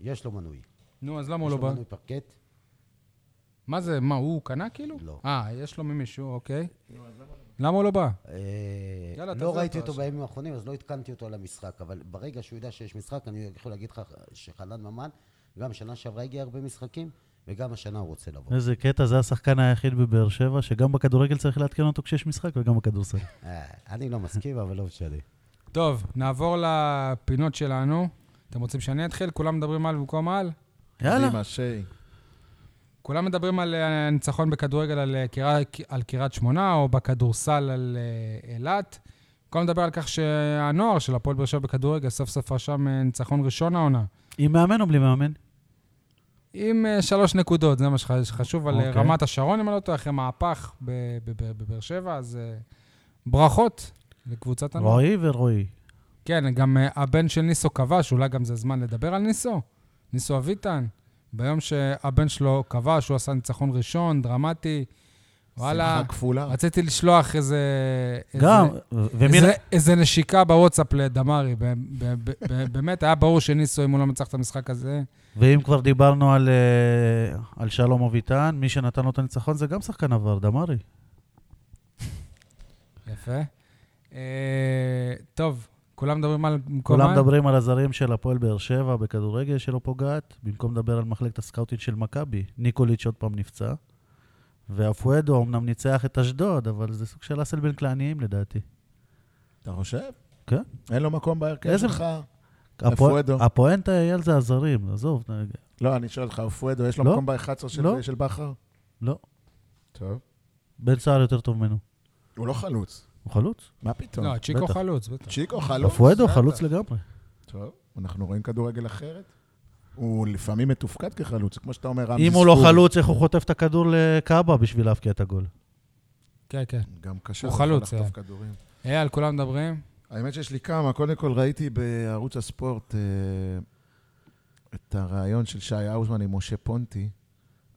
S4: יש לו מנוי.
S1: נו, אז למה הוא
S4: יש
S1: לא
S4: לו
S1: בא?
S4: מנוי פרקט,
S1: מה זה, מה, הוא קנה כאילו?
S4: לא.
S1: אה, יש לו ממישהו, אוקיי. למה הוא לא בא?
S4: אה,
S1: יאללה, תעזוב
S4: לא
S1: אותו
S4: ראיתי אותו
S1: עכשיו.
S4: בימים האחרונים, אז לא עדכנתי אותו על המשחק, אבל ברגע שהוא ידע שיש משחק, אני יכול להגיד לך שחנן ממן, גם שנה שעברה הגיע הרבה משחקים, וגם השנה הוא רוצה
S1: (laughs)
S4: לבוא.
S2: איזה קטע, זה השחקן היחיד בבאר שבע, שגם בכדורגל צריך לעדכן אותו כשיש משחק וגם בכדורסל.
S4: אה, אני לא מסכים, אבל לא משנה.
S1: טוב, נעבור לפינות שלנו. אתם רוצים שאני אתחיל? כולם מדברים על במקום על?
S2: יאללה.
S3: קדימה, שי.
S1: כולם מדברים על אה, ניצחון בכדורגל על, אה, קריית- על קריית שמונה, או בכדורסל על אה, אילת. במקום לדבר על כך שהנוער של הפועל באר שבע בכדורגל סוף סוף רשם אה, ניצחון ראשון העונה.
S2: עם מאמן או בלי מאמן?
S1: עם אה, שלוש נקודות, זה מה שח- שחשוב על אה,
S2: אוקיי.
S1: רמת השרון, אם אני לא טועה, אחרי מהפך בב- בב- בבאר שבע, אז אה, ברכות לקבוצת הנוער.
S2: רועי ורועי.
S1: כן, גם אה, הבן של ניסו כבש, אולי גם זה הזמן לדבר על ניסו. ניסו אביטן, ביום שהבן שלו כבש, הוא עשה ניצחון ראשון, דרמטי. וואלה,
S3: שמחה כפולה.
S1: רציתי לשלוח איזה...
S2: גם,
S1: איזה-
S2: ומי...
S1: איזה, איזה נשיקה בוואטסאפ לדמרי, ב- ב- ב- ב- באמת, היה ברור שניסו, אם הוא לא מצליח את המשחק הזה,
S2: ואם כבר דיברנו על, אה, על שלום אביטן, מי שנתן לו את הניצחון זה גם שחקן עבר, דמארי.
S1: יפה. אה, טוב, כולם מדברים על מקומן?
S2: כולם מדברים על הזרים של הפועל באר שבע בכדורגל שלא פוגעת, במקום לדבר על מחלקת הסקאוטינג של מכבי. ניקוליץ' עוד פעם נפצע, ואפואדו אמנם ניצח את אשדוד, אבל זה סוג של אסל בין כלעניים לדעתי.
S3: אתה חושב?
S2: כן.
S3: אין לו מקום בהרכב
S2: איזה-
S3: שלך.
S2: הפו-
S3: אפואדו.
S2: הפואנטה, אייל, זה הזרים, עזוב. נ-
S3: לא, אני שואל אותך, אופואדו, יש לו
S2: לא.
S3: מקום ב-11 של,
S2: לא.
S3: של בכר?
S2: לא,
S3: טוב.
S2: בן סער יותר טוב ממנו.
S3: הוא לא חלוץ.
S2: הוא חלוץ.
S3: מה פתאום?
S1: לא, צ'יקו
S2: בטח.
S1: חלוץ, בטח.
S3: צ'יקו חלוץ.
S2: אפואדו
S3: בסדר.
S2: חלוץ לגמרי.
S3: טוב, אנחנו רואים כדורגל אחרת. הוא לפעמים מתופקד כחלוץ, כמו שאתה אומר, רמזי
S2: אם הוא לא
S3: ספורי.
S2: חלוץ, איך הוא חוטף את הכדור לקאבה בשביל להבקיע את הגול?
S3: לא.
S1: כן, כן.
S3: גם קשה.
S1: הוא
S3: יכול
S1: חלוץ,
S3: לחטוף
S1: אה.
S3: כדורים.
S1: אייל, כולם מדברים?
S3: האמת שיש לי כמה. קודם כל ראיתי בערוץ הספורט אה, את הריאיון של שי האוזמן עם משה פונטי,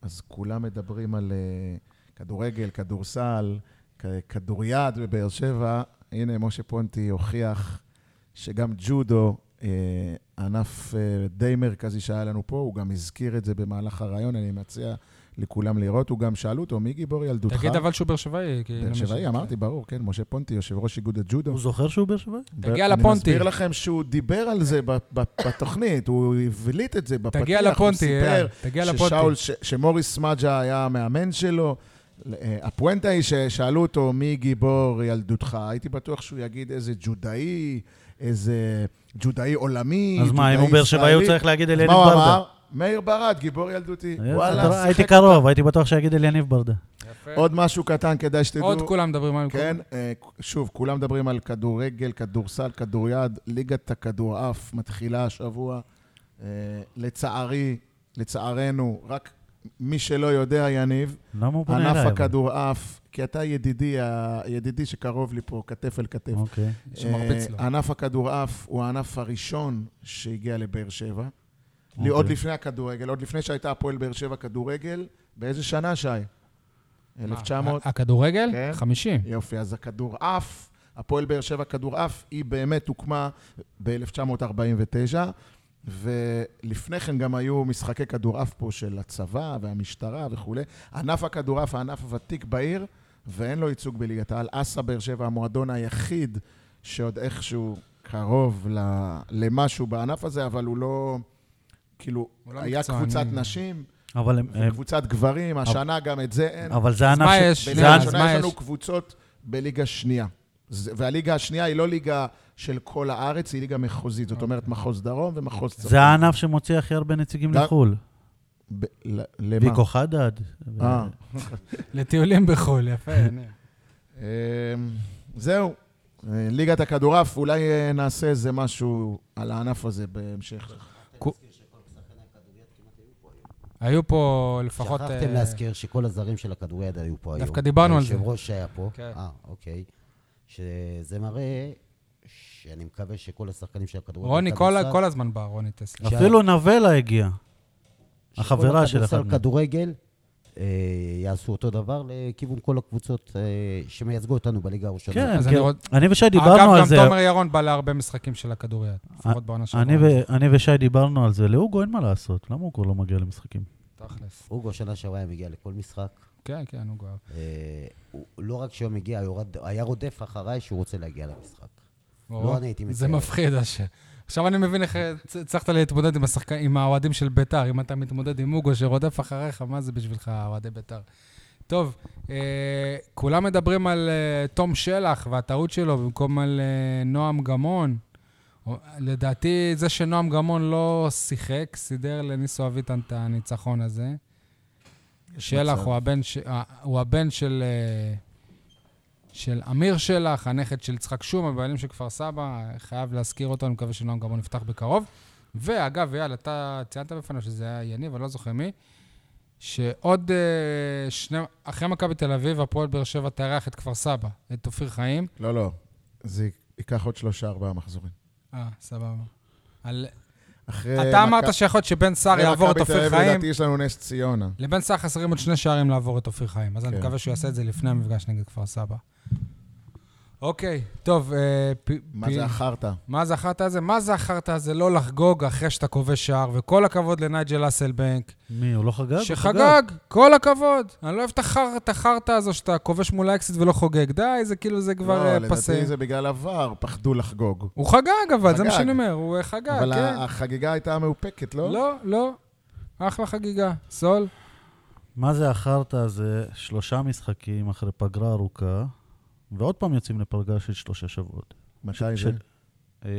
S3: אז כולם מדברים על אה, כדורגל, כדורסל, כ- כדוריד בבאר שבע. הנה, משה פונטי הוכיח שגם ג'ודו, אה, ענף אה, די מרכזי שהיה לנו פה, הוא גם הזכיר את זה במהלך הריאיון, אני מציע לכולם לראות. הוא גם שאלו אותו, מי גיבור ילדותך?
S1: תגיד אבל שהוא באר שבעי. כי
S3: באר
S1: למי
S3: שבעי,
S1: ש-
S3: אמרתי, ברור, כן, משה פונטי, יושב ראש איגוד הג'ודו.
S2: הוא זוכר שהוא באר שבעי?
S1: תגיע
S3: אני
S1: לפונטי.
S3: מסביר לכם שהוא דיבר על זה ב- ב- בתוכנית, הוא הבליט את זה בפתיח.
S1: תגיע לפונטי, אייל, תגיע
S3: הוא
S1: לפונטי.
S3: סיפר ששאול- ש- שמוריס סמג'ה היה המאמן שלו. אה, הפואנטה היא ששאלו אותו מי גיבור ילדותך, הייתי בטוח שהוא יגיד איזה ג'ודאי, איזה ג'ודאי עולמי,
S2: אז מה, אם הוא
S3: ג'ודאי
S2: באר שבעי, הוא
S3: ישראלי.
S2: צריך להגיד אל
S3: אז מה הוא
S2: ברדה.
S3: אמר? מאיר ברד, גיבור ילדותי.
S2: אתה-
S3: וואלה,
S2: הייתי
S3: שיחק.
S2: קרוב, הייתי בטוח שיגיד אל יניב ברדה.
S1: יפה.
S3: עוד משהו קטן, כדאי שתדעו.
S1: עוד כולם מדברים על מקומן.
S2: אוקיי.
S3: כן, אה, שוב, כולם מדברים על כדורגל, כדורסל, כדוריד, ליגת הכדורעף מתחילה השבוע. אה, לצערי, לצערנו, רק מי שלא יודע, יניב,
S2: למה הוא פונה אליי?
S3: ענף
S2: אבל?
S3: הכדורעף, כי אתה ידידי, ה- ידידי שקרוב לי פה, כתף אל כתף.
S2: אוקיי.
S1: שמרביץ לו.
S3: אה, ענף הכדורעף הוא הענף הראשון שהגיע לבאר שבע.
S2: אוקיי.
S3: לי עוד לפני הכדורגל, עוד לפני שהייתה הפועל באר שבע כדורגל, באיזה שנה, שי? 1900?
S1: הכדורגל?
S3: כן.
S1: 50.
S3: יופי, אז הכדורעף, הפועל באר שבע כדורעף, היא באמת הוקמה ב-1949, ולפני כן גם היו משחקי כדורעף פה של הצבא והמשטרה וכולי. ענף הכדורעף, הענף הוותיק בעיר, ואין לו ייצוג בליגת העל. אסא באר שבע, המועדון היחיד שעוד איכשהו קרוב ל- למשהו בענף הזה, אבל הוא לא... כאילו,
S1: הוא לא
S3: היה
S1: מקצועני.
S3: קבוצת נשים
S2: אבל הם- הם-
S3: וקבוצת גברים, השנה גם את זה אין.
S2: אבל זה ענף...
S1: מה
S2: ש-
S1: יש?
S3: בליגה
S2: זה ענף-
S1: אז
S3: הראשונה
S1: מה
S3: יש
S1: יש?
S3: לנו קבוצות בליגה שנייה. זה- והליגה השנייה היא לא ליגה של כל הארץ, היא ליגה מחוזית. זאת אומרת, מחוז דרום ומחוז צפון.
S2: זה הענף שמוציא הכי הרבה נציגים
S3: גם-
S2: לחו"ל.
S3: ב- ל- למה?
S2: ויקו חדד. ו-
S3: אה.
S1: לטיולים בחו"ל, יפה. הנה.
S3: אמ, זהו. אה, ליגת הכדורעף, אולי אה, נעשה איזה משהו על הענף הזה בהמשך.
S1: היו פה לפחות...
S4: שכחתם
S1: אה,
S4: להזכיר שכל הזרים של הכדוריד היו פה היום.
S1: דווקא דיברנו על זה.
S4: היושב-ראש שהיה פה.
S1: כן.
S4: אה, אוקיי. שזה מראה שאני מקווה שכל השחקנים של הכדורגל...
S1: רוני כל ה-
S4: כדורסל-
S1: כל הזמן בא, רוני טסלר.
S4: שי.
S2: אפילו נבלה הגיעה.
S3: כן.
S2: החברה של אחד
S4: שכל
S2: מהם.
S4: כדורגל אה, יעשו אותו דבר לכיוון כל הקבוצות אה, שמייצגו אותנו בליגה הראשונה.
S2: כן,
S1: אז
S2: כן.
S1: אני רוצ-
S2: אני ושי דיברנו על
S1: אגב,
S2: זה. אה,
S1: גם תומר ירון בא להרבה משחקים של הכדוריד, לפחות בעונה שלנו.
S2: אני ו- אני ושי דיברנו על זה. להוגו אין מה לעשות. למה הוא כבר לא מגיע למשחקים?
S1: תכלס.
S4: אוגו שנה שעברה היה מגיע לכל משחק.
S1: כן, כן, הוא גר.
S4: אה, הוא- לא רק שהוא מגיע, יורד- היה רודף אחריי שהוא רוצה להגיע למשחק. לא, אני הייתי
S1: זה
S4: מצטער.
S1: מפחיד, אשר. עכשיו אני מבין איך אה, צ- הצלחת להתמודד עם השחק- עם האוהדים של ביתר. אם אתה מתמודד עם אוגו שרודף אחריך, מה זה בשבילך, אוהדי ביתר? טוב, אה, כולם מדברים על אה, תום שלח והטעות שלו במקום על אה, נועם גמון. או- לדעתי, זה שנועם גמון לא שיחק, סידר לניסו אביטן את הניצחון הזה. שלח
S3: מצב.
S1: הוא הבן, ש... אה, הוא הבן של, אה, של אמיר שלח, הנכד של יצחק שום, הבעלים של כפר סבא, חייב להזכיר אותו, אני מקווה שנועם גמון יפתח בקרוב. ואגב, אייל, אתה ציינת בפניו שזה היה יניב, אני לא זוכר מי, שעוד אה, שני... אחרי מכבי תל אביב, הפועל באר שבע תארח את כפר סבא, את אופיר חיים.
S3: לא, לא. זה ייקח עוד שלושה, ארבעה מחזורים.
S1: אה, סבבה. על...
S3: אחרי
S1: אתה אמרת
S3: מכבי-
S1: שיכול להיות שבן סער
S3: אחרי
S1: יעבור את
S3: מכבי אה, תל
S1: אופיר
S3: אביב,
S1: חיים.
S3: לדעתי יש לנו נס ציונה.
S1: לבן סער חסרים עוד שני שערים לעבור את אופיר חיים, אז אני
S3: כן.
S1: מקווה שהוא יעשה את זה לפני המפגש נגד כפר סבא. אוקיי, טוב, אה, פ...
S3: מה
S1: פ-
S3: זה החרטא?
S1: מה זה החרטא הזה? מה זה החרטא הזה לא לחגוג אחרי שאתה כובש שער? וכל הכבוד לנייג'ל אסלבנק,
S2: מי, הוא לא חגג? הוא
S1: שחגג, כל הכבוד. אני לא אוהב את החר- את החרטא הזו שאתה כובש מול האקסיט ולא חוגג. די, זה כאילו, זה כבר אה,
S3: לא,
S1: פסה.
S3: לדעתי זה בגלל עבר, פחדו לחגוג.
S1: הוא חגג, אבל זה מה
S3: חגג.
S1: שאני אומר, הוא אה, חגג,
S3: אבל
S1: כן.
S3: ה- החגיגה הייתה מאופקת, לא?
S1: לא, לא. אחלה חגיגה. סול?
S2: מה זה החרטא הזה? שלושה משחקים אחרי פגרה ארוכה, ועוד פעם יוצאים לפגרה של שלושה שבועות.
S3: מתי
S2: ש-
S3: זה?
S2: אה,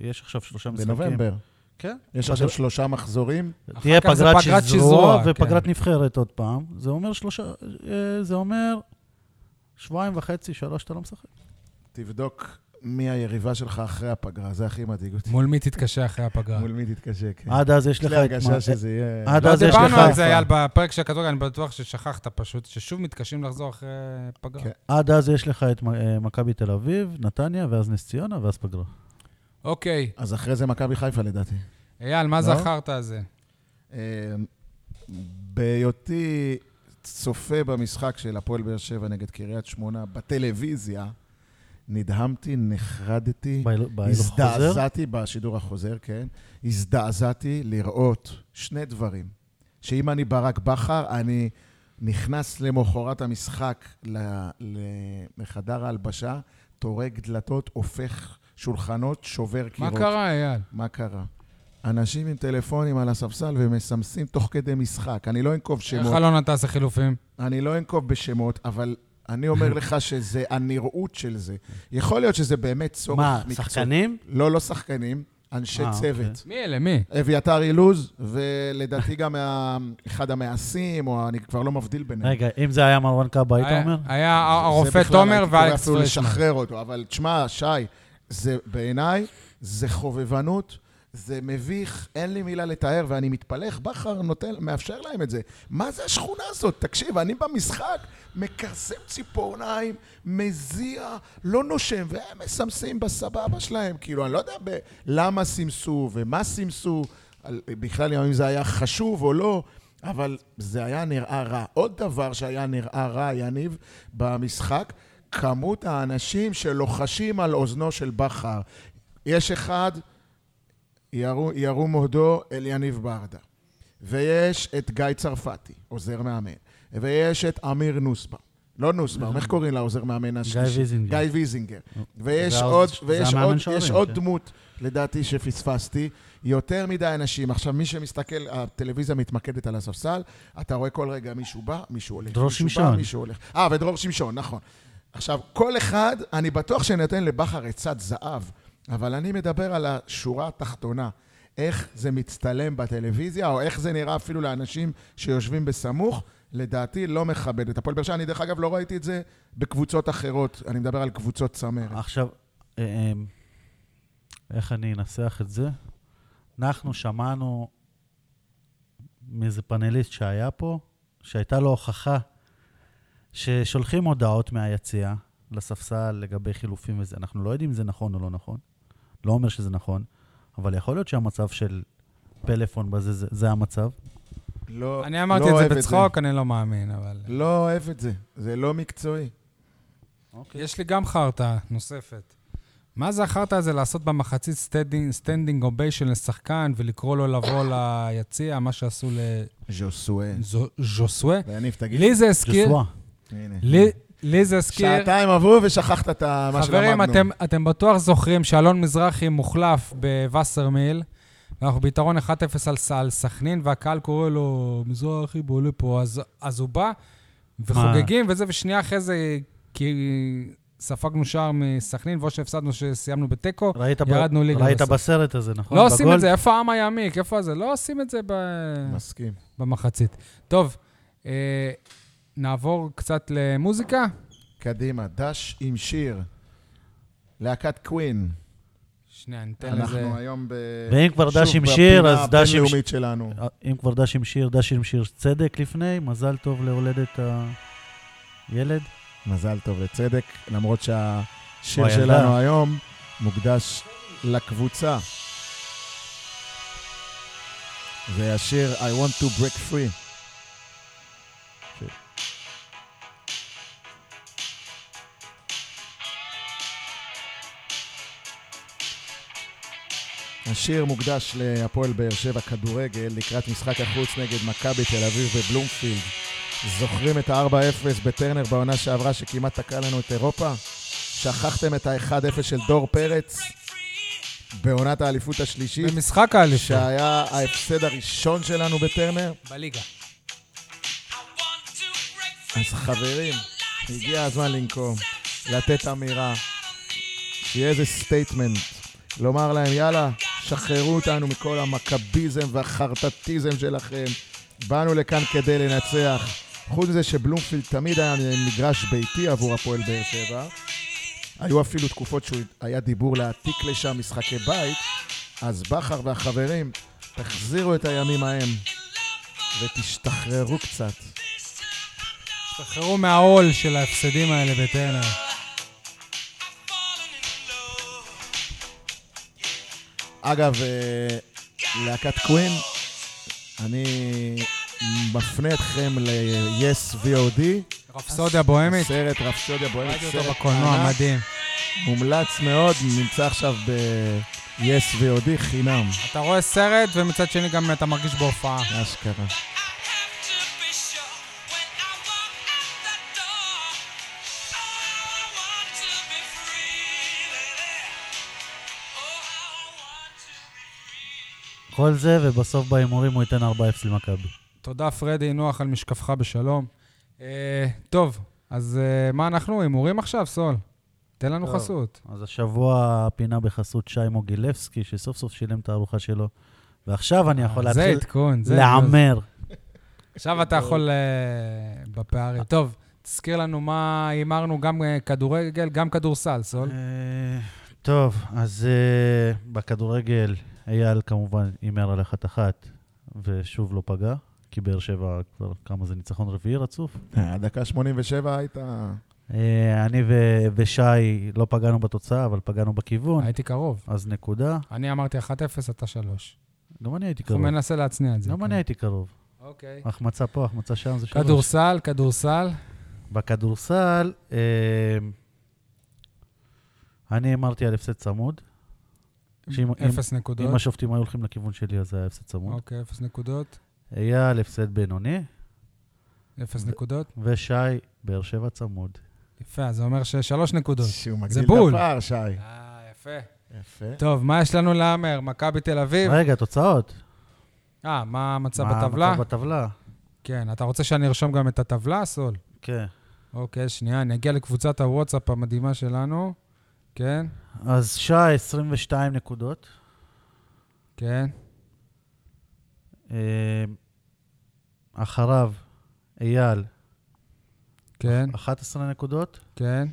S2: יש עכשיו שלושה משחקים.
S3: בנובמבר.
S2: כן.
S3: יש עכשיו שלושה מחזורים.
S2: תהיה
S1: אחר כך זה
S2: פגרת
S1: פגרת
S2: שזרוע
S1: שזרוע,
S2: ופגרת
S1: כן.
S2: נבחרת עוד פעם. זה אומר שלושה... אה, זה אומר שבועיים וחצי, שלוש, אתה לא משחק.
S3: תבדוק מי היריבה שלך אחרי הפגרה, זה הכי מדאיג אותי.
S1: מול מי תתקשה אחרי הפגרה?
S3: (laughs) מול מי תתקשה, כן.
S2: עד אז יש
S3: יש
S2: לך
S3: לי
S2: את... מה-
S3: הרגשה שזה יהיה...
S2: עד
S1: לא
S2: אז יש לך...
S1: דיברנו על זה, אייל, בפרק של הכדורגל, אני בטוח ששכחת פשוט, ששוב מתקשים לחזור אחרי פגרה.
S3: כן.
S2: עד אז יש לך את מ- אה, מכבי תל אביב, נתניה, ואז נס ציונה, ואז פגרה.
S1: אוקיי,
S3: אז אחרי זה מכבי חיפה לדעתי.
S1: אייל, מה זה
S3: לא?
S1: החרטא הזה?
S3: אה, בהיותי צופה במשחק של הפועל באר שבע נגד קריית שמונה בטלוויזיה, נדהמתי, נחרדתי.
S2: בהילוך חוזר.
S3: הזדעזעתי בשידור החוזר, כן. הזדעזעתי לראות שני דברים. שאם אני ברק בכר, אני נכנס למחרת המשחק ל- ל- לחדר ההלבשה, טורק דלתות, הופך שולחנות, שובר
S1: מה
S3: קירות.
S1: קרה, אייל?
S3: מה קרה? אנשים עם טלפונים על הספסל ומסמסים תוך כדי משחק. אני לא אנקוב
S1: איך
S3: שמות.
S1: אלונה תעשה חילופים?
S3: אני לא אנקוב בשמות, אבל אני אומר לך שזה הנראות של זה. יכול להיות שזה באמת צורך
S2: מה,
S3: מקצועי.
S2: שחקנים?
S3: לא, לא שחקנים, אנשי
S2: אה,
S3: צוות.
S1: מי אלה? מי?
S3: אביתר אילוז, ולדעתי גם מה- אחד המעשים, או אני כבר לא מבדיל ביניהם.
S2: רגע, אם זה היה מרואן קאבה, היית
S1: היה-
S2: אומר?
S1: היה הרופא
S3: זה בכלל,
S1: תומר
S3: הייתי קורא
S1: ואלכס
S3: אפילו
S1: פרישמן.
S3: לשחרר אותו, אבל תשמע, שי, זה בעיניי, זה חובבנות. זה מביך, אין לי מילה לתאר, ואני מתפלא איך בכר נותן, מאפשר להם את זה. מה זה השכונה הזאת? תקשיב, אני במשחק מכרסם ציפורניים, מזיע, לא נושם, והם מסמסים בסבבה שלהם. כאילו, אני לא יודע ב- למה סימסו ומה סימסו, על בכלל אם זה היה חשוב או לא, אבל זה היה נראה רע. עוד דבר שהיה נראה רע, יניב, במשחק, כמות האנשים שלוחשים על אוזנו של בכר. יש אחד, ירו, ירו מורדו אל יניב ברדה. ויש את גיא צרפתי, עוזר מאמן. ויש את אמיר נוסבאום. לא נוסבאום, איך קוראים לעוזר מאמן השלישי?
S2: ויזינגר.
S3: גיא ויזינגר. ויש
S2: זה
S3: עוד,
S2: זה
S3: ויש
S2: המאמן
S3: עוד,
S2: שעורים,
S3: יש עוד
S2: כן.
S3: דמות, לדעתי, שפספסתי. יותר מדי אנשים. עכשיו, מי שמסתכל, הטלוויזיה מתמקדת על הספסל, אתה רואה כל רגע מישהו בא, מישהו הולך.
S2: דרור
S3: מישהו בא,
S2: שמשון.
S3: מישהו הולך. אה, ודרור שמשון, נכון. עכשיו, כל אחד, אני בטוח שנותן לבכר עצת זהב, אבל אני מדבר על השורה התחתונה. איך זה מצטלם בטלוויזיה, או איך זה נראה אפילו לאנשים שיושבים בסמוך, לדעתי לא מכבד את הפועל באר שבע. אני, דרך אגב, לא ראיתי את זה בקבוצות אחרות. אני מדבר על קבוצות צמרת.
S2: עכשיו, אה, אה, איך אני אנסח את זה? אנחנו שמענו מאיזה פאנליסט שהיה פה, שהייתה לו הוכחה ששולחים הודעות מהיציע לספסל לגבי חילופים וזה. אנחנו לא יודעים אם זה נכון או לא נכון. לא אומר שזה נכון, אבל יכול להיות שהמצב של פלאפון בזה, זה, זה המצב.
S3: לא,
S1: אני אמרתי
S3: לא
S1: את
S3: אוהב
S1: זה בצחוק, אני לא מאמין, אבל...
S3: לא אוהב את זה. זה לא מקצועי.
S1: יש לי גם חרטא נוספת. מה זה החרטא הזה לעשות במחצית סטנדינג- סטנדינג אוביישן לשחקן ולקרוא לו
S3: (coughs)
S1: לבוא ליציע, מה שעשו
S3: ז'וסואה.
S1: לז'וסווה?
S3: ויניב, תגיד,
S1: לי זה הזכיר...
S2: ג'סווה.
S3: הנה.
S1: לי- לי זה הזכיר...
S3: שעתיים עברו ושכחת את ה- מה שלמדנו.
S1: חברים, אתם, אתם בטוח זוכרים שאלון מזרחי מוחלף בווסרמיל, ואנחנו ביתרון 1-0 על, ס- על סכנין, והקהל קורא לו, מזרחי, בוא לפה. אז, אז הוא בא, וחוגגים וזה, ושנייה אחרי זה, כי ספגנו שער מסכנין, ואו שהפסדנו, שסיימנו בתיקו,
S2: ראית, ב...
S1: ירדנו ליגה
S2: ראית
S1: בסוף.
S2: בסרט הזה, נכון?
S1: לא עושים
S2: בגול?
S1: את זה, איפה העם היעמיק? איפה זה? לא עושים את זה ב...
S3: מסכים.
S1: במחצית. טוב, אה, נעבור קצת למוזיקה.
S3: קדימה, דש עם שיר. להקת קווין.
S1: שנייה, ניתן לזה...
S3: אנחנו היום ב...
S2: ואם כבר
S3: שוב
S2: דש עם שיר, אז
S3: בפינה
S2: דש עם
S3: הבינלאומית שלנו.
S2: אם כבר דש עם שיר, דש עם שיר צדק לפני, מזל טוב להולדת הילד.
S3: מזל טוב לצדק, למרות שהשיר
S2: וואי, ילדה.
S3: שלנו היום מוקדש לקבוצה. זה השיר I want to break free. השיר מוקדש להפועל באר שבע כדורגל לקראת משחק החוץ נגד מכבי תל אביב בבלומפילד. זוכרים את ה-4-0 בטרנר בעונה שעברה שכמעט תקע לנו את אירופה? שכחתם את ה-1-0 של דור פרץ בעונת האליפות השלישית,
S1: במשחק האליפות.
S3: שהיה ההפסד הראשון שלנו בטרנר?
S1: בליגה.
S3: אז חברים, הגיע הזמן לנקום, לתת אמירה, שיהיה איזה סטייטמנט, לומר להם, יאללה, שחררו אותנו מכל המכביזם והחרטטיזם שלכם, באנו לכאן כדי לנצח. חוץ מזה שבלומפילד תמיד היה מגרש ביתי עבור הפועל באר שבע, היו אפילו תקופות שהוא היה דיבור להעתיק לשם משחקי בית, אז בכר והחברים, תחזירו את הימים ההם ותשתחררו קצת.
S1: שחררו מהעול של ההפסדים האלה בטרנר.
S3: אגב, אה, להקת קווין, אני מפנה אתכם ל-yes VOD,
S1: רפסודיה בוהמית,
S3: סרט רפסודיה בוהמת,
S1: ראיתי אותו
S3: סרט
S1: בקולנוע,
S3: ענק,
S1: מדהים.
S3: מומלץ מאוד, נמצא עכשיו ב-yes VOD חינם,
S1: אתה רואה סרט, ומצד שני גם אתה מרגיש בהופעה.
S3: אשכרה.
S2: כל זה, ובסוף בהימורים הוא ייתן 4-0 למכבי.
S1: תודה, פרדי, נוח על משקפך בשלום. אה, טוב, אז אה, מה אנחנו? הימורים עכשיו, סול? תן לנו
S2: טוב.
S1: חסות.
S2: אז השבוע פינה בחסות שי מוגילבסקי, שסוף סוף שילם את הארוחה שלו, ועכשיו אני יכול
S1: אה, זה
S2: להתחיל
S1: עדכון, זה...
S2: להמר.
S1: עכשיו אתה יכול אה, בפערים. טוב, תזכיר לנו מה הימרנו, גם אה, כדורגל, גם כדורסל, סול.
S2: אה, טוב, אז אה, בכדורגל, אייל כמובן הימר על אחת-אחת, ושוב לא פגע, כי באר שבע כבר כמה זה ניצחון רביעי רצוף.
S3: אה, הדקה 87 הייתה...
S2: אה, אני ו- ושי לא נכון. פגענו בתוצאה, אבל פגענו בכיוון,
S1: הייתי קרוב.
S2: אז נקודה.
S1: אני אמרתי 1-0, אתה 3.
S2: גם אני הייתי
S1: הוא
S2: קרוב. לא
S1: מנסה להצניע את זה.
S2: גם
S1: כן.
S2: אני הייתי קרוב.
S1: אוקיי.
S2: החמצה פה, החמצה שם, זה שלוש.
S1: כדורסל, כדורסל.
S2: בכדורסל, אה, אני אמרתי על הפסד צמוד. שאם- אם-
S1: אפס נקודות.
S2: אם השופטים היו הולכים לכיוון שלי, אז זה היה הפסד צמוד.
S1: אוקיי, אפס נקודות.
S2: אייל, הפסד בינוני,
S1: אפס נקודות.
S2: ושי, באר שבע צמוד.
S1: יפה, אז זה אומר ששלוש נקודות.
S3: שהוא
S1: זה
S3: מגדיל את
S1: בול.
S3: הפער, שי.
S1: אה, יפה.
S3: יפה.
S1: טוב, מה יש לנו להמר? מכבי תל אביב.
S2: רגע, תוצאות.
S1: אה, מה המצב
S2: מה
S1: בטבלה?
S2: המצב בטבלה?
S1: כן, אתה רוצה שאני ארשום גם את הטבלה, סול?
S2: כן.
S1: אוקיי, שנייה, אני אגיע לקבוצת הוואטסאפ המדהימה שלנו. כן,
S2: אז שי, 22 נקודות.
S1: כן.
S2: אה, אחריו, אייל,
S1: כן,
S2: 11 נקודות,
S1: כן,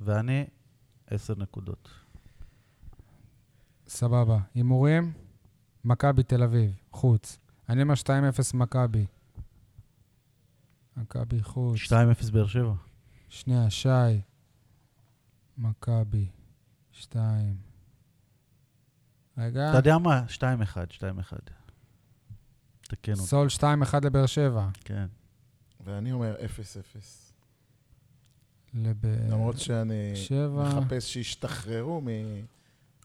S2: ואני, 10 נקודות.
S1: סבבה. הימורים, מכבי תל אביב, חוץ. אני אומר 2-0 מכבי. מכבי חוץ.
S2: 2-0 באר שבע.
S1: שנייה, שי. מכבי, 2. רגע,
S2: אתה יודע מה? 2-1, 2-1. תקן אותי,
S1: סול 2-1 לבאר שבע.
S2: כן.
S3: ואני אומר 0-0.
S1: לבאר
S3: למרות שאני
S1: אה, שבע.
S3: מחפש שישתחררו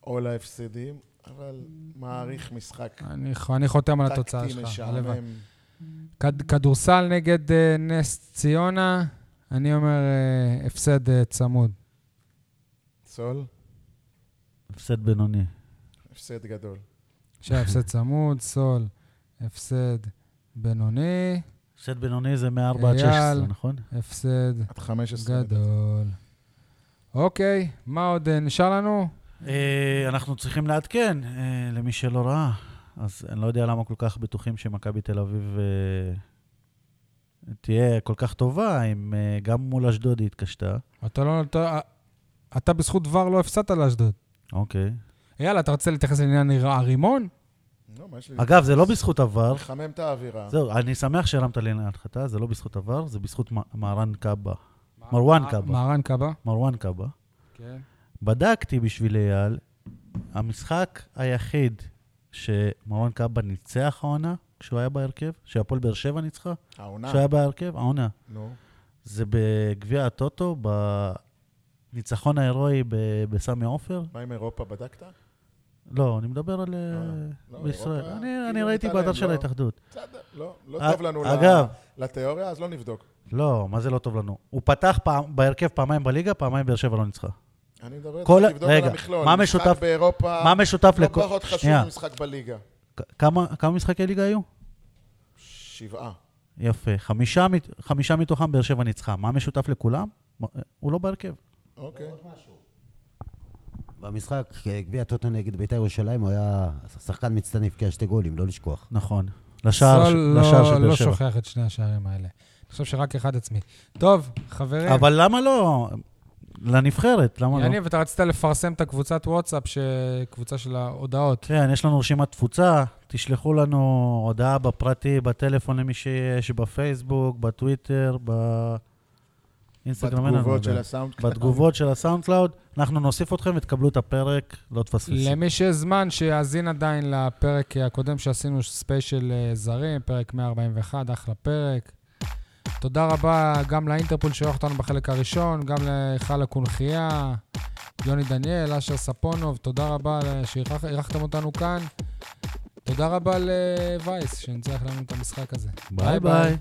S3: מעול ההפסדים, אבל מעריך משחק
S1: אני, אני חותם על התוצאה
S3: טקטי
S1: שלך. הלוואי.
S3: משעמם.
S1: כד, כדורסל נגד אה, נס ציונה, אני אומר אה, הפסד אה, צמוד.
S3: סול,
S2: הפסד בינוני.
S3: הפסד גדול.
S1: שי,
S2: (laughs)
S1: הפסד צמוד, סול, הפסד בינוני,
S2: הפסד בינוני זה מ-4 עד
S1: אייל.
S2: 16, נכון?
S1: הפסד
S3: עד 15.
S1: גדול. אוקיי, מה עוד אה, נשאר לנו?
S2: אה, אנחנו צריכים לעדכן, אה, למי שלא ראה. אז אני לא יודע למה כל כך בטוחים שמכבי תל אביב אה, תהיה כל כך טובה, אם אה, גם מול אשדוד היא התקשתה.
S1: אתה לא... אתה, אתה בזכות דבר לא הפסדת לאשדוד.
S2: אוקיי.
S1: יאללה, אתה רוצה להתייחס לעניין הר- הרימון?
S3: לא, מה יש לי?
S2: אגב, זה לא בזכות עבר.
S3: לחמם את האווירה.
S2: אה. זהו, אני שמח שהרמת לי להנחתה, זה לא בזכות עבר, זה בזכות מ- מהרן קאבה. מרואן קאבה.
S1: מהרן קאבה.
S2: מרואן קאבה.
S1: כן.
S2: בדקתי בשביל אייל, המשחק היחיד שמרואן קאבה ניצח העונה, כשהוא היה בהרכב, שהפועל באר שבע ניצחה,
S3: העונה.
S2: כשהוא היה בהרכב, העונה,
S3: נו.
S2: זה בגביע הטוטו, בניצחון ההירואי ב- בסמי עופר.
S3: מה עם אירופה? בדקת?
S2: לא, אני מדבר על... אה,
S3: לא,
S2: בישראל.
S3: אירופה,
S2: אני- אני
S3: כאילו
S2: ראיתי
S3: הייתה להם,
S2: באתר של
S3: לא?
S2: ההתאחדות.
S3: בסדר, לא, לא
S2: א-
S3: טוב לנו ל-
S2: אה, אגב.
S3: לתיאוריה, אז לא נבדוק.
S2: לא, מה זה לא טוב לנו? הוא פתח פעם- בהרכב פעמיים בליגה, פעמיים באר שבע לא ניצחה.
S3: אני מדבר,
S2: כל-
S3: צריך לבדוק על
S2: רגע,
S3: המכלול.
S2: מה
S3: משחק
S2: משותף-
S3: באירופה,
S2: מה משותף
S3: לא
S2: לכל...
S3: פחות חשוב
S2: שנייה,
S3: ממשחק בליגה.
S2: כ- כמה כמה משחקי ליגה היו?
S3: שבעה.
S2: יפה. חמישה, מת- חמישה מתוכם באר שבע ניצחה. מה משותף לכולם? מ- הוא לא בהרכב.
S3: אוקיי.
S4: במשחק, אה, גביע טוטו נגד בית"ר ירושלים, הוא היה שחקן מצטיין, הבקיע שתי גולים, לא לשכוח.
S2: נכון. לשער,
S1: סול
S2: ש-
S1: לא-
S2: לשער של באר
S1: לא
S2: שבע.
S1: שוכח את שני השערים האלה. אני חושב שרק אחד עצמי. טוב, חברים,
S2: אבל למה לא? לנבחרת, למה לא?
S1: יניב, אתה רצית לפרסם את הקבוצת וואטסאפ, ש- קבוצה של ההודעות.
S2: כן, יש לנו רשימת תפוצה, תשלחו לנו הודעה בפרטי, בטלפון למי שיש, בפייסבוק, בטוויטר, באינסטגרם. אין לנו
S3: בתגובות
S2: הודעה.
S3: של הסאונד.
S2: לא בתגובות של הסאונד קלאוד, אנחנו נוסיף אתכם ותקבלו את הפרק, לא תפספסו.
S1: למי שיש זמן, שיאזין עדיין לפרק הקודם שעשינו, ספיישל אה, זרים, פרק 141, אחלה פרק. תודה רבה גם לאינטרפול שאירח אותנו בחלק הראשון, גם להיכל הקונכייה, יוני דניאל, אשר ספונוב, תודה רבה אה, שאירחתם אותנו כאן. תודה רבה לווייס, שניצח לנו את המשחק הזה.
S2: ביי ביי.